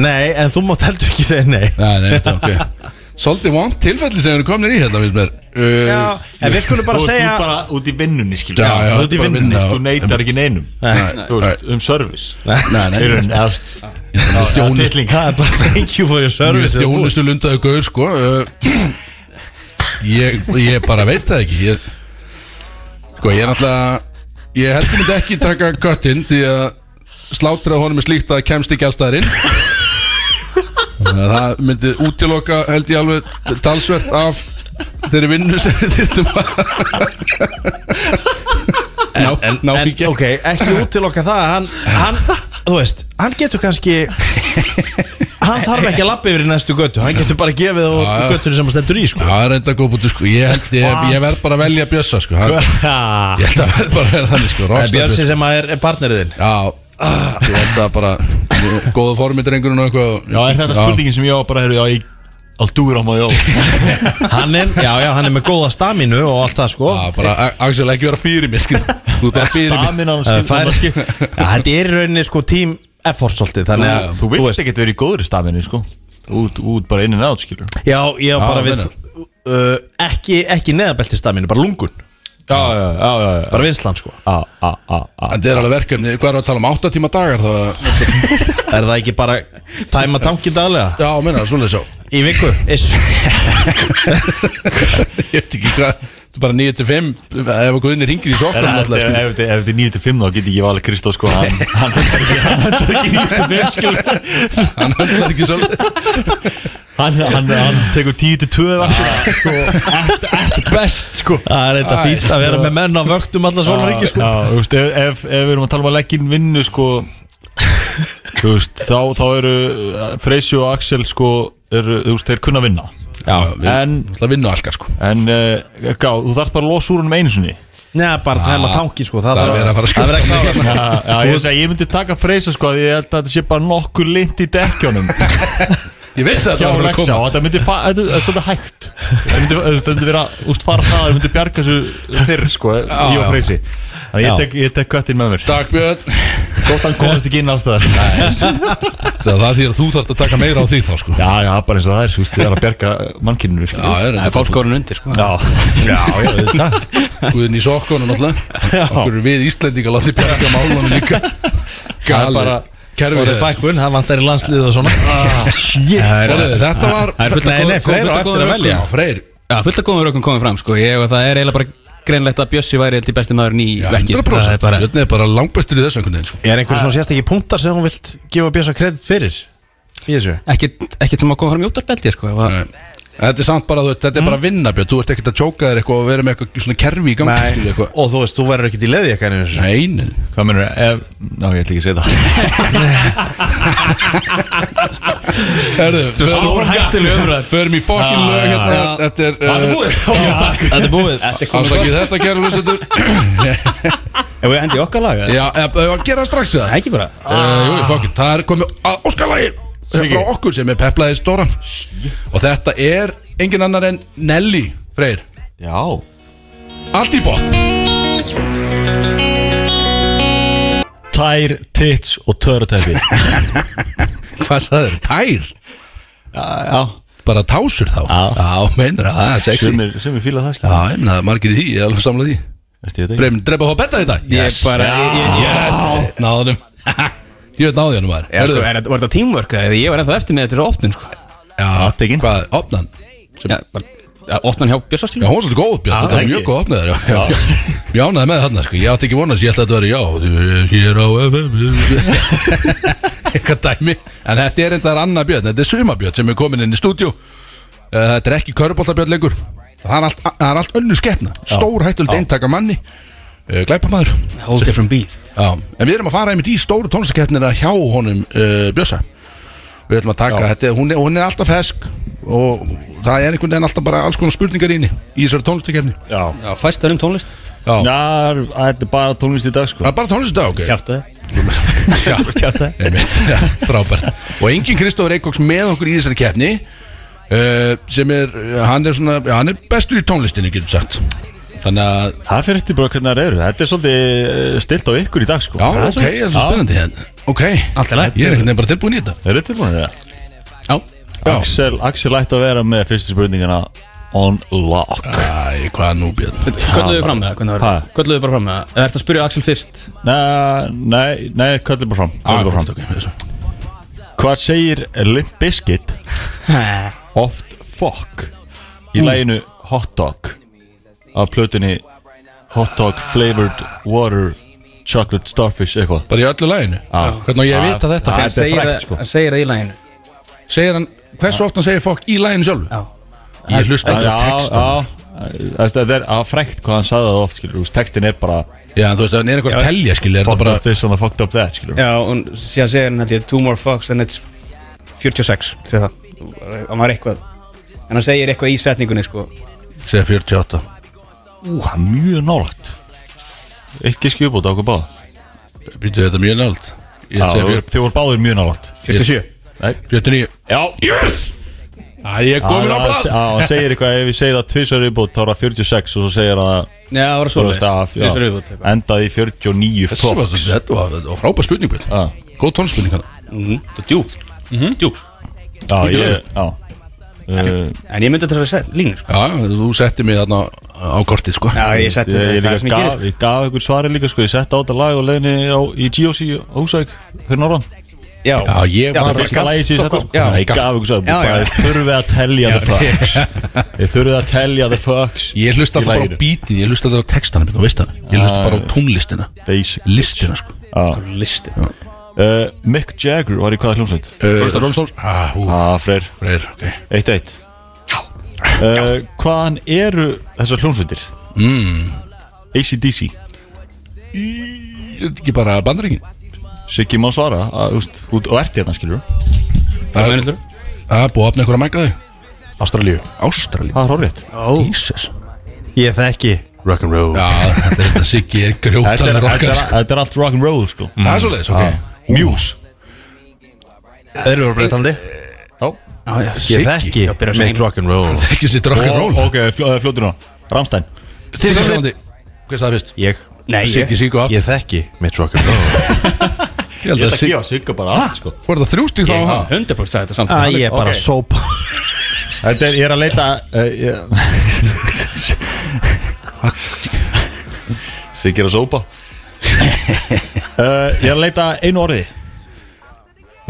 S12: Nei, en þú mátt heldur ekki segja nei
S3: nei, þetta er ok Svolítið vant tilfelli sem við erum komin í hérna, við mér uh,
S12: Já, en við skulum bara
S5: Þú
S12: segja
S5: ert bara út í vinnunni skilur
S3: Já, já,
S5: Þú ert í
S3: bara
S5: vinnunni
S3: vinna.
S5: Þú neytar ekki neinum
S12: Nei.
S5: Þú veist, um service
S3: Nei, nei,
S5: Þeir eru nefst
S3: með þjónustu
S5: Tilling
S12: Það er bara thank you for your
S3: Mjög
S12: service
S3: þjónustu lundaðu gaur, sko uh, ég, ég bara veit það ekki ég, Sko, ég er náttúrulega Ég heldur myndi ekki taka köttin Því að slátrað honum er slíkt að það kemst ekki allstaðarinn Það myndi útiloka held ég alveg talsvert af þeirri vinnu sem við þyrtum að Ná,
S12: En,
S3: ná
S12: en
S3: í gegn.
S12: ok, ekki út til okkar það hann, hann, þú veist, hann getur kannski Hann þarf ekki að lappa yfir í næstu göttu Hann getur bara gefið á
S3: Já, já.
S12: göttunni sem hann stendur í,
S3: Já,
S12: sko
S3: það er reynda góð bútu sko Ég held, ég, ég verð bara að velja Bjössa sko Það- Ég held að verð bara að vera þannig sko
S12: Það er
S3: Rockstar
S12: Eh, Björnsi sem er, er partnerið þinn
S3: Já Ég held að bara Góða formið drengurinn og eitthvað
S5: Já, er þetta spurningin sem ég á bara heyrðu, Já, ég á
S12: Aldur á maður Hann er, já, já, hann er með góða staminu og allt það sko Já,
S3: bara, Axel, ekki vera fyrir mér, skil Þú ert bara fyrir mér
S12: Staminan skil- skil- Já, þetta er í rauninni sko tím effort svolítið Þannig að
S5: Þú vilt ekki verið í góðri staminu sko Út, út bara inn en átt skilur
S12: Já, ég var bara
S5: Já,
S12: við uh, Ekki, ekki neðabelti staminu, bara lungun
S5: Já, já, já, já, já.
S12: Bara vinslan sko
S5: A, a, a, a
S3: En það er alveg verkefni, hvað er að tala um 8 tíma dagar það
S12: Er það ekki bara tæma tankin daglega?
S3: Já, minna, svona þessu
S12: Í viku, iss
S3: Ég veit ekki hvað Þú bara 9 til 5 Ef okkur unni ringir í
S5: En
S3: sokkum
S5: Ef
S3: alltaf, sko.
S5: þetta-
S3: skilur.
S5: ef þetta ef þetta er 9-5 þá get ég ekki valið Kristó sko Hann hann
S3: Það er ekki nýtt að mér skil Hann handlar ekki svolítið
S5: hann, hann, hann tekur 10 til 2 eða sko, Þetta er best sko
S12: Það er þetta fínt að vera með menn á vöktum allan sólarhringinn, sko.
S5: Já, þú veist, ef, ef, ef við erum að tala um að leggja inn vinnu sko Þú veist, þá, þá eru uh, Freysi og Axel sko eru, Þú veist, þeir kunna að vinna
S12: Já,
S3: við-
S5: en,
S3: Það vinnu alltaf sko
S5: En, uh, gá, þú þarf bara að losa úr hann einu sinni
S12: Nei, bara tæma tankin sko Það þarf-
S5: verið að fara
S12: það verið að klára sko.
S5: Já, já,
S12: Þú-
S5: ég, segi, ég myndi taka freysa sko því Ég held að þetta sé bara nokkur lint í dekkjónum
S3: Ég veit það að það
S5: Já,
S3: var að
S5: Rexa,
S3: koma
S5: og þetta myndi fa- Þetta þetta er svolítið hægt Þetta myndi, þetta myndi vera úst fara það Þetta myndi bjarga þessu fyrr sko Ég og
S3: já.
S5: freysi Þannig
S3: Já.
S5: ég tek, ég tek köttin með mér
S3: Takk Björn
S5: Gótt hann komast ekki inn alls það
S3: Það það þýr að þú þarfst að taka meira á því þá sko
S5: Já, já, bara eins og það er sko Það er að bjarga mannkyninu sko.
S3: Já, er- Það er fólk
S5: orðin undir sko Já, já, já, já
S3: Guðin í sokkunum náttúrulega Okkur er við Íslendinga látið bjarga málunum líka
S12: Það er bara
S3: Kerfið
S12: Orðið fækkun, það vantar í landslið og svona Það er-
S3: Orðið, þetta var
S6: Það er fullt
S12: Nei,
S6: að
S12: nei, Freyr á eftir að velja.
S3: Freyr
S6: Já, fullt að góðum rökum komið fram sko Ég og það er eiginlega bara greinlegt að Bjössi væri held í besti maðurinn í verkið Það
S3: 100%
S6: er bara
S3: Björn er bara langbæstur í þessu einhvern veginn sko.
S12: Er einhver svona sérstakki punktar sem hún vilt gefa Bjösa kredit fyrir í þessu?
S6: Ekkert ekkert sem að koma fram í útarpeldi sko
S3: Nei. Þetta er samt bara, þú veist, þetta er bara að vinna Björn Þú ert ekkert að tjóka þér eitthvað og vera með eitthvað svona kerfi í gangi
S12: Nei.
S3: skilur, eitthvað.
S12: Og þú veist, þú verður ekkert í leði eitthvað einu þessu
S3: Nei, nei.
S5: Hvað mennur, ef Ná, ég ætla ekki að segja það
S3: Herðu,
S5: Svo
S3: förum-
S5: stór hættuleg umræða.
S3: Förum í fokkin
S5: Já,
S3: lög
S5: já,
S3: hérna
S5: já.
S3: Þetta er
S5: Þetta er
S3: uh,
S5: búið Já, takk
S12: Þetta er búið
S3: Afsakið þetta, kæra lusendur
S6: Ef við endið okkar laga
S3: Já, ef ef að gera strax það
S6: Ekki bara
S3: Uh, Jú, fokkin, það er komið að Óskarlægir frá okkur sem er peplaðið stóra og þetta er engin annar en Nelly Freyr
S5: Já
S3: Allt í botn
S5: Tær, tits og törutæfi
S3: Hvað sagður? Tær?
S5: Já
S3: Bara tásur þá? Já, já meinar það, það er sexy Já,
S5: Sumir sumir fíla það sko
S3: ég meina það er margir í því, ég er alveg samlað í
S5: Veistu, ég veit ekki.
S3: Freim, drepa hvað betta þetta?
S6: Ég bara ég- ég- ég-
S3: yes. Náðunum Ég veit náði hann var
S6: Já, sko, er þetta- Var þetta teamwork eða ég var ennþá eftir með þetta er opnun sko
S3: Já,
S5: Tekin.
S3: hvað, opnan?
S6: Já, bara- Já, Opnun hjá Bjössa
S3: Já,
S6: skilur
S3: hún var svolítið góð björn,
S6: Já,
S3: þetta var
S6: ekki.
S3: mjög góð opnað þér já, já. Ég ánaði með þarna, sko, ég átti ekki vonast, ég ætla að þetta veri já þú- Hér á FM Eitthvað dæmi En þetta er þetta annar björn, þetta er sumabjörn sem er komin inn í stúdíu Eh, Þetta er ekki köruboltabjörn lengur Það er allt, það er allt önnu skepna Stór hættulegt eintaka manni Eh, Glæpamaður
S6: Whole different beast
S3: Já, en við erum að fara einmitt í stóru tónlistakeppnina hjá honum uh, Bjössa Við ætlum að taka, þetta, hún, er, hún er alltaf fesk og það er einhvern veginn alltaf bara alls konar spurningar inni í þessari tónlistakeppni
S5: Já
S6: Já, fæstar um tónlist
S3: Já,
S5: Já, þetta er bara tónlist í dag sko
S3: það er bara tónlist í dag, ok
S6: Kjáftu það
S3: Já,
S6: Kjáftu
S3: einmitt, já, frábært Og enginn Kristófur Eikóks með okkur í þessari keppni uh, sem er, eh, hann er svona, já, hann er bestur í tónlistinni, getur sagt Þannig að,
S5: Það fyrir eftir bara hvernig það eru Þetta er svolítið stilt á ykkur í dag sko
S3: já, ok, það er svo spennandi hérna Ok,
S6: Allt í lagi.
S3: ég er einhvern veginn bara tilbúin í þetta
S5: Er þetta tilbúinir það?
S6: Já
S3: Já.
S5: Axel, Axel ætti að vera með fyrstu spurningina On lock
S3: Æ, hvað nú, Björn?
S6: Kölluðu þið fram með það? Hvernig var
S5: Ha?
S6: það? Kölluðu þið bara fram með það? Eða ertu að spyrja Axel fyrst?
S5: Nei, nei, nei, kallið bara fram,
S3: Ah,
S5: kallið bara fram.
S3: ok, þessu
S5: Hvað segir Limp Bizkit Oft fuck Í læginu Hot Dog Af plötunni Hot Dog Flavored Water Chocolate Starfish eitthvað
S3: Bara í öllu læginu?
S5: Já.
S3: Hvernig á ég að
S5: Já.
S3: vita þetta?
S5: Já.
S6: Hann
S5: þetta er
S6: segir
S5: frægt,
S6: það-
S5: sko.
S6: Hann segir það í læginu
S3: Segir hann, hversu oft hann segir fokk í læginu sjálfu?
S6: Já.
S3: Ég hlusta
S5: Já,
S3: aldrei á textan
S5: já Þetta er að frækt hvað hann sagði það oft skilur þú veist, Textin er bara
S3: Já, en þú veist, hann er eitthvað að telja, skilja Er þetta
S5: Fucked
S3: bara
S5: up this and I fucked up that skilur
S6: Já, og síðan segir hann held ég Two more fucks and it's 46 Segir það Og maður eitthvað En hann segir eitthvað í setningunni sko
S3: Segir 48
S5: Ú, það er mjög nálægt Eitt gíski uppbúta okkur báða
S3: Býtu þetta er mjög nált Ég
S5: Já,
S3: segir
S5: Þið voru báðir mjög nálægt
S6: 47
S5: Nei,
S3: 49
S5: Já Yes
S3: Æ, ég er komin á
S5: Hann-
S3: blad
S5: hann- hann- hann segir eitthvað ef ég segi það tvisar viðbútt þá er það 46 og svo segir hann að
S6: Já, það var
S5: Þú
S6: svoleiðis.
S5: veist að- já,
S6: Tvisvar í viðbót, eitthvað.
S5: endaði í 49
S3: Þessi var svo- Þetta var, þetta var frábær spurning Bill. Góð tónspurning hann
S12: Mhm.
S6: Það er djúpt
S12: sko.
S6: Djúpt
S5: Já, ég Já Uh,
S6: En ég myndi að þetta er
S12: sko.
S6: línu
S3: Já, þú setti mig þarna á kortið sko
S6: Já, ég setti
S5: Ég,
S6: þetta,
S5: ég,
S6: það er sem
S5: líka
S6: ég
S5: gaf,
S12: sko.
S6: gerist.
S5: ég gaf ykkur svari líka sko, ég setti á þetta lag og leiðinni á, í GOC á Húsæk fyrir norðan
S6: Já,
S5: já
S3: ég
S5: var
S3: var-
S5: fyrst að lægi sér þetta
S3: Já,
S5: sko. Ég gaf ykkur svari,
S3: Já, já.
S5: bara þið þurfið að telja
S3: Já,
S5: the fucks Þið þurfið að telja the fucks
S3: Ég hlusta
S5: í
S3: alltaf bara á
S5: laginu.
S3: bítið, ég hlusta alltaf á textana minn, þú veist það Ég hlusta
S5: Ah,
S3: bara á tónlistina
S5: Basic
S3: Listina sko
S6: Listina
S5: uh, Mick Jagger var í hvaða hljómsveit?
S6: Eh,
S3: Rolling Stones. Rolling Stones? Ah, hú.
S5: ah, Freyr
S3: Freyr, ok
S5: Eitt eitt uh, Hvaðan eru þessar hljómsveitir?
S3: Mm.
S5: ACDC
S3: Þetta er ekki bara bandaríkin
S5: Siggi má svara, að, úst, út og ert hérna skilur
S3: Það er meðlur Það er búið að opna ykkur að mæka þig
S12: Ástralíu
S3: Ástralíu
S5: Það er horrið
S3: Jesus
S12: Ég þekki Rock'n'roll
S3: Já, þetta er þetta Siggi er
S5: Þetta er-
S3: grjótanur okkar
S5: þetta er-
S3: sko.
S5: þetta er allt rock'n'roll sko
S3: Það er svoleiðis, ok.
S5: Ah. Muse
S6: Þeir eru breytandi
S5: Já
S6: já,
S12: Ég þekki Mick Rock'n'roll
S3: Þekki sitt rock'n'roll.
S5: Og- Ok, fljó, fljótur nú Ramstein
S3: Þýskalandi Hvað sagði fyrst?
S12: Ég
S3: Nei, ég- Siggi, Siggo, aftur.
S12: Ég þekki Mitt rock'n'roll
S3: Ég held að Siggi
S5: sigga bara allt sko
S3: Var það þrjústík þá á hann?
S6: 100% sagði þetta
S12: Æ, Ah, ég er bara
S5: Ok.
S12: sóp
S5: Þetta er, ég er að leita uh, ég... Siggi er að sópa uh, Ég er að leita einu orði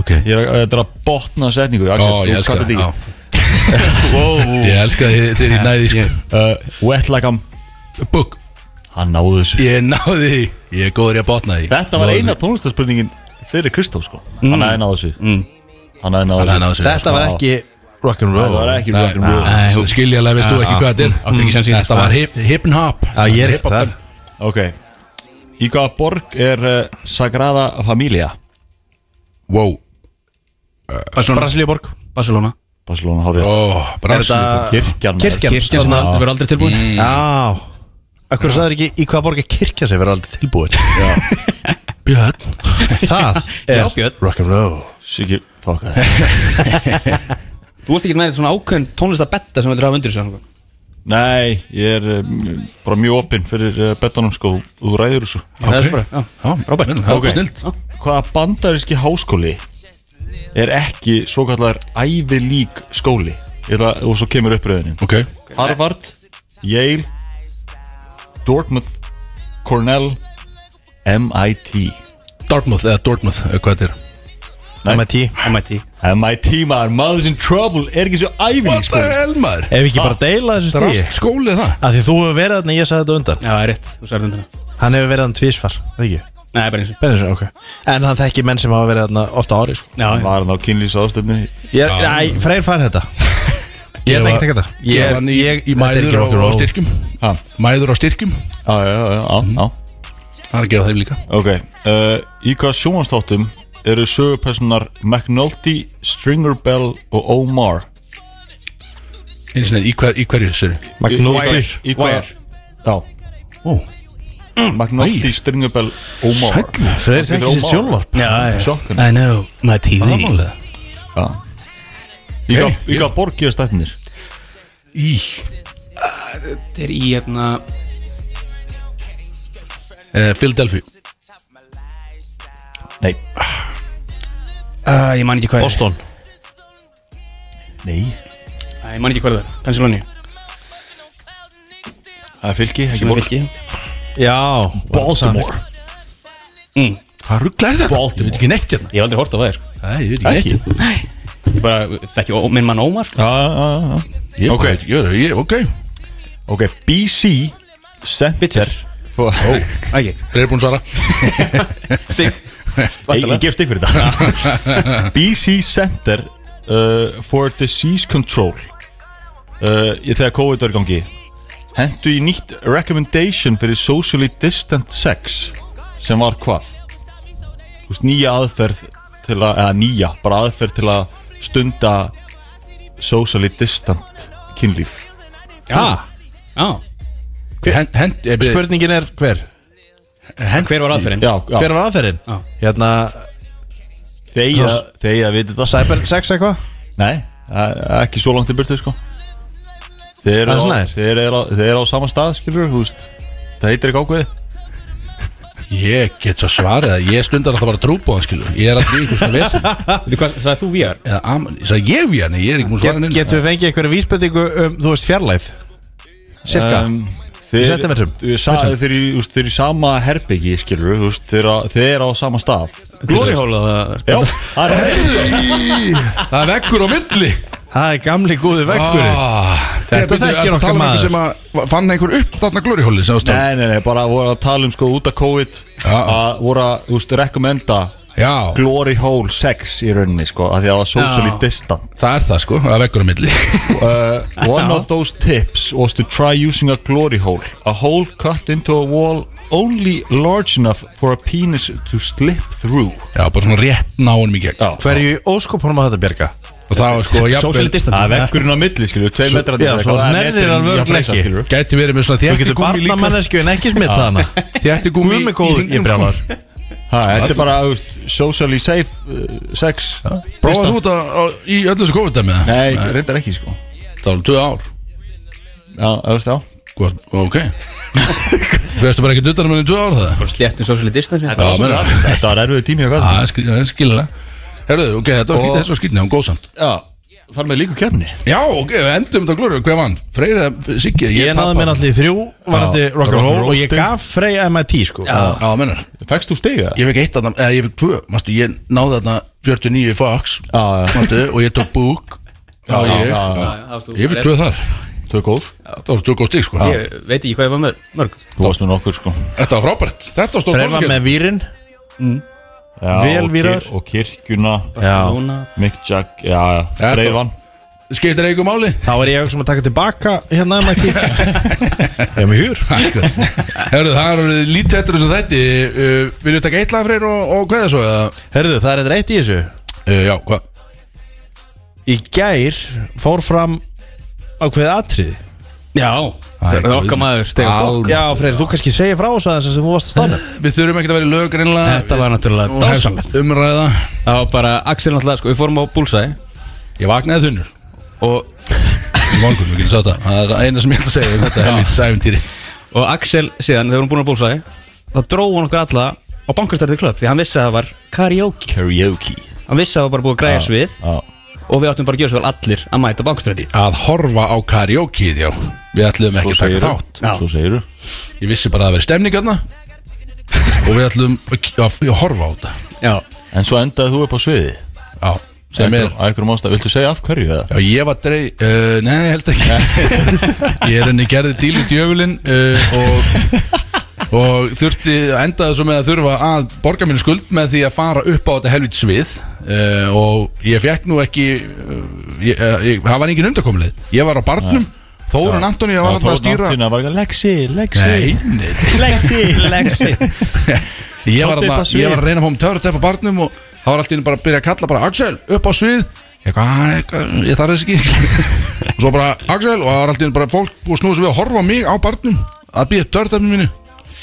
S3: Ok
S5: Ég er að, þetta er að botna setningu
S3: Ó,
S5: Axel, þú
S3: ég elska það
S5: kannt þetta
S3: já.
S5: ekki. wow.
S3: Ég elska það, þetta er í næði sko.
S5: uh, Wet like I'm
S3: Book
S5: Hann náðu þessu
S3: Ég náði því Ég er góður í að botna því
S5: Þetta var
S3: Náði
S5: eina
S3: því.
S5: tónlistarspurningin fyrir Kristóf sko Hann hefði náðu þessu mm. Hann hefði
S3: Hann
S5: náðu
S3: hefði náð þessu.
S12: Þetta var ekki Rock'n'roll
S5: Þetta var ekki
S3: Nei,
S5: rock'n'roll
S3: nei, þú Skiljaðlega veist þú ekki hvað þetta er
S6: Átti ekki séns í
S3: Mm,
S6: þessu.
S3: Þetta var hip- hip and hop
S12: Já, ég er
S3: Hip
S12: ekki
S3: hop
S12: þar
S5: Ok Í hvaða borg er uh, Sagrada Familia?
S3: Wow
S12: Brasilíuborg
S6: Barcelona
S5: Barcelona, hárið
S3: Ó,
S12: þetta-
S3: Brasilíu
S5: Kirkjan maður.
S12: Kirkjan
S6: Kirkjan sem
S12: þarna-
S6: það verður aldrei tilbúin
S12: Já Akkur sagður ekki í hvaða borg er kirkja sem verður aldrei tilbúin
S3: Björn
S12: Það
S6: Já,
S12: er
S6: Björn
S12: Rock'n'roll
S5: Siggi, fuck það
S6: Þú varst ekki með svona ákveðin tónlistabetta sem vildur hafa undir sig annað.
S5: Nei, ég er um, bara mjög opinn fyrir uh, betanum sko, þú ræður þessu
S6: Það er svo bara, já, Robert.
S3: Það var snilt
S5: Hvaða bandaríski háskóli er ekki svo kallar ævi lík skóli Ég ætla, og svo kemur uppröðinu
S3: Ok
S5: Harvard, Yale, Dortmouth, Cornell, MIT
S3: Dartmouth eða Dortmouth eða Hvað þetta er
S5: Nei.
S12: MIT
S6: MIT
S5: MIT maður, Mothers in Trouble er ekki svo ævi lík
S3: What the
S5: skóli
S3: hell maður
S12: Ef við ekki
S6: Ah.
S12: bara deila þessu
S3: Það er
S12: stíði
S3: allt skólið það
S12: Af því þú hefur verið þarna, ég sagði þetta á undan
S6: Já, það er rétt, þú sagði undir það
S12: Hann hefur verið þarna tvísvar, það ekki?
S6: Nei, bara eins og
S12: Benninsu, ok En hann þekki menn sem hafa verið þarna ofta ári sko.
S6: Já, já.
S5: Var hann á kynlýs ástöfni
S12: Ég er, æ, Freyr fær þetta Ég ætla ekki að taka þetta
S3: Ég
S12: er-
S3: var hann í,
S12: ég-
S3: í
S12: þetta er
S3: mæður á,
S12: ekki
S3: á
S12: rock'n'roll.
S3: styrkjum
S5: Ha,
S3: Mæður á styrkjum
S5: Já, já, já, já, já
S3: Það er að gefa þeim líka
S5: Ok, uh, í hvað sjónastáttum eru sögupersonar McNulty, Stringer Bell og Omar
S3: Einu sinni, í, hver, í hverju sér
S5: McNulty Í hvað
S6: Wire.
S5: Já, Mm.
S3: Ó,
S5: McNulty, Stringer Bell, Omar
S3: Sæll.
S12: Freyr þekki sér sjónvarp
S6: Já,
S5: Sjokkan.
S6: I know my TV
S3: það var málega
S5: Já Í hvað-
S3: Hey,
S5: í hvað borg gerast þættinir?
S3: Í
S6: Þetta er í hérna
S3: eh, Philadelphia
S5: Nei
S6: uh, Ég man ekki hvað er
S12: Boston
S5: Nei
S6: Æ, Ég man ekki hvað er það Pennsylvania
S5: Það er fylki, ekki
S6: Sem er
S5: borg
S6: vilki
S12: Já
S5: Baltimore
S6: mm.
S3: Hvað ruggla er þetta? Baltimore Ég veit ekki neitt hérna
S6: Ég hef aldrei hort á það sko.
S3: Nei, ég veit ekki neitt hérna.
S6: Ég bara þekki ó- minn mann Ómar
S5: Já, já, já, já
S3: Ég
S5: Ok.
S3: bara veit- ég veit- ég- Ok
S5: Ok, BC Center for-
S6: Ægir
S3: Þeir eru búin að svara
S6: Stig
S5: Ég ég gef stig fyrir það BC Center uh, for Disease Control uh, ég- Þegar COVID var í gangi Hentu í nýtt recommendation fyrir socially distant sex sem var hvað? Þú veist, nýja aðferð til að, eða nýja, bara aðferð til að stunda socially distant kynlíf
S6: Já Já
S3: Hent, hent, eh, byrju,
S12: Spurningin er hver?
S3: hent
S6: Hver var aðferðin?
S5: Já, já,
S12: Hver var aðferðin?
S6: Já.
S12: Hérna
S5: þegar, þegar við þetta sæ
S12: Cyber sex eitthvað?
S5: Nei, e- ekki svo langt í burtu sko Þeir eru
S12: Aðeins
S5: á,
S12: nær?
S5: þeir eru á, þeir eru á sama stað skilur þú veist Það heitir ekki ákveði
S3: Ég get svo svarið að ég stundar alltaf bara að trúpa á hann skilu Ég er alltaf í einhvers svona vesin
S6: Það er þú VR?
S3: Eða amen, ég sagði ég VR, nei ég er ekki múin að svara
S12: Get,
S3: neinu.
S12: Getum við fengið einhverju vísbendingu um, þú veist, fjarlæð? Cirka?
S5: Em,
S12: Í
S5: Ehm, Þeir,
S12: sentimetrum?
S5: Þeir- sa- þeir, í- þú veist, þeir eru í sama herbyggi skilur þú veist Þeir eru á- þeir eru á sama stað
S12: Glory hole,
S5: Já, það er
S3: Það er veggur á milli
S12: Það er gamli góði veggurinn
S3: Ah.
S12: Þetta þekkir okkar
S3: um
S12: maður
S3: sem að fann einhver upp þarna glórihóli sem þú stóð
S5: Nei, nei, nei, bara voru að tala um sko út af COVID að voru að, þú veist, rekomenda
S3: Já.
S5: Glory Hole 6 í rauninni sko, að því að það var socially
S3: Já.
S5: distant
S3: Það er það sko, það er veggur á milli
S5: uh, One of those tips was to try using a glory hole a hole cut into a wall only large enough for a penis to slip through
S3: Já, bara svona rétt náunum í gegn
S5: Já,
S12: Hverju óskopunum að þetta bjarga?
S3: Og það var sko jafnvel-
S5: Það er vekkurinn á milli, skilju, tvei
S12: Svo-
S5: metrar
S12: já, svo nerrir hann vörglega ekki.
S3: Gæti verið með svona
S12: Þú
S3: þjætti
S12: getur barnamannesku en ekki smitta hana
S3: Þjætti gummi
S12: Guð mig góður, ég brjálar
S5: Þetta
S3: Þetta
S5: er bara, þú veist, socially safe uh, sex
S3: Prófaðu þú þetta á- í öllu þessu COVID-dæmi eða?
S5: Nei, reyndar ekki, sko
S3: Það var alveg tvö ár
S5: Já, þú veist, já
S3: Hvað, ok Fyrstu bara ekki duttan um henni í tvö ár það
S6: Bara sléttum social distance
S3: Já, meina.
S5: Þetta var erfið tími og hvað
S3: Það er skil- það er skilina Herðu, ok, þetta var
S5: Og-
S3: skilina, þessu var skilina, hún góð samt
S5: Já, þar með líku kefni
S3: Já, ok, við endum þetta glóru, hver vann? Freyra, Siggi,
S12: Ég náði mér allir í þrjú varandi
S3: Já,
S12: rock'n'roll
S3: rock'n'roll
S12: og ég
S3: stig.
S12: gaf Freyja MIT sko
S3: Já, já mennar
S5: Fækst þú stiga?
S3: Ég fekk eitt þarna, eða ég fekk tvö Mastu, ég náði þarna 49 Fox
S5: Já, já.
S3: Mastu, og ég tók búk Já,
S5: Já,
S3: ég
S5: já, já, já.
S3: Ég fekk tvö þar
S5: Tvö góð
S3: Það var tvö góð stig, sko
S6: Ég veit ekki hvað ég var með mörg
S5: Þú varst með nokkur sko
S3: Þetta var frábært Þetta var stór
S12: Freyja var
S3: kostur.
S12: með výrin
S5: já,
S12: Vel
S5: og
S12: vírar.
S5: kir- Og kirkjuna
S12: Já.
S5: Mick Jack Já, já
S3: Þetta-
S5: Breiðvann
S3: Skiptir eigu máli
S12: Þá er ég auðvitað sem að taka tilbaka hérna MIT Ég er með hjúr
S3: sko. Herðu, það eru lítið eftir þessu þætti uh, Viljum við taka eitt lag fyrir og, og hvað er svo? eða?
S12: Herðu, það er eitthvað eitt í þessu
S3: Uh, já, hvað?
S12: Í gær fór fram ákveðið atriði
S6: Já, það er okkar maður Stegar Stokk
S12: Já, Freyr, þú kannski segir frá þessu aðeins sem þú varst að um. stanna
S3: Við þurfum ekkert að vera í lög greinlega
S6: Þetta var náttúrulega
S3: Og hefst
S6: dásamlegt
S3: Umræða
S6: Það var bara Axel náttúrulega sko Við fórum á búlsæ
S3: Ég vaknaði þunnur
S6: Og,
S3: Í morgun, við getum sagt það Það er eina sem ég ætla að segja um Þetta er lítið sæfintýri
S6: og Axel síðan Þegar við vorum búin á búlsæ Það dróði hann okkur alla Á bankastartu klub Því hann vissi að það var karaoke
S5: Karaoke
S6: Hann vissi að það var bara búið að græja svið
S5: Já
S6: Og við áttum bara að gjöra svo vel allir Að mæta bankastræti
S3: Að horfa á karaoke, já Við ætlum ekki
S5: Svo
S3: að
S5: segirðu.
S3: taka þátt
S6: Já.
S5: Svo segir þú
S3: Ég vissi bara að það veri stemning aðna Og við ætlum að, að, að horfa á þetta
S6: Já,
S5: En svo endaði þú upp á sviði
S3: Já, sem er
S5: Ægur um ástæð Viltu segja af hverju eða?
S3: Já, ég var drey uh, Nei, held ekki Ég er henni gerði díl í djöfulinn uh, og, og þurfti endaði svo með að þurfa að borga minn skuld með því að fara upp á þetta helvít svið uh, og ég fekk nú ekki uh, ég, uh, ég, það var engin undakomlið ég var á barnum, Þórun Antoni var alltaf að stýra
S5: Það var ekki Lexi, Lexi
S3: Nei, nei
S5: Lexi
S6: Lexi
S3: ég var,
S5: Komdu upp á
S3: að,
S5: svið.
S3: ég var að reyna að fá um törut upp á barnum og þá var alltaf bara að byrja að kalla bara Axel upp á svið ég, hvað, hvað, ég þarf þess ekki og svo bara Axel og það var alltaf bara fólk búið að snúið sem við að horfa á mig á barnum að býja törut upp mínu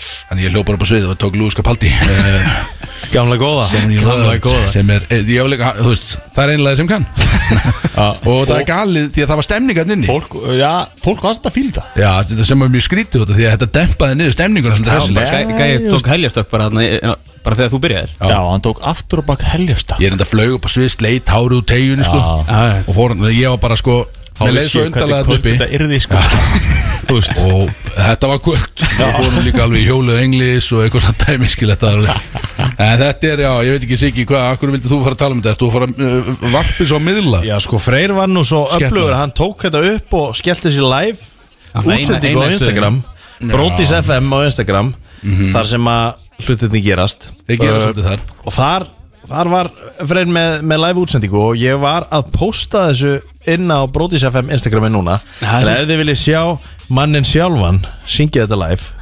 S3: þannig ég hljóð bara upp á svið og tók Lúiska Paldi eh,
S12: Gamla góða
S3: sem, ég loved, sem er, eh, ég afleika, þú veist, það er einlega sem kann og það er galið því að það var stemningarn inni
S5: Fólk, já, fólk var alltaf að fíla það
S3: Já, þetta sem var mjög skrítið út af því að þetta dempaði niður stemninguna svolítið
S6: það var
S3: hressilega.
S6: bara Gæði tók heljastökk bara þarna eh, Bara þegar þú byrjaðir
S3: Já.
S5: Já, hann tók aftur og bak heljastak
S3: Ég er enda flög upp á svið, sleit, hárið úr tegjunni sko
S6: Já.
S3: Og fór, ég var bara sko Mér leið svo undarlega þetta uppi
S5: Þetta yrði sko Þú veist
S3: Og þetta var kvöld Við fórum líka alveg í hjólið englis og eitthvað svona dæmiskil Þetta var alveg En þetta er, já, ég veit ekki Siggi, hvað, akkur vildi þú fara að tala um þetta Ertu að fara uh, varpið svo á miðla
S12: Já, sko, Freyr var nú svo
S3: Skellur.
S12: öflugur Hann tók þetta upp og skellti sér live
S6: Hann var eina-
S12: Útsendingu
S6: eina
S12: á
S6: í
S12: Instagram Brotis FM á Instagram
S6: Mhm.
S12: Þar sem að hlutinni gerast
S3: Þeir gera
S12: Uh,
S3: svolítið þar
S12: Og þar, þar var Freyr með, með live útsendingu Og ég var að posta þessu inn á Brotis FM Instagrami núna
S6: Það er
S12: En
S6: svo-
S12: ef þið viljið sjá mannin sjálfan Syngja þetta live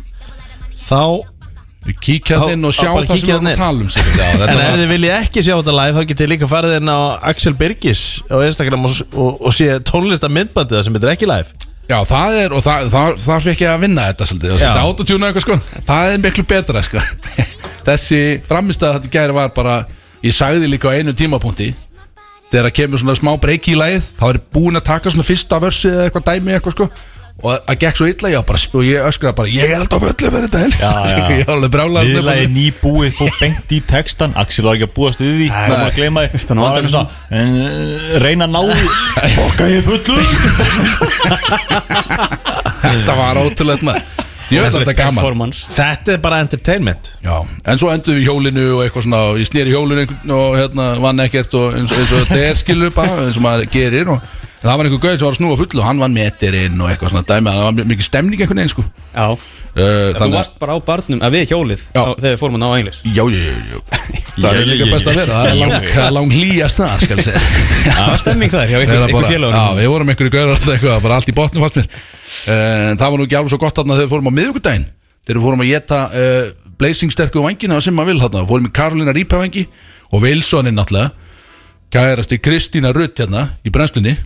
S12: Þá
S3: Við kíkja
S12: Þá-
S3: hann inn og
S12: þá
S3: sjá
S12: bara
S3: það sem
S12: kíkja
S3: við erum
S12: þarna
S3: að tala um Siggi. Já,
S12: En
S3: þetta
S12: ef
S3: var
S12: þið viljið ekki sjá þetta live þá getið þið líka farið inn á Axel Birgis á Instagram og, og, og sé tónlista myndbandið sem þetta er ekki live
S3: Já, það er, og það, það, það fikk ég að vinna þetta svolítið og setja
S12: Já.
S3: autotune og eitthvað sko það er miklu betra sko þessi framistæða þetta gæri var bara ég sagði líka á einu tímapunkti þegar það kemur svona smá breyki í lagið þá er ég búinn að taka svona fyrsta versi eða eitthvað dæmi eitthvað sko og það gekk svo illa ég var bara og ég öskraði bara ég er alltaf öllu fyrir þetta Elís." ég var alveg brjálaður með
S5: Viðlagi
S3: bara-
S5: nýbúið fór beint í textan Axel var ekki að búast við því Það var að gleyma því Það var eitthvað svona en, eh, Reyna að ná því Fokka ég er fullur
S3: Þetta var ótrúlegt maður Ég veit að þetta er gaman
S12: Þetta er bara entertainment
S3: Já, en svo endur við í hjólinu og eitthvað svona og ég snýri hjólinu einhvern og hérna vann ekkert og eins, eins og þetta er skilu bara eins og maður gerir og en það var einhver gauð sem var að snúa fullu og hann vann metirinn og eitthvað svona dæmi það var mjög- mikið stemning einhvern veginn sko
S6: Já uh, Þú
S3: Þannig að
S6: varst bara á barnum, að við hjólið á, Þegar við fórum að ná englis
S3: Já, já, já, já það er líka best að vera það er lang, það er lang hlýjast það skal ég segja
S6: Það var stemning þar hjá ykkur-
S3: Þegar
S6: ykkur
S3: bara-
S6: félagunum.
S3: Já, við vorum einhverju gaurar þarna eitthvað, bara allt í botnum fannst mér En það var nú ekki alveg svo gott þarna þegar við fórum á miðvikudaginn Þegar við fórum að geta uh, blazing sterku vangina sem maður vil þarna Fórum í Karolina Rípavengi og Wilsonin náttúrulega Kærasti Kristína Rutt hérna í brennslunni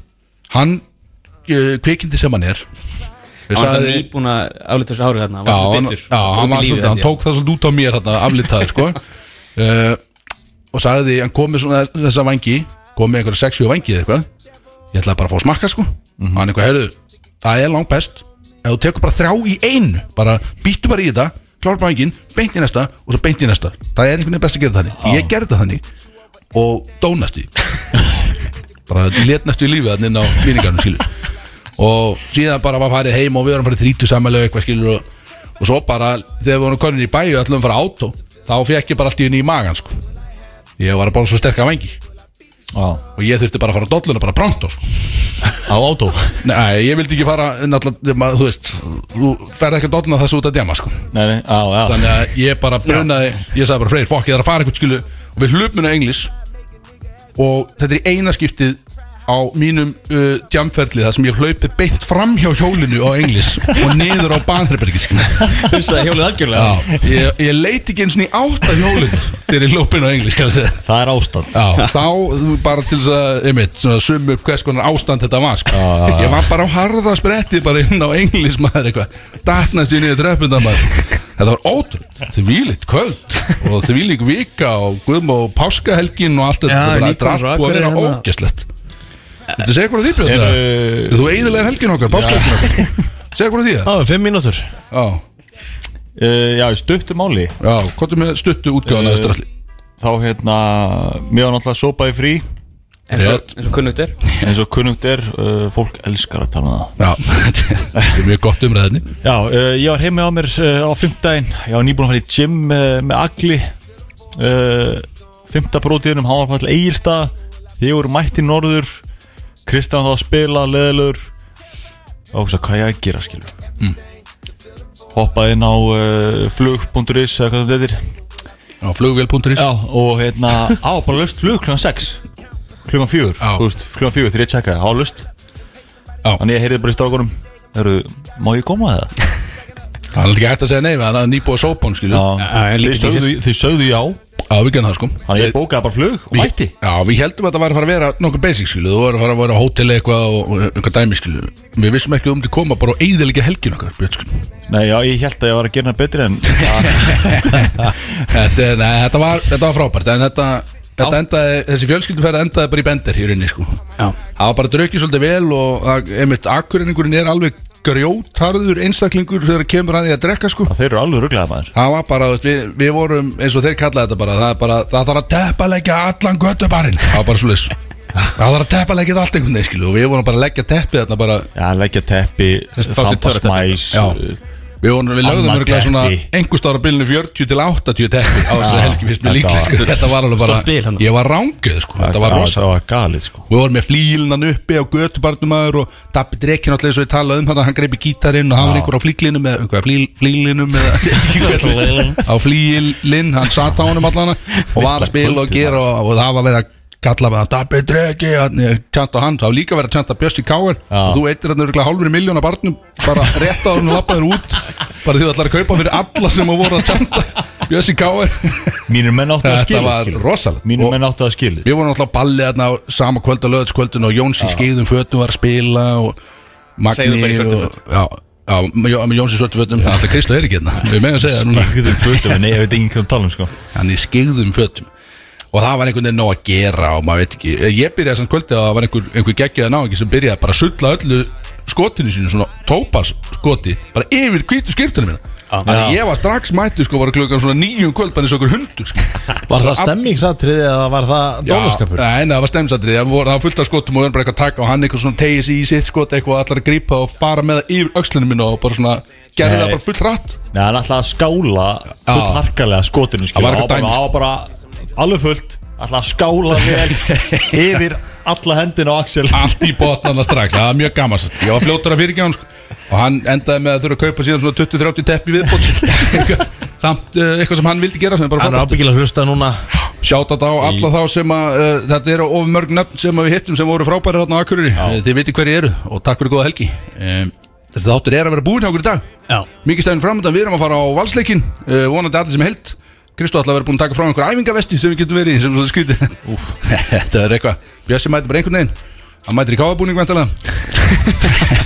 S3: Hann uh, kvikindi sem hann er Ég
S6: Hann var
S3: sagði-
S6: það nýbúin að álita þessu árið þarna
S3: Já,
S6: Var
S3: hann,
S6: það
S3: já, hann, var svolítið, hann tók það svolítið út á mér hérna, aflitaði sko uh, og sagði hann kom með svona þessa vangi kom með einhverja 60 vangi eða eitthvað ég ætlaði bara að fá að smakka sko hann eitthvað, heyrðu, það er langt best ef þú tekur bara þrjá í einu bara býttu bara í þetta, klára bara vangin beint í næsta og svo beint í næsta það er einhvern veginn best að gera það þannig, ég gerði það þannig og dónast í bara letnastu í lífið þannig inn á míningarnum skilur og síðan bara var farið heim og við varum farið þrítu samanlega eitthvað skilur og, og svo bara þegar við vorum konin í bæju ætlum við að fara á átó þá fekk ég bara allt í henni í magan sko ég var bara svo sterk af vengi
S5: Á.
S3: og ég þurfti bara að fara á dolluna bara prompt á sko
S5: Á átó?
S3: Nei, ég vildi ekki fara náttúrulega, ma- þú veist, þú ferð ekki að dolluna þessu út að djama sko
S5: Nei, nei, á, á
S3: þannig að ég bara brunaði ég sagði bara freyr, fokk, ég þarf að fara eitthvað skilu og við hlupum inn á englis og þetta er í eina skiptið á mínum uh, jamferli þar sem ég hlaupið beint fram hjá hjólinu á englis og niður á banherbergi
S6: Hunsaði hjólið algjörlega
S3: Já, ég, ég leiti ekki eins og í átt að hjólinu þegar ég hlupin á englis það
S5: er ástand
S3: Já, þá þú- bara til þess að, einmitt, svona summa upp hvers konar ástand þetta var sko.
S5: já, já.
S3: Ég var bara á harða spretti bara inn á englis maður eitthvað Datnast ég niður tröppunda maður Þetta var ótrúð, þvílitt kvöld og þvílík vika og guðm og páskahelgin og allt þetta
S5: Já,
S3: Þetta bara-
S5: nýkomin
S3: Þetta er
S5: frá
S3: allt búið að
S5: Akureyri
S3: vera
S5: hérna.
S3: ógæslegt Þetta segja hvað því Björn
S5: Eru-
S3: eða? Þú eiðilegar helgin okkar, páskahelgin okkar Segja hvað því það?
S12: Já, fimm mínútur
S3: Já
S5: Uh, já, í stuttu máli
S3: Já, hvað er með stuttu útgáfuna eða stralli?
S5: Þá hérna, mér var náttúrulega sopaði frí
S6: Eins og- Rétt. eins og kunnugt er.
S5: Eins og kunnugt er, uh, fólk elskar að tala um
S3: það Já, þetta er mjög gott umræðinni
S5: Já, uh, ég var heimi á mér uh, á fimmtdægin Ég var nýbúin að fara í gym uh, með Agli uh, Fimmta brótiðunum, hann var bara til Egilstað Þið voru mætti norður Kristján þá að spila, leðilegur Og hugsa, hvað ég að gera, skilur
S3: Mm.
S5: Hoppaði inn á uh, flug.is eða hvað þetta heitir
S3: Á flugvél.is
S5: Já, og hérna, á, bara löst flug klukkan 6 Klukkan 4, þú veist, klukkan 4 þegar ég tjekkaði, á löst
S3: Já
S5: Þannig ég heyrði bara í strákunum Hörru, má ég koma að það?
S3: Það er ekki hægt að segja nei, það er nýbúið að sópa hún, skilju
S5: Þið sögðu, þið sögðu já
S3: Já, við genum það, sko
S5: Þannig ég bókaði bara flug og
S3: Við-
S5: mætti
S3: Já, við heldum að það væri að fara að vera nokkuð basic, skilju Þú væri að fara að vera á hótel eitthvað og og eitthvað dæmi, skilju Við vissum ekki um til að koma bara og eigðilega helgin okkar, björn, skilju
S5: Nei, já, ég held að ég var að gera það betri en
S3: þetta, er- nei, þetta, var, þetta var frábært, en þetta, þetta endaði, þessi fjölskylduferð endaði bara í bender hér inni, sko Já Það var bara draukið svolítið vel og það- einmitt akkurreiningurinn er alveg grjótarður einstaklingur þegar kemur að því að drekka, sko
S5: Þeir eru alveg rugglega maður
S3: Það var bara, þú veist, við, við vorum eins og þeir kallaði þetta bara, það er bara, það þarf að teppalegja allan göttubarinn Það var bara svolítið Það þarf að teppalegja þetta allt einhvern veginn, skilu og við vorum bara að leggja teppið þarna bara
S5: Já, leggja teppi, þamba smæs
S3: Já, við, vorum, við lögðum
S5: Annað
S3: örgulega svona
S5: teppi.
S3: einhver stára bilinu 40 til 80 teppi á þessari
S5: Já,
S3: helgi fyrst
S5: þetta
S3: með líklega,
S5: var-
S3: sko Þetta var alveg
S5: Stórt bil
S3: bara,
S5: þarna.
S3: ég var rángið, sko Þetta var rosa
S5: Þetta var galið, sko
S3: Við vorum með flílinan uppi á götubarnumæður og Dabbi Drekkin alltaf eins og ég talaði um þetta hann greipi gítarinn og hann var einhver á flíklinum eða einhver flíl, flílinum eða ég veit ekki hvað þetta er. á flílinn, hann sat á honum allan og var að spila og gera og, og það var verið að kalla með að Dabbi Drekki tjanta á hann, það var líka verið að tjanta Bjössi Káir og þú eittir hann örgulega hálfur miljón af barnum bara rétt á hann og lappa þér út bara því þú ætlar að kaupa fyrir alla sem að voru að tjanta Bjössi Káir
S5: Mínir menn áttu að
S3: Þetta
S5: skilja
S3: var rosalegt
S5: Mínir menn áttu að skilja
S3: Við vorum alltaf ballið þarna á sama kvöld og löðskvöldun og Jóns í skeiðum fötum var að spila og Magni
S6: Segðu bara í svörtum
S3: og- Já, já, með Jó- með Jóns í svörtum fötum Það er alltaf Kristó er ekki hérna Við meðum að segja það núna
S5: Skiljuðum fötum, en nei, ég veit ekki hvað um talum, sko
S3: Hann er í skeiðum fötum og það var einhvern veginn nóg að gera og maður veit ekki, Eh, ég byrjaði samt kvöldi að það var einhver, einhver geggjaði náingi sem byrjaði bara að sulla öllu skotinu sínu, svona tópas skoti, bara yfir hvítu skirtunum minna Þannig að
S12: Já.
S3: ég var strax mættu sko, var klukkan svona nýjum kvöld bara eins og okkur hundur sko.
S12: Var það stemmingsatriði eða var það dólaskapur?
S3: Já, nei, það var stemnsatri Það voru- það var fullt af skotum og verður bara eitthvað að taka og hann eitthvað svona tegið sig í sitt skot eitthvað allar að grípa og fara með það yfir öxlunum minna og bara svona gerði
S5: Nei.
S3: það bara fullt rætt
S5: Nei, hann ætlaði að skála
S3: Já.
S5: full harkalega skotinu
S3: Það var
S5: skilur,
S3: eitthvað
S5: bara,
S3: dæmi, sko.
S5: á bara alveg fullt ætlaði að skála vel yfir alla hendina á Axel
S3: Allt í botnana strax, það var mjög gaman satt. Ég var fljótur að fyrirgjá hann sko. og hann endaði með að þurfa að kaupa síðan svona 20-30 teppi viðbót Eitthvað- samt uh, eitthvað sem hann vildi gera sem er bara
S12: Hann er
S3: frábært.
S12: ábyggilega að hlusta núna
S3: Sjáta þetta á alla þá sem að uh, þetta eru of mörg nöfn sem að við hittum sem voru frábæri hérna á Akureyri Eh, Þið veitir hverju eru og takk fyrir góða helgi um, Þessi þáttur er að vera búin hjá okkur í dag Já. Mikið stæðin framöndan, við erum að fara á valsleikin uh, vonandi allir sem held Kristó ætla að vera búin að taka frá einhver æfingavesti sem við getum verið í sem svo skrítið Úf, þetta er eitthvað Bjössi mætir bara einhvern veginn Hann mætir í káabúning vantalega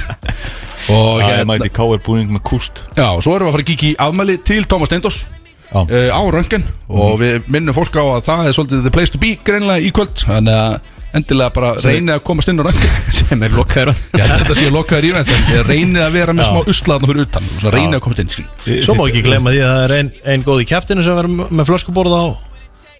S3: Og
S5: Það er
S3: hérna-
S5: mæti káir búning með kúst
S3: Já, og svo erum við að fara að kíkja í afmæli til Tómas Steindors uh, á röngan
S12: Mhm.
S3: og við minnum fólk á að það er svolítið the place to be greinlega í kvöld þannig að endilega bara
S6: Sem-
S3: reynið að komast inn á röngan
S6: sem er lokkaður
S3: Já, þetta séu lokaður í röngan reynið að vera með
S12: Já.
S3: smá usla þarna fyrir utan og reynið að komast inn skil.
S12: Svo má ekki glemma því að það er ein, ein góð í kæftinu sem verður með flöskuborð á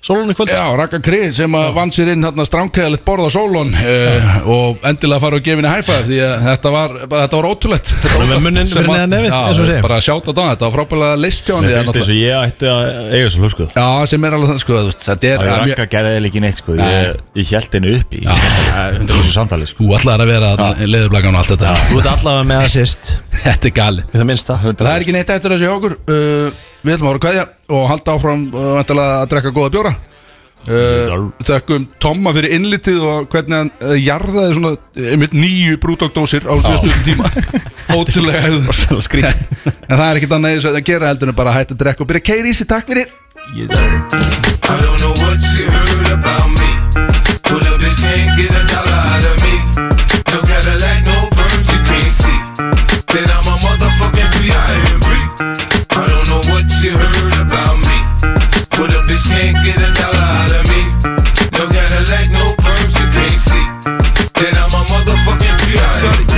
S12: sólunni kvöld
S3: Já, Raka Krið sem að vann sér inn hérna stránkæðalegt borð á sólun uh, og endilega fara og gefa henni hæfa því að þetta var, bara, þetta var ótrúlegt Þetta var
S12: með munninn
S3: sem
S12: fyrir
S3: að-
S12: neðan nefið,
S3: Já,
S12: eins og við segjum.
S3: Bara sjáta þetta, þetta var frábælega list hjá
S5: Mér
S3: henni
S5: finnst eins og ég ætti að eiga sem hlöskuð
S3: Já, sem er alveg það sko, þú veist, þetta er
S5: Það er
S3: það er mjög-
S5: rakka gerði eða ekki neitt sko Ég, ég held henni upp í þessu samtali sko
S3: Þú ætlaðir að vera leðurblagan og allt þetta
S12: Þú ert allavega með assist
S3: Þetta er galið
S12: Í það minnsta
S3: Það er ekki neitt eftir þessu hjá okkur uh, Við ætlum að voru kvæðja og halda áfram uh, væntanlega að drekka góða bjóra uh, Þökkum Tomma fyrir innlitið og hvernig hann uh, jarðaði svona uh, einmitt nýju brúdókdósir á þessum tíma Ótrúlega hefðu En það er ekkit annað eins að gera heldur en bara að hætta að drekka og byrja að keira í sig Takk fyrir
S13: I don't know what you heard about me. Pull up this can't get a dollar out of me. No Cadillac, no perms you can't see. Then I'm a motherfucking B.I.M.B. I don't know what you heard about me. Pull up this can't get a dollar out of me. No Cadillac, no perms you can't see. Then I'm a motherfucking B.I.M.B.